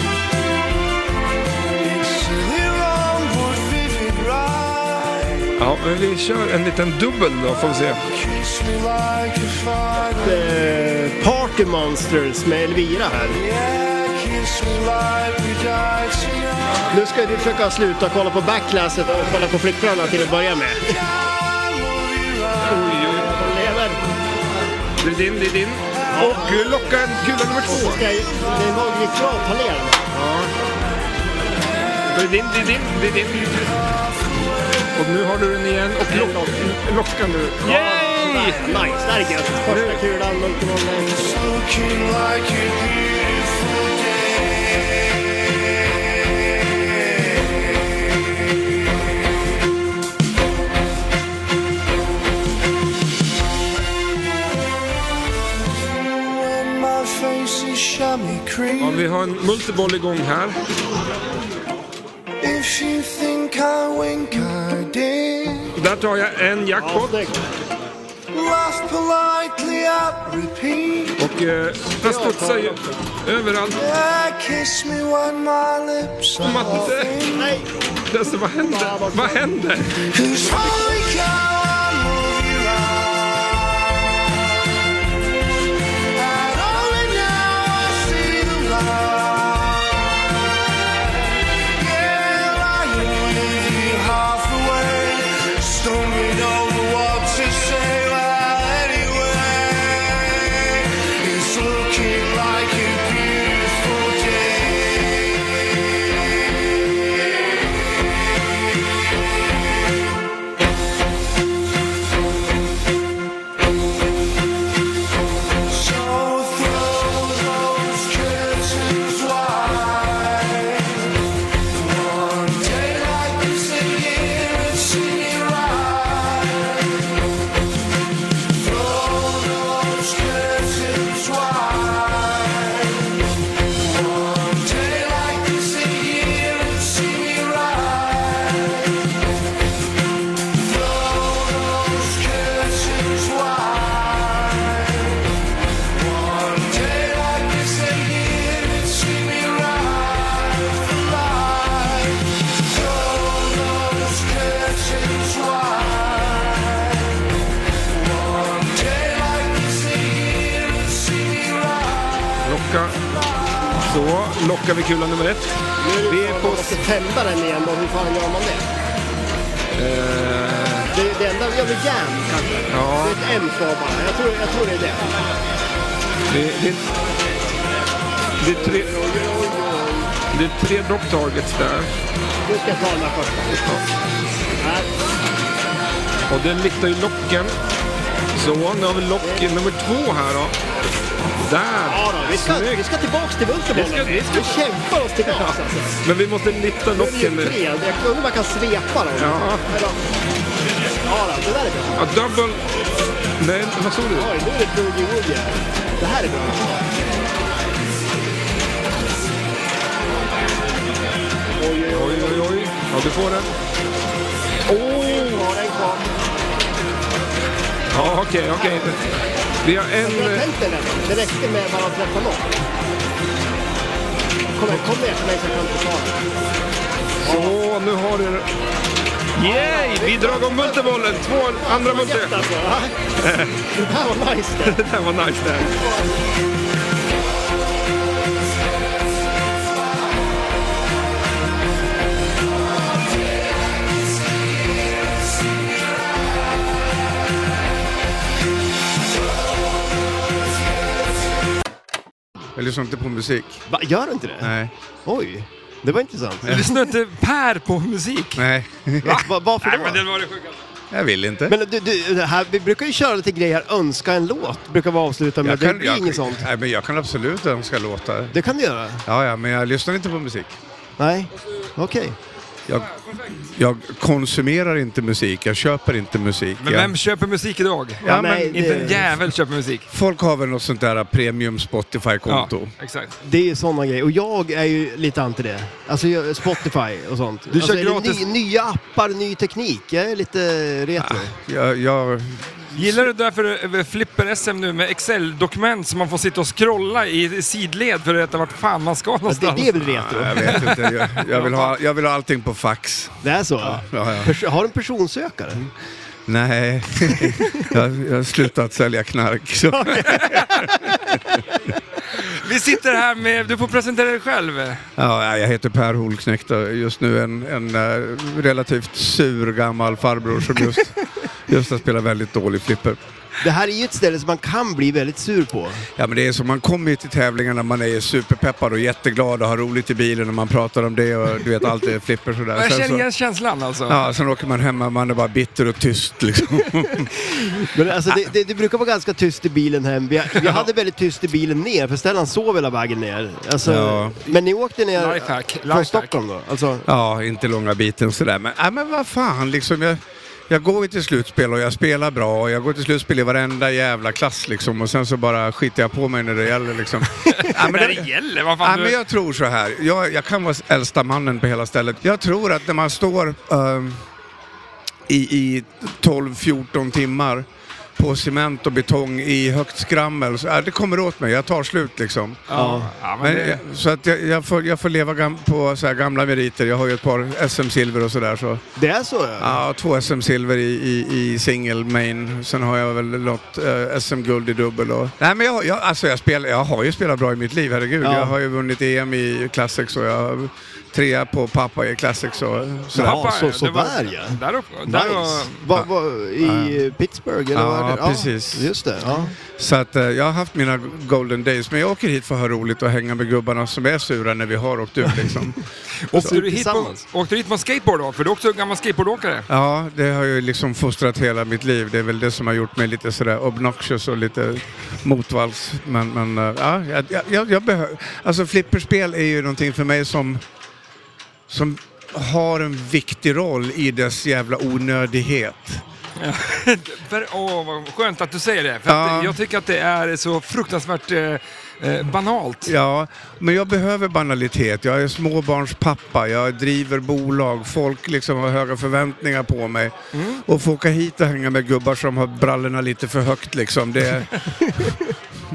[SPEAKER 4] Silly wrong, but vivid right.
[SPEAKER 2] Ja, men vi kör en liten dubbel då, får vi se.
[SPEAKER 4] Kiss me like a fire.
[SPEAKER 1] Eh, Party Monsters med Elvira här.
[SPEAKER 4] Yeah, kiss me like we died tonight.
[SPEAKER 1] Nu ska du försöka sluta kolla på backlasset och kolla på flickvännen till att börja med.
[SPEAKER 4] I love you right.
[SPEAKER 2] Oj, oj.
[SPEAKER 1] De lever.
[SPEAKER 2] Det är din, det är din. Och gula, gula nummer
[SPEAKER 1] Och så
[SPEAKER 2] två.
[SPEAKER 1] ska jag... Det var ju bra att ta ner den.
[SPEAKER 2] Det är din, det är din, det är din. Och nu har du den igen och lock, lockar nu. Yay!
[SPEAKER 1] Där, Nice, där är gött. Första kulan, 0,01.
[SPEAKER 4] It's looking like a beautiful day. When my face is chamois
[SPEAKER 2] Ja,
[SPEAKER 4] cream.
[SPEAKER 2] vi har en multiboll igång här.
[SPEAKER 4] If you think I wink, I did.
[SPEAKER 2] Där tar jag en
[SPEAKER 1] Ja,
[SPEAKER 2] jackpot.
[SPEAKER 1] snyggt.
[SPEAKER 4] Laugh politely, I repeat.
[SPEAKER 2] Och eh, den studsar ju överallt.
[SPEAKER 4] Yeah, kiss me when my lips are
[SPEAKER 2] Matte.
[SPEAKER 4] thin.
[SPEAKER 1] Nej,
[SPEAKER 2] Alltså, vad händer? Vad händer?
[SPEAKER 4] Cause holy cow, I love you right. And only now I see the light. Yeah, lying with you half awake, stumbling over what to say. Well, anyway, it's looking like a beautiful day. So throw those curtains wide. One day like this again, it's singing right. Throw those curtains wide. One day like this again, it's singing right. Throw those curtains wide.
[SPEAKER 2] Locka. Så, lockar vi kula nummer ett. Vi är på...
[SPEAKER 1] man måste tända den igen då. Hur fan gör man det?
[SPEAKER 2] Eh,
[SPEAKER 1] Det är det enda... Ja, men jam kanske.
[SPEAKER 2] Ja,
[SPEAKER 1] Det är ett M kvar bara. Jag tror, jag tror det är det.
[SPEAKER 2] det, det, det är tre... Det är tre drop targets där.
[SPEAKER 1] Nu ska jag ta den här första. Här.
[SPEAKER 2] Och den liknar ju locken. Så, nu har vi lock nummer två här då. Där!
[SPEAKER 1] Ja, då, vi, ska,
[SPEAKER 2] Snyggt.
[SPEAKER 1] vi ska tillbaka till
[SPEAKER 2] Vi ska-
[SPEAKER 1] Bulterbollen.
[SPEAKER 2] vi
[SPEAKER 1] Vi,
[SPEAKER 2] ska-
[SPEAKER 1] kämpar oss tillbaka. Alltså.
[SPEAKER 2] Men vi måste lyfta
[SPEAKER 1] Nu är det
[SPEAKER 2] locken
[SPEAKER 1] ju
[SPEAKER 2] nu.
[SPEAKER 1] tre. Jag undrar om man kan svepa dem.
[SPEAKER 2] Ja.
[SPEAKER 1] Eller- Ja, då, det där är bra.
[SPEAKER 2] Ja, double... Nej, vad stod det?
[SPEAKER 1] Oj, nu är det Boogie Woogie. Det här är bra.
[SPEAKER 2] Oj, oj, oj. Ja, du får den.
[SPEAKER 1] Oj, har den kvar.
[SPEAKER 2] Ja, okej, okej. Vi har en...
[SPEAKER 1] Jag
[SPEAKER 2] eh,
[SPEAKER 1] tänkte det. Det räckte med bara att träffa någon. Kom, igen, kom ner till mig så jag kan försvara.
[SPEAKER 2] eh, Så, nu har du... Yay! Vi drar igång multibollen. Två andra multi...
[SPEAKER 1] Gött alltså. va? Det här var nice det.
[SPEAKER 2] [laughs] Det där var nice det. här.
[SPEAKER 8] Jag lyssnar inte på musik.
[SPEAKER 1] Va, gör du inte det?
[SPEAKER 8] Nej.
[SPEAKER 1] Oj, det var intressant.
[SPEAKER 2] Lyssnar inte Per på musik?
[SPEAKER 8] Nej. [laughs]
[SPEAKER 1] Va, varför
[SPEAKER 2] Nej,
[SPEAKER 1] då?
[SPEAKER 2] men det var det sjukaste.
[SPEAKER 8] Jag vill inte.
[SPEAKER 1] Men du, du, det här, vi brukar ju köra lite grejer här, önska en låt, brukar vi avsluta med.
[SPEAKER 8] jag
[SPEAKER 1] Det blir
[SPEAKER 8] jag,
[SPEAKER 1] inget sånt.
[SPEAKER 8] Nej, men jag kan absolut önska låtar.
[SPEAKER 1] Det kan du göra.
[SPEAKER 8] Ja, ja, men jag lyssnar inte på musik.
[SPEAKER 1] Nej, okej.
[SPEAKER 8] Jag, jag konsumerar inte musik, jag köper inte musik.
[SPEAKER 2] Men
[SPEAKER 8] jag,
[SPEAKER 2] vem köper musik idag?
[SPEAKER 8] Ja, men
[SPEAKER 1] nej,
[SPEAKER 2] Inte en
[SPEAKER 1] det,
[SPEAKER 2] jävel köper musik.
[SPEAKER 8] Folk har väl något sånt där premium
[SPEAKER 2] Ja,
[SPEAKER 8] Spotify-konto.
[SPEAKER 2] exakt.
[SPEAKER 1] det är ju sådana grejer. Och jag är ju lite anti det. Alltså jag- Spotify och sånt.
[SPEAKER 2] Du
[SPEAKER 1] alltså,
[SPEAKER 2] kör
[SPEAKER 1] eller
[SPEAKER 2] gratis-
[SPEAKER 1] ny, nya appar, ny teknik. Jag är lite retro.
[SPEAKER 2] Ah.
[SPEAKER 8] Jag, jag,
[SPEAKER 2] Gillar du därför eh, Flipper-SM nu med Excel-dokument som man får sitta och scrolla i sidled för att veta vart fan man ska
[SPEAKER 1] Fast det,
[SPEAKER 2] någonstans?
[SPEAKER 1] det är väl retro?
[SPEAKER 8] jag vet inte. Jag, jag, vill ha, jag vill ha allting på fax.
[SPEAKER 1] Det är så?
[SPEAKER 8] ja, ja.
[SPEAKER 1] Pers- har du en personsökare?
[SPEAKER 8] Nej, [laughs] jag, jag har slutat sälja knark. Så.
[SPEAKER 2] [laughs] Vi sitter här med... Du får presentera dig själv.
[SPEAKER 8] Ja, jag heter Per Holknekt och just nu en, en eh, relativt sur gammal farbror som just, just har spelat väldigt dålig flipper.
[SPEAKER 1] Det här är ju ett ställe som man kan bli väldigt sur på.
[SPEAKER 8] Ja, men det är som man kommer ju till tävlingarna, man är superpeppad och jätteglad och har roligt i bilen och man pratar om det och du vet allt är flipper sådär.
[SPEAKER 2] Jag
[SPEAKER 8] Sen
[SPEAKER 2] känner
[SPEAKER 8] så-
[SPEAKER 2] igen känslan alltså.
[SPEAKER 8] Ja, sen åker man hemma man är bara bitter och tyst liksom.
[SPEAKER 1] Men alltså, det, det, det brukar vara ganska tyst i bilen hem. Vi, vi hade väldigt tyst i bilen ner, för Stellan sov hela vägen ner. Alltså,
[SPEAKER 8] Ja.
[SPEAKER 1] Men ni åkte ner
[SPEAKER 2] Lifehack,
[SPEAKER 1] från
[SPEAKER 2] lifehack.
[SPEAKER 1] Stockholm då? Alltså,
[SPEAKER 8] Ja, inte långa biten sådär. Men, nej, men vad fan, liksom, jag, jag går ju till slutspel och jag spelar bra och jag går till slutspel i varenda jävla klass liksom och sen så bara skiter jag på mig när det gäller liksom. ja, men
[SPEAKER 2] När det
[SPEAKER 8] det,
[SPEAKER 2] gäller, vad
[SPEAKER 8] ja,
[SPEAKER 2] fan
[SPEAKER 8] men
[SPEAKER 2] du...
[SPEAKER 8] jag tror så här, jag, jag kan vara äldsta mannen på hela stället. Jag tror att när man står ehm, i, i 12-14 timmar på cement och betong i högt skrammel, så, ja, det kommer åt mig, jag tar slut liksom.
[SPEAKER 2] Ja, ja, men
[SPEAKER 8] Men,
[SPEAKER 2] det...
[SPEAKER 8] jag- så att jag, jag, får, jag får leva gam, på så här gamla meriter. Jag har ju ett par SM-silver och sådär. Så.
[SPEAKER 1] det är så? Ja.
[SPEAKER 8] Ja, två SM-silver i, i, i single main. Sen har jag väl något eh, SM-guld i dubbel. Och... Nej, men jag, jag, alltså jag, spel, jag har ju spelat bra i mitt liv, herregud.
[SPEAKER 1] Ja.
[SPEAKER 8] Jag har ju vunnit EM i Classics och jag har trea på pappa i Classics. Och, så
[SPEAKER 1] Ja,
[SPEAKER 2] Pappa,
[SPEAKER 1] så-
[SPEAKER 2] det
[SPEAKER 1] så
[SPEAKER 2] var-
[SPEAKER 1] där, ja.
[SPEAKER 2] Där uppe. Där
[SPEAKER 1] Nice.
[SPEAKER 2] var-
[SPEAKER 1] Va, va, I eh, Pittsburgh eller
[SPEAKER 8] Ja,
[SPEAKER 1] var det?
[SPEAKER 8] precis.
[SPEAKER 1] Just det. Ja.
[SPEAKER 8] Så att, eh, jag har haft mina golden days, men jag åker hit för att ha roligt och hänga med gubbarna som är sura när vi har åkt ut. Liksom.
[SPEAKER 2] Åkte du, hit på,
[SPEAKER 1] tillsammans.
[SPEAKER 2] åkte du hit på en skateboard då? För du är också en gammal skateboardåkare.
[SPEAKER 8] Ja, det har ju liksom fostrat hela mitt liv. Det är väl det som har gjort mig lite sådär obnoxious och lite motvalls. Men, men eh, ja, jag, jag- jag, jag behöver... Alltså flipperspel är ju någonting för mig som, som har en viktig roll i dess jävla onödighet.
[SPEAKER 2] För, åh, vad skönt att du säger det. För att
[SPEAKER 8] Ja.
[SPEAKER 2] jag tycker att det är så fruktansvärt eh, eh, banalt.
[SPEAKER 8] Ja, men jag behöver banalitet. Jag är småbarnspappa, jag driver bolag, folk liksom har höga förväntningar på mig.
[SPEAKER 2] Mm.
[SPEAKER 8] Och få åka hit och hänga med gubbar som har brallorna lite för högt liksom, det
[SPEAKER 2] [laughs]
[SPEAKER 8] är,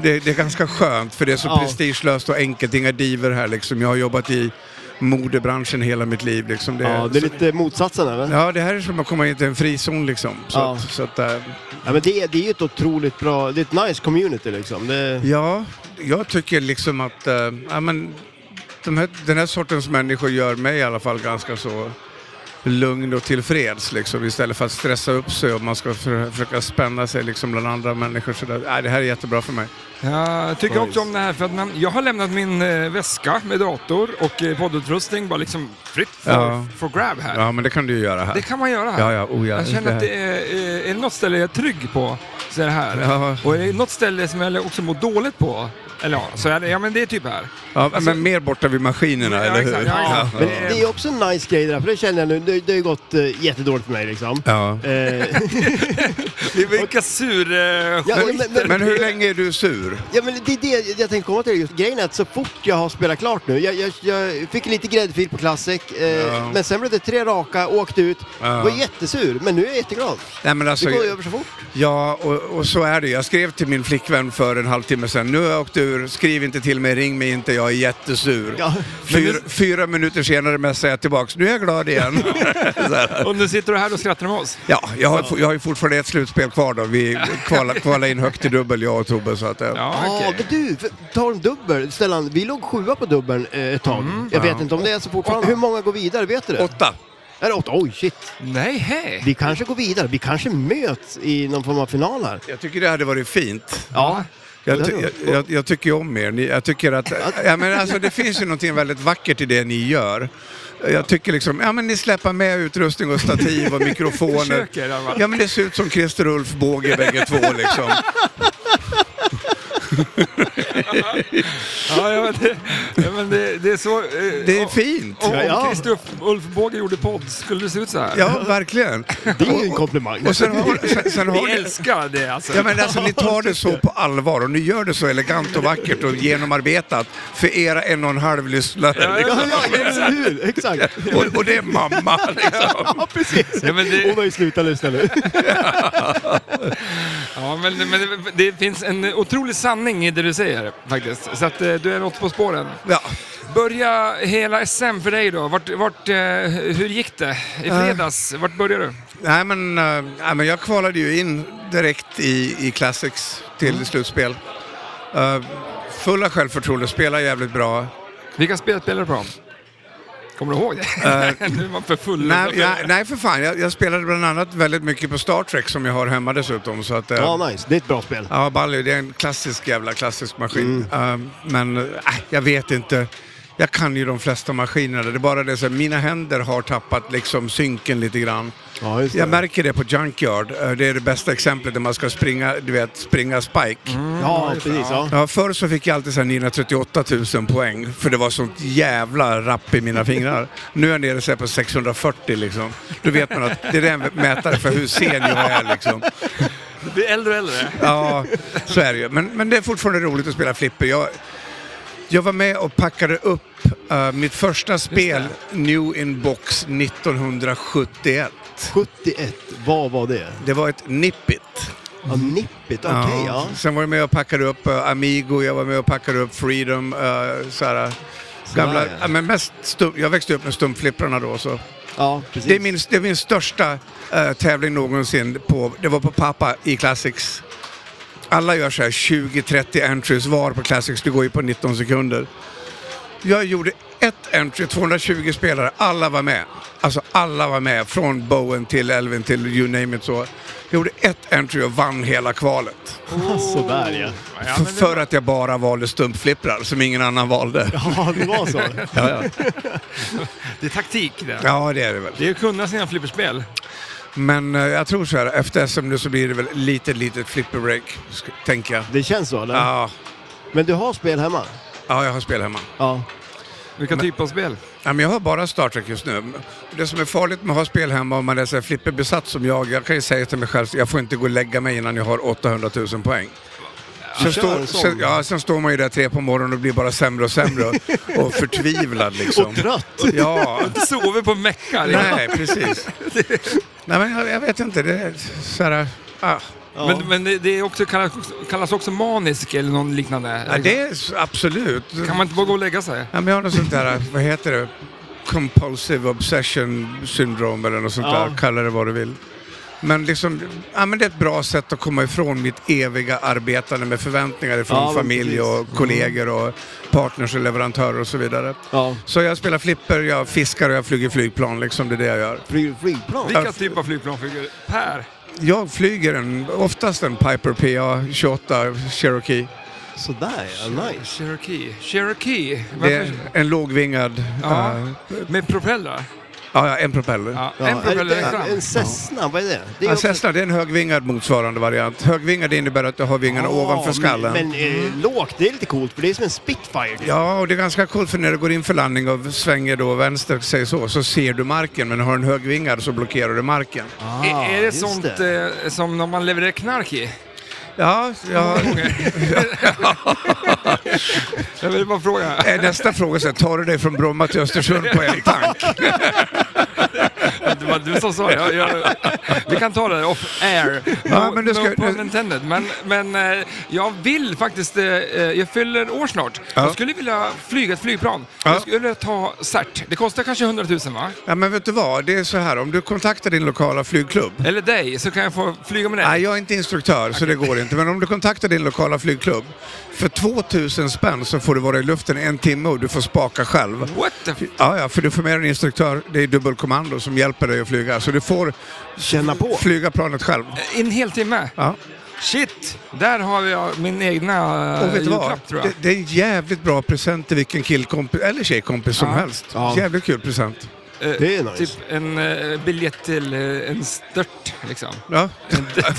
[SPEAKER 8] det, det är ganska skönt för det är så
[SPEAKER 1] Ja.
[SPEAKER 8] prestigelöst och enkelt, inga diver här liksom. Jag har jobbat i modebranschen hela mitt liv liksom. Det, är-
[SPEAKER 1] ja, det är lite motsatsen eller? Ja.
[SPEAKER 8] ja, det här är som att komma in till en frizon liksom. Så,
[SPEAKER 1] Ja.
[SPEAKER 8] att, så att, äh,
[SPEAKER 1] men det, är- det är ju ett otroligt bra, det är ett nice community liksom. Det,
[SPEAKER 8] Ja, jag tycker liksom att eh, ja, men, de här, den här sortens människor gör mig i alla fall ganska så lugn och tillfreds liksom, istället för att stressa upp sig och man ska för, försöka spänna sig liksom, bland andra människor. Så där. Nej, det här är jättebra för mig.
[SPEAKER 2] Jag tycker också om det här för att man, jag har lämnat min eh, väska med dator och eh, poddutrustning bara liksom fritt för,
[SPEAKER 8] Ja.
[SPEAKER 2] för grab här.
[SPEAKER 8] Ja, men det kan du ju göra här.
[SPEAKER 2] Det kan man göra här.
[SPEAKER 8] Ja, ja, oh, ja.
[SPEAKER 2] Jag känner att
[SPEAKER 8] här-
[SPEAKER 2] det är, eh, är det något ställe jag är trygg på så är det här.
[SPEAKER 8] Ja.
[SPEAKER 2] Och är det något ställe som jag också mår dåligt på, eller ja, så är det, ja men det är typ här.
[SPEAKER 8] Ja, men mer borta vid maskinerna,
[SPEAKER 2] Ja,
[SPEAKER 8] eller hur?
[SPEAKER 2] exakt, ja, exakt.
[SPEAKER 1] Men det är också en nice grej det där, för det känner jag nu, det, det har ju gått eh, jättedåligt för mig liksom.
[SPEAKER 8] Ja.
[SPEAKER 1] Eh,
[SPEAKER 2] Det är vilka sur... Eh,
[SPEAKER 1] ja,
[SPEAKER 2] skit.
[SPEAKER 1] men, men,
[SPEAKER 8] Men hur länge är du sur?
[SPEAKER 1] ja, men det är det jag tänkte komma till. Just grejen är att så fort jag har spelat klart nu, jag, jag, jag fick lite gräddfil på Classic, eh,
[SPEAKER 8] Ja.
[SPEAKER 1] men sen blev det tre raka, åkte ut,
[SPEAKER 8] Ja.
[SPEAKER 1] var jättesur, men nu är jag jätteglad.
[SPEAKER 8] Nej, men
[SPEAKER 1] Det
[SPEAKER 8] alltså,
[SPEAKER 1] går ju över så fort.
[SPEAKER 8] ja, och, och så är det. Jag skrev till min flickvän för en halvtimme sedan. Nu har jag åkt ur, skriv inte till mig, ring mig inte, jag är jättesur.
[SPEAKER 1] Ja.
[SPEAKER 8] Fyra, fyra minuter senare messar jag tillbaks, nu är jag glad
[SPEAKER 2] [laughs]
[SPEAKER 8] igen. Så här.
[SPEAKER 2] Och nu sitter du här och skrattar med
[SPEAKER 8] [laughs]
[SPEAKER 2] oss.
[SPEAKER 8] ja, jag har, jag har ju fortfarande ett slutspel kvar då. Vi kvalade kvala in högt i dubbel, jag och Tobbe. Så att, eh,
[SPEAKER 2] Ja,
[SPEAKER 1] Ja,
[SPEAKER 2] okej.
[SPEAKER 1] men du, för- ta en dubbel. Stellan, vi låg sjua på dubbeln eh, ett tag. jag vet inte om det är så fortfarande. Hur många går vidare, vet du det?
[SPEAKER 8] Mm. Åtta.
[SPEAKER 1] Är det åtta? Oj, shit.
[SPEAKER 2] Nej, hej.
[SPEAKER 1] Vi kanske går vidare. Vi kanske möts i någon form av final här.
[SPEAKER 8] Jag tycker det hade varit
[SPEAKER 1] [laughs]
[SPEAKER 8] fint.
[SPEAKER 1] Ja.
[SPEAKER 8] Jag, ty- jag, jag, jag tycker ju om er. Ni, jag tycker att, ja, men alltså, det finns ju någonting väldigt vackert i det ni gör. Jag tycker liksom, ja men ni släpper med utrustning och stativ och mikrofoner.
[SPEAKER 2] Försöker, Alvar.
[SPEAKER 8] Ja men det ser ut som Christer och Ulf Båge bägge två
[SPEAKER 1] [laughs]
[SPEAKER 8] liksom.
[SPEAKER 2] Ja, ja, men det, ja, men det, det är så... eh,
[SPEAKER 8] Det är
[SPEAKER 2] om-
[SPEAKER 8] fint.
[SPEAKER 2] Om,
[SPEAKER 1] Ja.
[SPEAKER 2] om Christer Ulf- Ulf Båge gjorde podd, skulle det se ut så här?
[SPEAKER 8] Ja, verkligen.
[SPEAKER 1] Det är ju en komplimang.
[SPEAKER 8] Och sen har, sen, sen har
[SPEAKER 2] Vi
[SPEAKER 8] ni,
[SPEAKER 2] älskar det alltså.
[SPEAKER 8] ja, men alltså, ni tar det så på allvar och ni gör det så elegant och vackert och genomarbetat för era en och en halv lyssnare.
[SPEAKER 2] Ja,
[SPEAKER 8] Liksom.
[SPEAKER 1] Ja, ja, eller hur? Exakt.
[SPEAKER 8] Och, och det är mamma liksom.
[SPEAKER 1] Ja, precis.
[SPEAKER 2] Ja, men det-
[SPEAKER 1] Hon har ju slutat lyssna nu.
[SPEAKER 8] [laughs]
[SPEAKER 2] Ja, men, men det, det finns en otrolig sanning i det du säger faktiskt. Så att eh, du är något på spåren.
[SPEAKER 8] Ja.
[SPEAKER 2] Börja hela SM för dig då. Vart, vart, eh, hur gick det i
[SPEAKER 8] Eh.
[SPEAKER 2] fredags? Vart började du?
[SPEAKER 8] Nej men, eh, nej, men jag kvalade ju in direkt i, i Classics till
[SPEAKER 2] Mm.
[SPEAKER 8] slutspel. Eh, full av självförtroende, spelar jävligt bra.
[SPEAKER 2] Vilka spel spelade du på? Kommer [laughs] du ihåg det? nu är man för full.
[SPEAKER 8] Eh, Nej, jag, nej för fan, jag, jag spelade bland annat väldigt mycket på Star Trek som jag har hemma dessutom. Så att, eh,
[SPEAKER 1] Ja, nice. Det är ett bra spel. Mm.
[SPEAKER 8] Ja, Bally, det är en klassisk jävla klassisk maskin. Ehm, men äh, jag vet inte. Jag kan ju de flesta maskinerna. Det är bara det att mina händer har tappat liksom synken lite grann.
[SPEAKER 1] Ja, just det.
[SPEAKER 8] Jag märker det på Junkyard. Eh, Det är det bästa exemplet där man ska springa, du vet, springa Spike.
[SPEAKER 1] Mm. Ja, precis. Ja.
[SPEAKER 8] Ja, förr så fick jag alltid så här 938 000 poäng för det var sånt jävla rapp i mina fingrar. Nu är jag nere så här på 640 liksom. Då vet man att det är en mätare för hur sen jag är liksom.
[SPEAKER 2] Du blir äldre och äldre.
[SPEAKER 8] [laughs] Ja, så är det ju. Men, men det är fortfarande roligt att spela flipper. Jag, jag var med och packade upp eh, mitt första spel, New in Box 1971.
[SPEAKER 1] 71, vad var det?
[SPEAKER 8] Det var ett nippit.
[SPEAKER 1] Ja, nippigt. Okej, ja.
[SPEAKER 8] Sen var jag med och packade upp eh, Amigo, jag var med och packade upp Freedom. Uh, såhär, gamla,
[SPEAKER 1] ja.
[SPEAKER 8] ja, men mest stum, jag växte upp med stumflipprarna då. Så.
[SPEAKER 1] Ja, precis.
[SPEAKER 8] Det, är min, det är min största eh, tävling någonsin. På, det var på Pappa i Classics. Alla gör så här 20-30 entries var på Classics. Det går ju på 19 sekunder. Jag gjorde ett entry, 220 spelare. Alla var med. Alltså alla var med. Från Bowen till Elvin till you name it så. Jag gjorde ett entry och vann hela kvalet.
[SPEAKER 1] Ja, [laughs] Sådär ja.
[SPEAKER 2] Ja,
[SPEAKER 8] F-
[SPEAKER 2] men det,
[SPEAKER 8] för att jag bara valde stumpflipprar som ingen annan valde.
[SPEAKER 1] Ja, det var så.
[SPEAKER 8] Ja,
[SPEAKER 1] [laughs]
[SPEAKER 8] ja.
[SPEAKER 2] det är taktik det.
[SPEAKER 8] ja det är det väl.
[SPEAKER 2] Det är att kunna sina flipperspel.
[SPEAKER 8] Men eh, jag tror så här, efter SM nu så blir det väl lite, litet flipper break, sk- tänker jag.
[SPEAKER 1] Det känns så, eller?
[SPEAKER 8] Ja,
[SPEAKER 1] Men du har spel hemma?
[SPEAKER 8] ja, jag har spel hemma.
[SPEAKER 1] Ja.
[SPEAKER 2] Vilka typer av spel?
[SPEAKER 8] Ja, men jag har bara Star Trek just nu. Det som är farligt med att ha spel hemma om man är så här flipperbesatt som jag, jag kan ju säga till mig själv jag får inte gå och lägga mig innan jag har 800 000 poäng. Sen,
[SPEAKER 1] kör
[SPEAKER 8] står-
[SPEAKER 1] en sån.
[SPEAKER 8] sen, ja, sen står man ju där tre på morgonen och blir bara sämre och sämre och,
[SPEAKER 1] [laughs]
[SPEAKER 8] och förtvivlad liksom.
[SPEAKER 2] [laughs]
[SPEAKER 1] Och trött!
[SPEAKER 8] Ja,
[SPEAKER 2] Sover på liksom. en vecka.
[SPEAKER 8] nej precis. Nej men jag, jag vet inte, det är så här, ah.
[SPEAKER 1] Ja.
[SPEAKER 2] Men, men det, det är också kallas, kallas också manisk eller någon liknande.
[SPEAKER 8] ja, det är s- absolut.
[SPEAKER 2] Kan man inte bara gå och lägga sig?
[SPEAKER 8] Ja, men jag har något sånt där, vad heter det? Compulsive obsession syndrome eller något sånt
[SPEAKER 1] Ja.
[SPEAKER 8] där. Kalla det vad du vill. Men liksom, ja men det är ett bra sätt att komma ifrån mitt eviga arbetande med förväntningar ifrån
[SPEAKER 1] Ja, men
[SPEAKER 8] familj
[SPEAKER 1] precis. Mm.
[SPEAKER 8] och kollegor och partners och leverantörer och så vidare.
[SPEAKER 1] Ja.
[SPEAKER 8] Så jag spelar flipper, jag fiskar och jag flyger flygplan liksom, det är det jag gör.
[SPEAKER 1] Flyg, flygplan?
[SPEAKER 2] Vilka typer av flygplan flyger Per?
[SPEAKER 8] Jag flyger en, oftast en Piper PA 28 Cherokee.
[SPEAKER 1] Sådär ja, nice.
[SPEAKER 2] Cherokee. Cherokee?
[SPEAKER 8] Det
[SPEAKER 2] Varför?
[SPEAKER 8] är en lågvingad
[SPEAKER 2] Ja.
[SPEAKER 8] eh,
[SPEAKER 2] Med propeller?
[SPEAKER 8] Ja, ja, en propeller.
[SPEAKER 2] Ja, en
[SPEAKER 1] Ja, är
[SPEAKER 2] propeller
[SPEAKER 1] det,
[SPEAKER 2] längst
[SPEAKER 1] en,
[SPEAKER 2] fram.
[SPEAKER 1] en Cessna, vad är det? det
[SPEAKER 8] Det
[SPEAKER 1] är
[SPEAKER 8] är,
[SPEAKER 1] också-
[SPEAKER 8] Cessna, det är en högvingad motsvarande variant. Högvingad innebär att du har vingarna
[SPEAKER 1] Ja,
[SPEAKER 8] ovanför skallen. Mm.
[SPEAKER 1] Men, men
[SPEAKER 2] Mm.
[SPEAKER 1] eh, lågt, det är lite coolt för det är som en Spitfire. typ.
[SPEAKER 8] Ja, och det är ganska coolt för när du går in för landning och svänger då vänster, säg så, så ser du marken. Men har du en högvingad så blockerar du marken.
[SPEAKER 2] Är- är det
[SPEAKER 1] Ah, just
[SPEAKER 2] sånt
[SPEAKER 1] det.
[SPEAKER 2] Eh, som när man levererar knark i?
[SPEAKER 8] Ja, ja. [laughs]
[SPEAKER 2] Jag vill bara fråga.
[SPEAKER 8] Eh, Nästa fråga så här, tar du dig från Bromma till Östersund på en tank?
[SPEAKER 2] [laughs] Det var du som sa det. Jag, jag, vi kan ta det off air.
[SPEAKER 8] Ja, men det
[SPEAKER 2] no,
[SPEAKER 8] ska-
[SPEAKER 2] no pun intended. Men, men eh, jag vill faktiskt, eh, eh, jag fyller år snart.
[SPEAKER 8] Ja.
[SPEAKER 2] Jag skulle vilja flyga ett flygplan.
[SPEAKER 8] Ja.
[SPEAKER 2] Jag skulle vilja ta CERT. Det kostar kanske 100 000 va?
[SPEAKER 8] Ja, men vet du vad? Det är så här, om du kontaktar din lokala flygklubb.
[SPEAKER 2] Eller dig, så kan jag få flyga med dig.
[SPEAKER 8] Nej, jag är inte instruktör så det går inte. Men om du kontaktar din lokala flygklubb. För 2000 spänn så får du vara i luften en timme och du får spaka själv.
[SPEAKER 2] What the f-
[SPEAKER 8] Ja, ja, för du får med dig en instruktör. Det är dubbelkommando som hjälper dig att flyga. Så du får
[SPEAKER 1] Känna på.
[SPEAKER 8] flyga planet själv.
[SPEAKER 2] I en hel timme?
[SPEAKER 8] Ja.
[SPEAKER 2] Shit! Där har jag min egna eh,
[SPEAKER 8] Och vet du vad?
[SPEAKER 2] julklapp tror jag.
[SPEAKER 8] Det, det är en jävligt bra present till vilken killkompis eller tjejkompis som
[SPEAKER 2] Ja.
[SPEAKER 8] helst.
[SPEAKER 1] Ja.
[SPEAKER 8] Jävligt kul present.
[SPEAKER 2] Eh,
[SPEAKER 1] Det är nice. [laughs]
[SPEAKER 2] Typ en eh, biljett till eh, en stört liksom. [laughs]
[SPEAKER 8] Ja.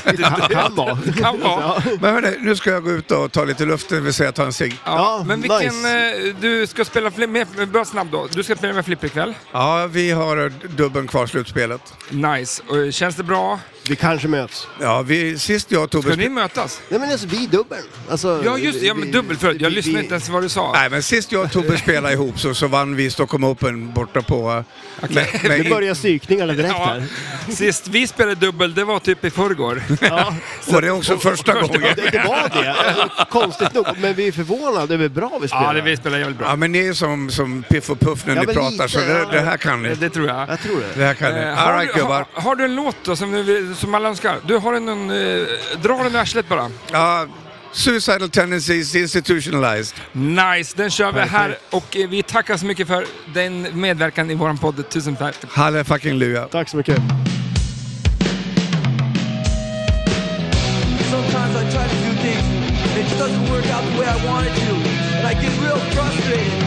[SPEAKER 1] Det kan vara.
[SPEAKER 2] Det [laughs] kan vara.
[SPEAKER 1] Ja,
[SPEAKER 8] Men hörni, nu ska jag gå ut och ta lite luft, det vill säga ta en cigg.
[SPEAKER 2] Ja,
[SPEAKER 1] Ja,
[SPEAKER 2] men vilken...
[SPEAKER 1] nice.
[SPEAKER 2] eh, Du ska spela fli- med... Bra snabb då. Du ska spela med Flipper ikväll.
[SPEAKER 8] Ja, vi har dubben kvar slutspelet.
[SPEAKER 2] Nice. Och, eh, Känns det bra?
[SPEAKER 1] vi kanske möts.
[SPEAKER 8] Ja, vi, sist jag och Tobbe...
[SPEAKER 2] Ska
[SPEAKER 8] spe-
[SPEAKER 2] ni mötas?
[SPEAKER 1] Nej men alltså vi är dubbeln. Alltså,
[SPEAKER 2] Ja, just det. Ja,
[SPEAKER 1] vi-
[SPEAKER 2] men dubbel förut. Jag
[SPEAKER 1] vi-
[SPEAKER 2] lyssnade
[SPEAKER 1] vi-
[SPEAKER 2] inte ens vad du sa.
[SPEAKER 8] Nej, men sist jag och Tobbe spelade ihop så, så vann vi Stockholm Open borta på... eh, med- med-
[SPEAKER 1] Nu börjar psykningarna direkt
[SPEAKER 2] Ja,
[SPEAKER 1] här.
[SPEAKER 2] sist vi spelade dubbel, det var typ i förrgår. [laughs]
[SPEAKER 1] Ja.
[SPEAKER 8] och det är också första
[SPEAKER 1] [laughs]
[SPEAKER 8] gången.
[SPEAKER 1] Det, det var det. Alltså,
[SPEAKER 2] [laughs]
[SPEAKER 1] Konstigt nog. Men vi är förvånade över hur bra vi spelar.
[SPEAKER 2] Ja, det vi spelade jävligt bra.
[SPEAKER 8] Ja, men ni är som, som Piff och Puff när
[SPEAKER 1] Ja,
[SPEAKER 8] ni
[SPEAKER 1] men
[SPEAKER 8] pratar,
[SPEAKER 1] lite,
[SPEAKER 8] så det,
[SPEAKER 1] ja.
[SPEAKER 8] det här kan ni.
[SPEAKER 2] Eh, Det tror jag.
[SPEAKER 1] Jag tror det.
[SPEAKER 8] Det här kan ni.
[SPEAKER 2] Eh,
[SPEAKER 8] All
[SPEAKER 2] har,
[SPEAKER 8] right,
[SPEAKER 2] du, har,
[SPEAKER 8] gubbar.
[SPEAKER 2] har du en låt då som, du, vill- som alla önskar? Du har en... eh, dra den i arslet bara.
[SPEAKER 8] Ja, suicidal tendencies institutionalized.
[SPEAKER 2] Nice, den kör vi här. Och eh, vi tackar så mycket för din medverkan i vår podd. Tusen tack.
[SPEAKER 8] Halle fucking luja.
[SPEAKER 1] Tack så mycket.
[SPEAKER 9] Sometimes I try to do things and it doesn't work out the way I want it to. And I get real frustrated.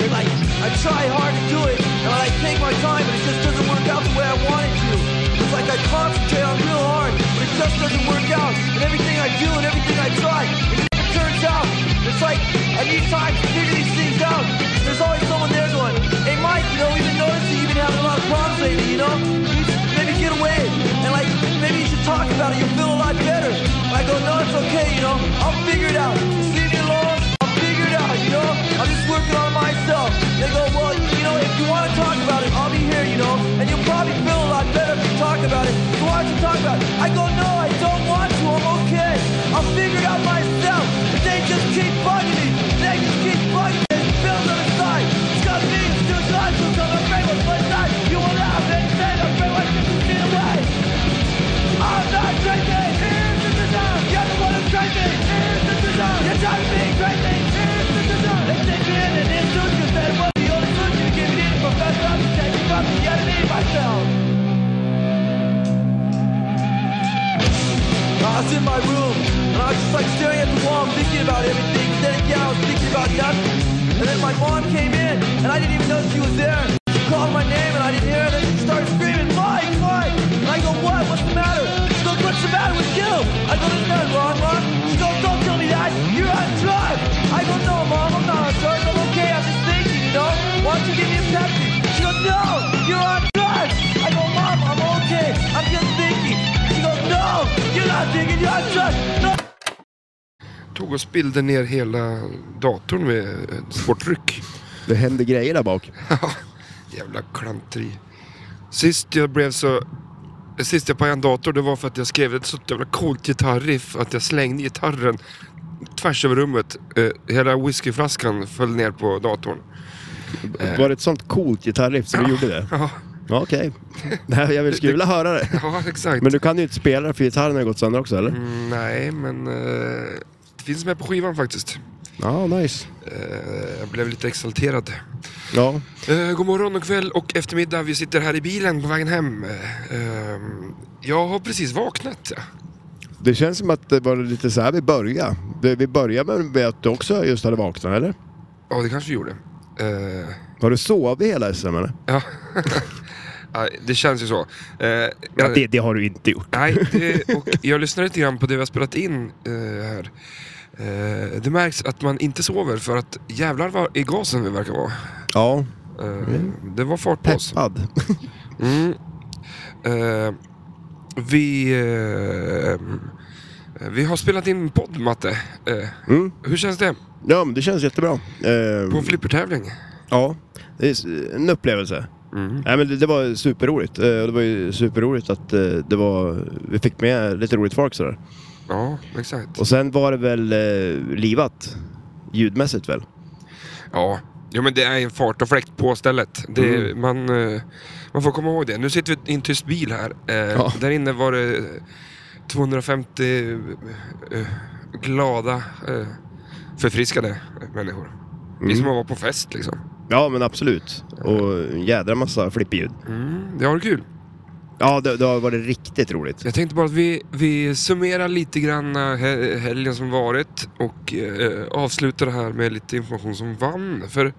[SPEAKER 9] And like I try hard to do it and I take my time and it just doesn't work out the way I want it to. It's like I concentrate on real hard, but it just doesn't work out. And everything I do and everything I try, it never turns out. It's like I need time to figure these things out. There's always someone there going, Hey Mike, you know, we've been noticing you've been having a lot of problems lately, you know? You should Maybe get away and like maybe you should talk about it, you'll feel a lot better. And I go, no, it's okay, you know, I'll figure it out. Just leave me alone, I'll figure it out, you know. I'm just working on myself. They go, well, you know, if you want to talk about it, I'll be here, you know, and you'll probably feel a lot better if you talk about it. You want to talk about it? I go, no, I don't want to, I'm okay. I'll figure it out myself. But they just keep bugging me. They just keep bugging me. It builds on the side. It's got me, it's just life, it's got my brain, what's my side? You will laugh and say, I'm afraid I can feel away. I'm not crazy. Here's the design. You're the one who's crazy. Here's the design. You're trying to be crazy. Here's the design. They take me in and introduce me. They want the only solution to give it in. Professor, I'm taking from the enemy myself. I was in my room and I was just like staring at the wall and thinking about everything. Then again, I was thinking about nothing. And then my mom came in and I didn't even know she was there. She called my name and I didn't hear her. Then she started screaming, Mike, Mike. And I go, what? What's the matter? She goes, what's the matter with you? I go, there's nothing wrong, Mom. She goes, don't tell me that. You're on drugs. I go, no, Mom, I'm not on drugs. I'm okay. I'm just thinking, you know? Why don't you give me a Pepsi? She goes, no, you're on drugs. I go, Mom, I'm okay. I'm just thinking. She goes, no, you're not thinking. You're on drugs. No.
[SPEAKER 2] Tog och spillde ner hela datorn med ett svårt ryck.
[SPEAKER 1] Det händer grejer
[SPEAKER 2] [laughs]
[SPEAKER 1] där bak.
[SPEAKER 2] Jävla klanteri. Sist jag blev så... Sist jag pajade en dator, det var för att jag skrev ett så jävla coolt gitarriff att jag slängde gitarren tvärs över rummet. Eh, hela whiskyflaskan föll ner på datorn.
[SPEAKER 1] Var det ett sånt coolt gitarriff som du gjorde det?
[SPEAKER 2] Ja,
[SPEAKER 1] Ja, Okej. Nej, [laughs] Jag vill- skulle vilja höra det.
[SPEAKER 2] [laughs] ja exakt.
[SPEAKER 1] Men du kan ju inte spela det för gitarren har gått sönder också eller?
[SPEAKER 2] Mm, Nej, men... Eh, det finns med på skivan faktiskt.
[SPEAKER 1] Ja, nice.
[SPEAKER 2] Eh, jag blev lite exalterad.
[SPEAKER 1] Ja.
[SPEAKER 2] Eh, god morgon och kväll och eftermiddag. Vi sitter här i bilen på vägen hem. Eh, ehm, jag har precis vaknat. ja.
[SPEAKER 1] Det känns som att det var lite så här vi började. Det- Vi började med- med att du också just hade vaknat eller?
[SPEAKER 2] Ja, det kanske vi gjorde. Eh,
[SPEAKER 1] Har du sovit hela SM eller?
[SPEAKER 2] ja. Ja, det känns ju så. Eh,
[SPEAKER 10] Ja,
[SPEAKER 2] jag-
[SPEAKER 10] det, det har du inte gjort.
[SPEAKER 2] Nej, det, och jag lyssnar lite grann på det vi har spelat in eh, här. Eh, det märks att man inte sover för att jävlar vad i gasen vi verkar vara.
[SPEAKER 1] Ja,
[SPEAKER 2] Eh,
[SPEAKER 10] Mm.
[SPEAKER 2] Det var fart på oss.
[SPEAKER 1] peppad.
[SPEAKER 2] [laughs] Mm. Eh, vi, eh, vi har spelat in en podd, Matte. Eh,
[SPEAKER 1] Mm.
[SPEAKER 2] Hur känns det?
[SPEAKER 1] Ja, men det känns jättebra. Eh,
[SPEAKER 2] På en flippertävling?
[SPEAKER 1] ja, det är s- en upplevelse.
[SPEAKER 2] Mm.
[SPEAKER 1] Nej, men det, det var superroligt. Eh, och det var ju superroligt att eh, det var, vi fick med lite roligt folk sådär.
[SPEAKER 2] Ja, exakt.
[SPEAKER 1] Och sen var det väl eh, livat. Ljudmässigt väl?
[SPEAKER 2] Ja. Jo men det är en fart och fläkt på stället. Det, man, eh, man får komma ihåg det. Nu sitter vi i en tyst bil här. Eh,
[SPEAKER 1] Ja.
[SPEAKER 2] Där inne var det 250 eh, glada, eh, förfriskade människor. Vi som var på fest liksom.
[SPEAKER 1] Mm. Ja, men absolut. Och en jädra massa flippljud.
[SPEAKER 2] Mm, det har varit kul.
[SPEAKER 1] Ja, det, det har varit riktigt roligt.
[SPEAKER 2] Jag tänkte bara att vi, vi summerar lite grann eh, he- helgen som varit och eh, avslutar det här med lite information som vann. För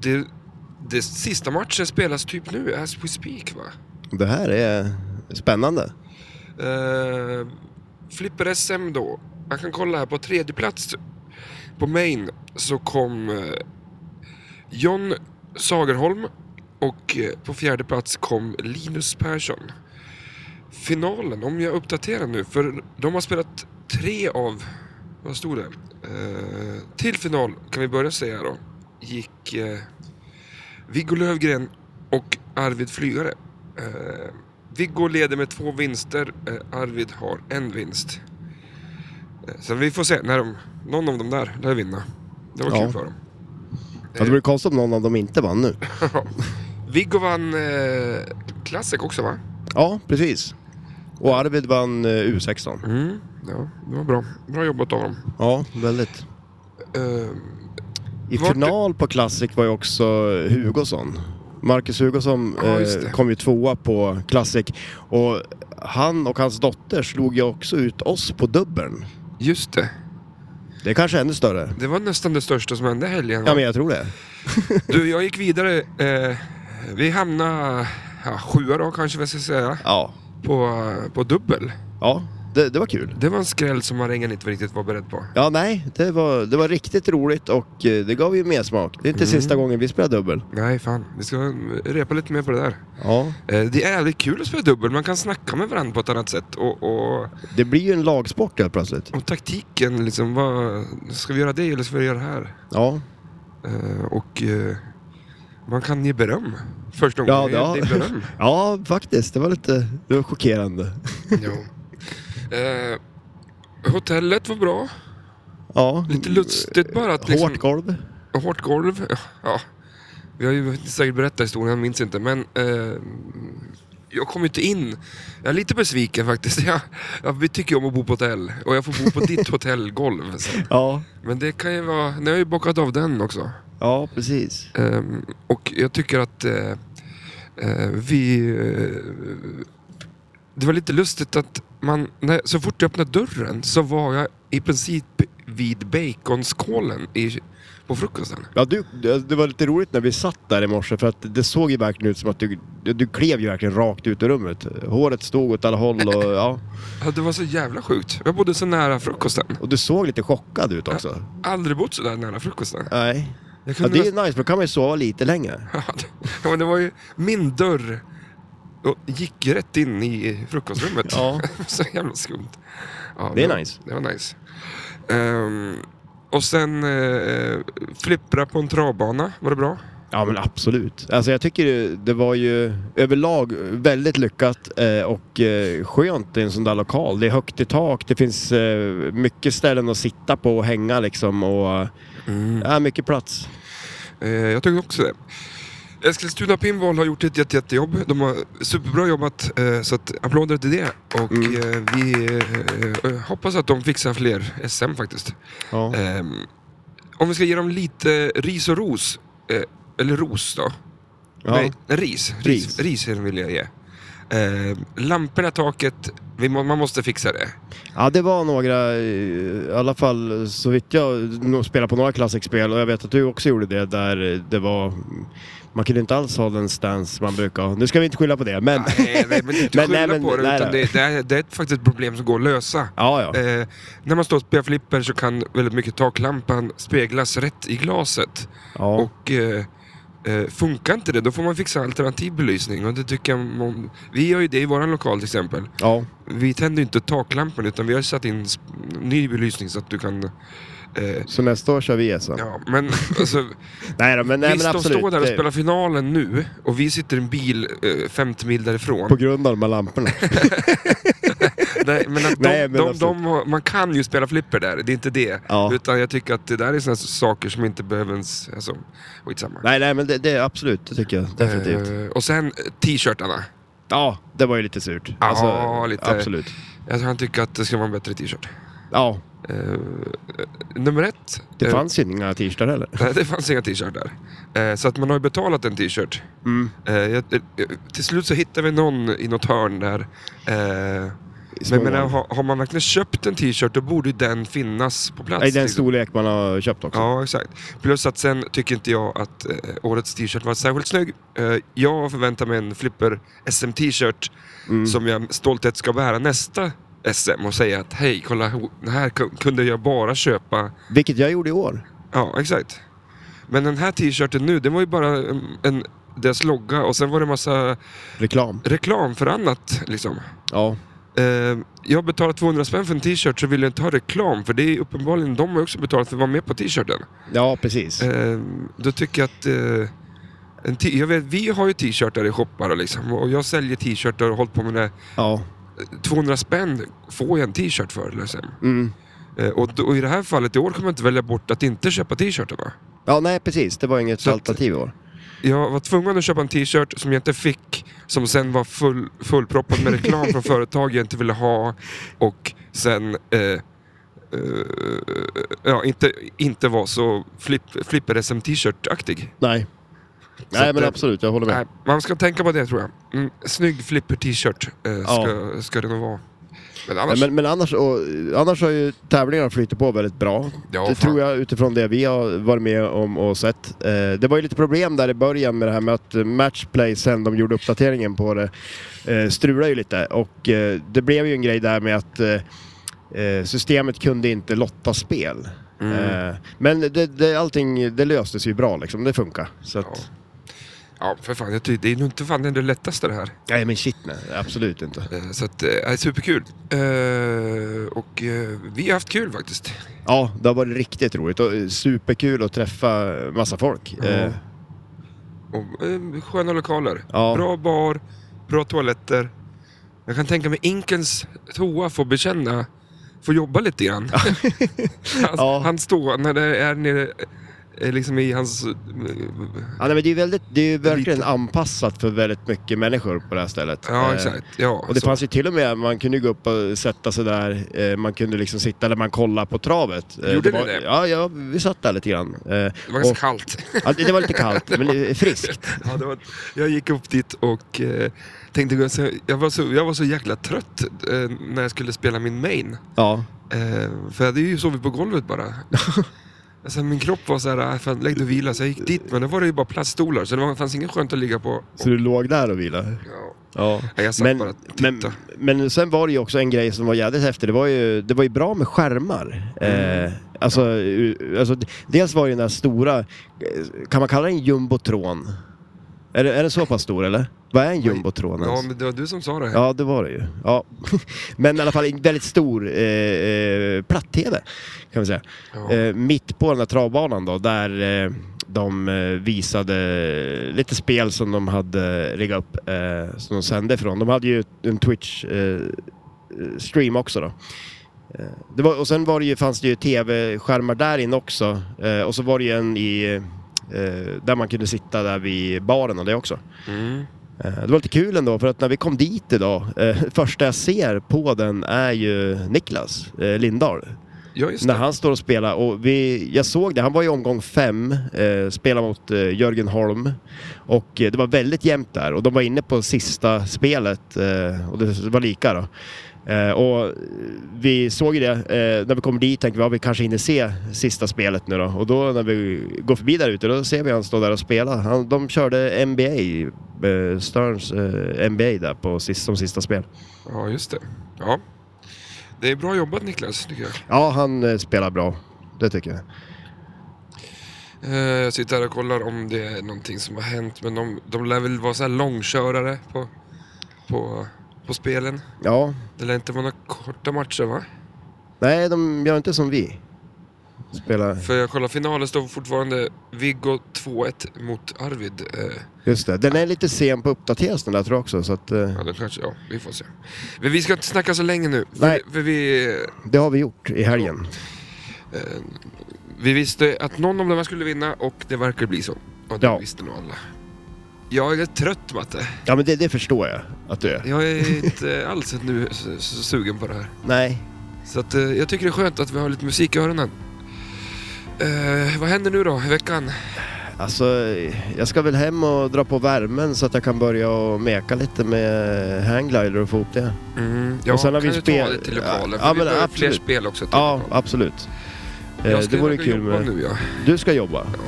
[SPEAKER 2] det, det sista matchen spelas typ nu, as we speak va?
[SPEAKER 1] Det här är spännande.
[SPEAKER 2] Eh, Flipper-SM då. Man kan kolla här på tredje plats på main så kom eh, John Sagerholm och eh, på fjärde plats kom Linus Persson. Finalen, om jag uppdaterar nu, för de har spelat tre av, vad stod det? Eh, till final kan vi börja säga då, gick eh, Viggo Lövgren och Arvid Flygare. Eh, Viggo leder med två vinster. Eh, Arvid har en vinst. Eh, sen vi får se när de, någon av dem där lär vinna. Det var
[SPEAKER 1] Ja.
[SPEAKER 2] kul för dem.
[SPEAKER 1] Ja, det vore konstigt om någon av dem inte vann nu.
[SPEAKER 2] [laughs] Viggo vann eh, Classic också va?
[SPEAKER 1] Ja, precis. Och Arvid vann eh, U16.
[SPEAKER 2] Mm. Ja, det var bra. Bra jobbat av dem.
[SPEAKER 1] Ja, väldigt.
[SPEAKER 2] Eh,
[SPEAKER 1] I
[SPEAKER 2] Vart-
[SPEAKER 1] final på Classic var ju också Hugosson. Marcus Hugosson
[SPEAKER 2] Ja, just det.
[SPEAKER 1] eh, kom ju tvåa på Classic. Och han och hans dotter slog ju också ut oss på dubbeln.
[SPEAKER 2] just det.
[SPEAKER 1] Det är kanske ännu större.
[SPEAKER 2] Det var nästan det största som hände helgen. va?
[SPEAKER 1] Ja, men jag tror det.
[SPEAKER 2] Du, jag gick vidare. Eh, vi hamnade ja, sjua då kanske vad jag ska säga.
[SPEAKER 1] Ja,
[SPEAKER 2] På, på dubbel.
[SPEAKER 1] ja det, det var kul.
[SPEAKER 2] Det var en skräll som marängen inte riktigt var beredd på.
[SPEAKER 1] Ja, nej, det var, det var riktigt roligt och eh, det gav ju mer smak. Det är inte sista gången vi spelar dubbel.
[SPEAKER 2] Mm. Nej, fan. Vi ska repa lite mer på det där.
[SPEAKER 1] Ja.
[SPEAKER 2] Eh, Det är jävligt kul att spela dubbel. Man kan snacka med varandra på ett annat sätt. Och, och,
[SPEAKER 1] Det blir ju en lagsport helt plötsligt.
[SPEAKER 2] och taktiken liksom. Vad, ska vi göra det eller ska vi göra det här?
[SPEAKER 1] Ja,
[SPEAKER 2] Eh, Och eh, man kan ge beröm. Första
[SPEAKER 1] Ja,
[SPEAKER 2] gången jag
[SPEAKER 1] ja.
[SPEAKER 2] ger beröm.
[SPEAKER 1] [laughs] ja faktiskt. Det var lite det var chockerande.
[SPEAKER 2] jo. Eh, Hotellet var bra.
[SPEAKER 1] Ja.
[SPEAKER 2] Lite lustigt bara att liksom...
[SPEAKER 1] Hårt golv.
[SPEAKER 2] Hårt golv. Ja. Vi har ju säkert berättat historien, jag minns inte. Men eh, jag kom ju inte in. Jag är lite besviken faktiskt. [laughs] Jag, jag, vi tycker ju om att bo på hotell. Och jag får bo på
[SPEAKER 1] [laughs]
[SPEAKER 2] ditt hotellgolv. Så.
[SPEAKER 1] Ja,
[SPEAKER 2] Men det kan ju vara... Nu har jag ju bockat av den också.
[SPEAKER 1] ja precis.
[SPEAKER 2] Ehm, och jag tycker att eh, eh, vi... Eh, det var lite lustigt att man... När, så fort jag öppnade dörren så var jag i princip vid baconskålen i, på frukosten.
[SPEAKER 1] Ja, du, det det var lite roligt när vi satt där i morse för att det såg ju verkligen ut som att du, du klev ju verkligen rakt ut ur rummet. Håret stod åt alla håll och, ja,
[SPEAKER 2] Ja, det var så jävla sjukt. [laughs] Jag bodde så nära frukosten.
[SPEAKER 1] och du såg lite chockad ut också.
[SPEAKER 2] Aldrig bott så där nära frukosten.
[SPEAKER 1] Nej.
[SPEAKER 2] Jag
[SPEAKER 1] Ja,
[SPEAKER 2] kunde
[SPEAKER 1] det är nice, för då kan man ju sova lite längre.
[SPEAKER 2] nästan- [laughs] ja, men det var ju min dörr. Och gick rätt in i frukostrummet.
[SPEAKER 1] Ja.
[SPEAKER 2] [laughs] så jävla skumt. Ja,
[SPEAKER 1] Det är
[SPEAKER 2] men-
[SPEAKER 1] nice.
[SPEAKER 2] Det var nice. Ehm, och sen uh, flippra på en travbana. Var det bra?
[SPEAKER 1] Ja men absolut. Alltså jag tycker det- det var ju överlag väldigt lyckat eh, och eh, skönt i en sån där lokal. Det är högt i tak, det finns eh, mycket ställen att sitta på och hänga liksom och
[SPEAKER 2] Mm.
[SPEAKER 1] ja, mycket plats.
[SPEAKER 2] Eh, jag tycker också det. Eskilstuna Pinball har gjort ett jätte, jättejobb. De har superbra jobbat, eh, så att applåder till det. Och
[SPEAKER 1] Mm.
[SPEAKER 2] eh, vi eh, eh, hoppas att de fixar fler SM faktiskt.
[SPEAKER 1] Ja.
[SPEAKER 2] Ehm, om vi ska ge dem lite ris och ros. Eh, eller ros då.
[SPEAKER 1] Ja.
[SPEAKER 2] Nej, ris. Ris,
[SPEAKER 1] Ris.
[SPEAKER 2] ris vill jag ge. Ehm, lamporna, taket. Vi må, man måste fixa det.
[SPEAKER 1] ja det var några, eh, i alla fall så vitt jag nog spelar på några klassikspel och jag vet att du också gjorde det där eh, det var man kunde inte alls ha den stance man brukar ha. Nu ska vi inte skylla på det, men...
[SPEAKER 2] Nej, nej, men inte
[SPEAKER 1] [laughs] Men-
[SPEAKER 2] skylla
[SPEAKER 1] nej, men-
[SPEAKER 2] på det,
[SPEAKER 1] nej,
[SPEAKER 2] utan
[SPEAKER 1] nej.
[SPEAKER 2] det, det, är, det är faktiskt ett problem som går att lösa.
[SPEAKER 1] Ja, ja.
[SPEAKER 2] Eh, när man står och spelar flipper så kan väldigt mycket taklampan speglas rätt i glaset.
[SPEAKER 1] Ja.
[SPEAKER 2] Och eh, eh, funkar inte det, då får man fixa alternativ belysning. Och det tycker jag, man, vi gör ju det i vår lokal till exempel.
[SPEAKER 1] ja.
[SPEAKER 2] Vi tänder ju inte taklampan utan vi har ju satt in sp- ny belysning så att du kan... Eh,
[SPEAKER 1] Så nästa år kör vi ESA.
[SPEAKER 2] ja, men alltså...
[SPEAKER 1] [laughs] Nej, då, men, nej,
[SPEAKER 2] visst,
[SPEAKER 1] men
[SPEAKER 2] de
[SPEAKER 1] absolut.
[SPEAKER 2] står där och
[SPEAKER 1] Det-
[SPEAKER 2] spelar finalen nu och vi sitter i en bil eh, 50 mil därifrån.
[SPEAKER 1] På grund av de här lamporna.
[SPEAKER 2] [laughs] Nej, men att de,
[SPEAKER 1] Nej, men
[SPEAKER 2] de,
[SPEAKER 1] absolut.
[SPEAKER 2] de, har- man kan ju spela flipper där, det är inte det.
[SPEAKER 1] Ja.
[SPEAKER 2] Utan jag tycker att det där är såna saker som inte behöver ens... Alltså, skitsamma.
[SPEAKER 1] nej, nej, men det, det är absolut, det tycker jag definitivt.
[SPEAKER 2] Eh, och sen eh, t-shirtarna.
[SPEAKER 1] Ja, det var ju lite surt. Alltså,
[SPEAKER 2] Ja, lite.
[SPEAKER 1] Absolut.
[SPEAKER 2] Jag kan tycka att det ska vara en bättre t-shirt.
[SPEAKER 1] Ja,
[SPEAKER 2] Eh, eh, nummer ett.
[SPEAKER 1] det
[SPEAKER 2] eh,
[SPEAKER 1] fanns ju inga t-shirtar heller.
[SPEAKER 2] Nej, det fanns inga t-shirtar. Eh, så att man har ju betalat en t-shirt.
[SPEAKER 1] Mm.
[SPEAKER 2] Eh, jag, eh, till slut så hittar vi någon i något hörn där. Eh, men men har, har man verkligen köpt en t-shirt då borde ju den finnas på plats.
[SPEAKER 1] I den
[SPEAKER 2] liksom.
[SPEAKER 1] storlek man har köpt också.
[SPEAKER 2] Ja, exakt. Plus att sen tycker inte jag att eh, årets t-shirt var särskilt snygg. Eh, jag förväntar mig en Flipper SM-t-shirt
[SPEAKER 1] Mm.
[SPEAKER 2] som jag med stolthet ska bära nästa SM och säga att hej, kolla, ho- den här ku- kunde jag bara köpa.
[SPEAKER 1] Vilket jag gjorde i år.
[SPEAKER 2] Ja, exakt. Men den här t-shirten nu, den var ju bara en, en, deras logga och sen var det massa
[SPEAKER 1] Reklam.
[SPEAKER 2] reklam för annat liksom.
[SPEAKER 1] Ja.
[SPEAKER 2] Eh, jag betalar 200 spänn för en t-shirt så vill jag inte ha reklam för det är uppenbarligen de har också betalat för att vara med på t-shirten.
[SPEAKER 1] Ja, precis.
[SPEAKER 2] Eh, då tycker jag att... Eh, en t- jag vet, vi har ju t-shirtar i shoppar och liksom, och jag säljer t-shirtar och har hållit på med det.
[SPEAKER 1] Ja.
[SPEAKER 2] 200 spänn får jag en t-shirt för. Liksom.
[SPEAKER 1] Mm.
[SPEAKER 2] Eh, och, då- och i det här fallet i år kommer jag inte välja bort att inte köpa t-shirtarna.
[SPEAKER 1] Ja, nej precis. Det var inget
[SPEAKER 2] Så att-
[SPEAKER 1] alternativ i år.
[SPEAKER 2] Jag var tvungen att köpa en t-shirt som jag inte fick, som sen var full, fullproppad med reklam
[SPEAKER 1] [laughs]
[SPEAKER 2] från företag jag inte ville ha och sen eh, eh, ja, inte, inte var så flip, flipper-SM-t-shirt-aktig.
[SPEAKER 1] Nej.
[SPEAKER 2] att
[SPEAKER 1] Nej, men
[SPEAKER 2] det-
[SPEAKER 1] absolut. Jag håller med.
[SPEAKER 2] Nej, man ska tänka på det tror jag. Mm, snygg flipper t-shirt eh, ska, ska det nog vara. Men annars,
[SPEAKER 1] Nej, Men, men annars, och, annars har ju tävlingarna flyttat på väldigt bra.
[SPEAKER 2] Ja,
[SPEAKER 1] det
[SPEAKER 2] fan.
[SPEAKER 1] tror jag utifrån det vi har varit med om och sett. Eh, det var ju lite problem där i början med det här med att eh, matchplay sen de gjorde uppdateringen på det eh, strulade ju lite och eh, det blev ju en grej där med att eh, eh, systemet kunde inte lotta spel.
[SPEAKER 2] Mm.
[SPEAKER 1] Eh, men det, det, allting det löstes ju bra liksom, det funkar. Så att,
[SPEAKER 2] Ja. ja, för fan, jag tycker, det är nog inte fan det lättaste det här.
[SPEAKER 1] Nej men shit nej, absolut inte.
[SPEAKER 2] Eh, så att, eh, det är superkul. Eh, och eh, vi har haft kul faktiskt.
[SPEAKER 1] Ja, det har varit riktigt roligt och eh, superkul att träffa massa folk. Eh,
[SPEAKER 2] Och, eh, sköna lokaler.
[SPEAKER 1] Ja.
[SPEAKER 2] Bra bar, bra toaletter. Jag kan tänka mig Inkens toa får bekänna, får jobba lite grann. [laughs] han,
[SPEAKER 1] Ja.
[SPEAKER 2] han står när det är nere, eh, liksom i hans... eh,
[SPEAKER 1] Ja, nej, men det är ju väldigt, det är ju verkligen
[SPEAKER 2] Lite.
[SPEAKER 1] anpassat för väldigt mycket människor på det här stället.
[SPEAKER 2] Ja,
[SPEAKER 1] Eh,
[SPEAKER 2] exakt. Ja,
[SPEAKER 1] Och det
[SPEAKER 2] så.
[SPEAKER 1] fanns ju till och med, man kunde ju gå upp och sätta sig där, eh, man kunde liksom sitta där man kollade på travet. Eh,
[SPEAKER 2] Gjorde
[SPEAKER 1] det var,
[SPEAKER 2] ni det?
[SPEAKER 1] Ja, ja, vi satt där lite grann. Eh,
[SPEAKER 2] Det var ganska
[SPEAKER 1] och,
[SPEAKER 2] kallt.
[SPEAKER 1] ja, det det var lite kallt, men
[SPEAKER 2] [laughs]
[SPEAKER 1] eh, friskt.
[SPEAKER 2] Ja, det var, jag gick upp dit och eh, tänkte, gå och se- jag var, så, jag var så jäkla trött eh, när jag skulle spela min main.
[SPEAKER 1] Ja,
[SPEAKER 2] Eh, för jag hade ju sovit på golvet
[SPEAKER 1] [laughs]
[SPEAKER 2] bara. alltså, min kropp var så här, "Ah, fan, lägg dig och vila. Så jag gick dit, men då var det ju bara plaststolar. Så det var, fanns inget skönt att ligga på.
[SPEAKER 1] så du låg där och vilade?
[SPEAKER 2] Ja.
[SPEAKER 1] Ja.
[SPEAKER 2] Jag satt bara och tittade.
[SPEAKER 1] men, men sen var det ju också en grej som var jävligt häftig. Det var ju, det var ju bra med skärmar.
[SPEAKER 2] Mm.
[SPEAKER 1] Eh, alltså, u- alltså, d- dels var ju den där stora, eh, kan man kalla den jumbotron? Är, det- är den så pass stor eller? Vad är en jumbotron
[SPEAKER 2] ja,
[SPEAKER 1] ens?
[SPEAKER 2] men det var du som sa det.
[SPEAKER 1] Ja, det var det ju. Ja. [laughs] Men i alla fall en väldigt stor eh, eh, platt-tv, kan vi säga.
[SPEAKER 2] Ja.
[SPEAKER 1] Eh, mitt på den här travbanan då, där eh, de eh, visade lite spel som de hade riggat upp, eh, som de sände ifrån. De hade ju en Twitch-stream också då. Eh, Det var, och sen var det ju, fanns det ju tv-skärmar där inne också. Eh, och så var det ju en i, eh, där man kunde sitta där vid baren och det också.
[SPEAKER 4] Hmm?
[SPEAKER 2] Mm.
[SPEAKER 1] Eh, Det var lite kul ändå för att när vi kom [laughs] dit idag, eh, första jag ser på den är ju Niklas eh, Lindahl.
[SPEAKER 2] Ja, just
[SPEAKER 1] när
[SPEAKER 2] det.
[SPEAKER 1] han står och spelar. Och vi, jag såg det, han var i omgång fem, eh, spelade mot eh, Jörgen Holm. Och eh, det var väldigt jämnt där och de var inne på sista spelet eh, och det var lika då. Eh, och vi såg ju det, eh, när vi kommer dit tänkte vi att vi kanske hinner se sista spelet nu då. Och då när vi går förbi där ute då ser vi han stå där och spela. Han, de körde NBA, eh, Sterns eh, NBA där på sist, som sista spel.
[SPEAKER 2] Ja, just det. Ja. Det är bra jobbat Niklas, tycker jag.
[SPEAKER 1] Ja, han eh, spelar bra. Det tycker jag.
[SPEAKER 2] Eh, Jag sitter här och kollar om det är någonting som har hänt, men de, de lär väl vara så här långkörare på, på, på spelen.
[SPEAKER 1] Ja,
[SPEAKER 2] Det lär inte vara några korta matcher va?
[SPEAKER 1] Nej, de gör inte som vi. Spelar.
[SPEAKER 2] För jag kollar, finalen står fortfarande Viggo 2-1 mot Arvid. Eh,
[SPEAKER 1] Just det. Den är lite sen på att uppdateras den där tror jag också. Så att, eh,
[SPEAKER 2] ja, det kanske, ja, vi får se. Men vi ska inte snacka så länge nu. För,
[SPEAKER 1] Nej.
[SPEAKER 2] för vi,
[SPEAKER 1] det har vi gjort i helgen.
[SPEAKER 2] eh, vi visste att någon av de här skulle vinna och det verkar bli så. Och det
[SPEAKER 1] Ja.
[SPEAKER 2] visste nog alla. Jag är trött Matte.
[SPEAKER 1] Ja, men det, det förstår jag att du är.
[SPEAKER 2] Jag är inte alls nu s- s- sugen på det här.
[SPEAKER 1] Nej.
[SPEAKER 2] Så att, eh, jag tycker det är skönt att vi har lite musik i öronen. Eh, vad händer nu då i veckan?
[SPEAKER 1] Alltså, jag ska väl hem och dra på värmen så att jag kan börja och meka lite med hangglider och få ihop det.
[SPEAKER 2] Mm, Ja,
[SPEAKER 1] Och sen har
[SPEAKER 2] kan
[SPEAKER 1] vi
[SPEAKER 2] du ta
[SPEAKER 1] spel-
[SPEAKER 2] det till lokalen?
[SPEAKER 1] Ja,
[SPEAKER 2] för
[SPEAKER 1] ja,
[SPEAKER 2] vi
[SPEAKER 1] men
[SPEAKER 2] behöver
[SPEAKER 1] absolut.
[SPEAKER 2] fler spel också. till
[SPEAKER 1] Ja,
[SPEAKER 2] lokalen.
[SPEAKER 1] absolut. Eh,
[SPEAKER 2] jag
[SPEAKER 1] det
[SPEAKER 2] skulle
[SPEAKER 1] vore
[SPEAKER 2] vilja
[SPEAKER 1] kul
[SPEAKER 2] jobba
[SPEAKER 1] med...
[SPEAKER 2] nu ja.
[SPEAKER 1] Du ska jobba?
[SPEAKER 2] ja.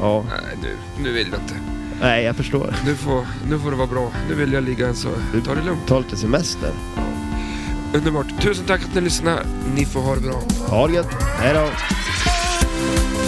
[SPEAKER 1] Ja.
[SPEAKER 2] Nej, nu, nu vill jag inte.
[SPEAKER 1] Nej, jag förstår.
[SPEAKER 2] Nu får, nu får det vara bra. Nu vill jag ligga en så. Ta det lugnt.
[SPEAKER 1] Ta lite semester.
[SPEAKER 2] Underbart. Tusen tack att ni lyssnar. Ni får ha det bra.
[SPEAKER 1] Ha det gött. Hej då.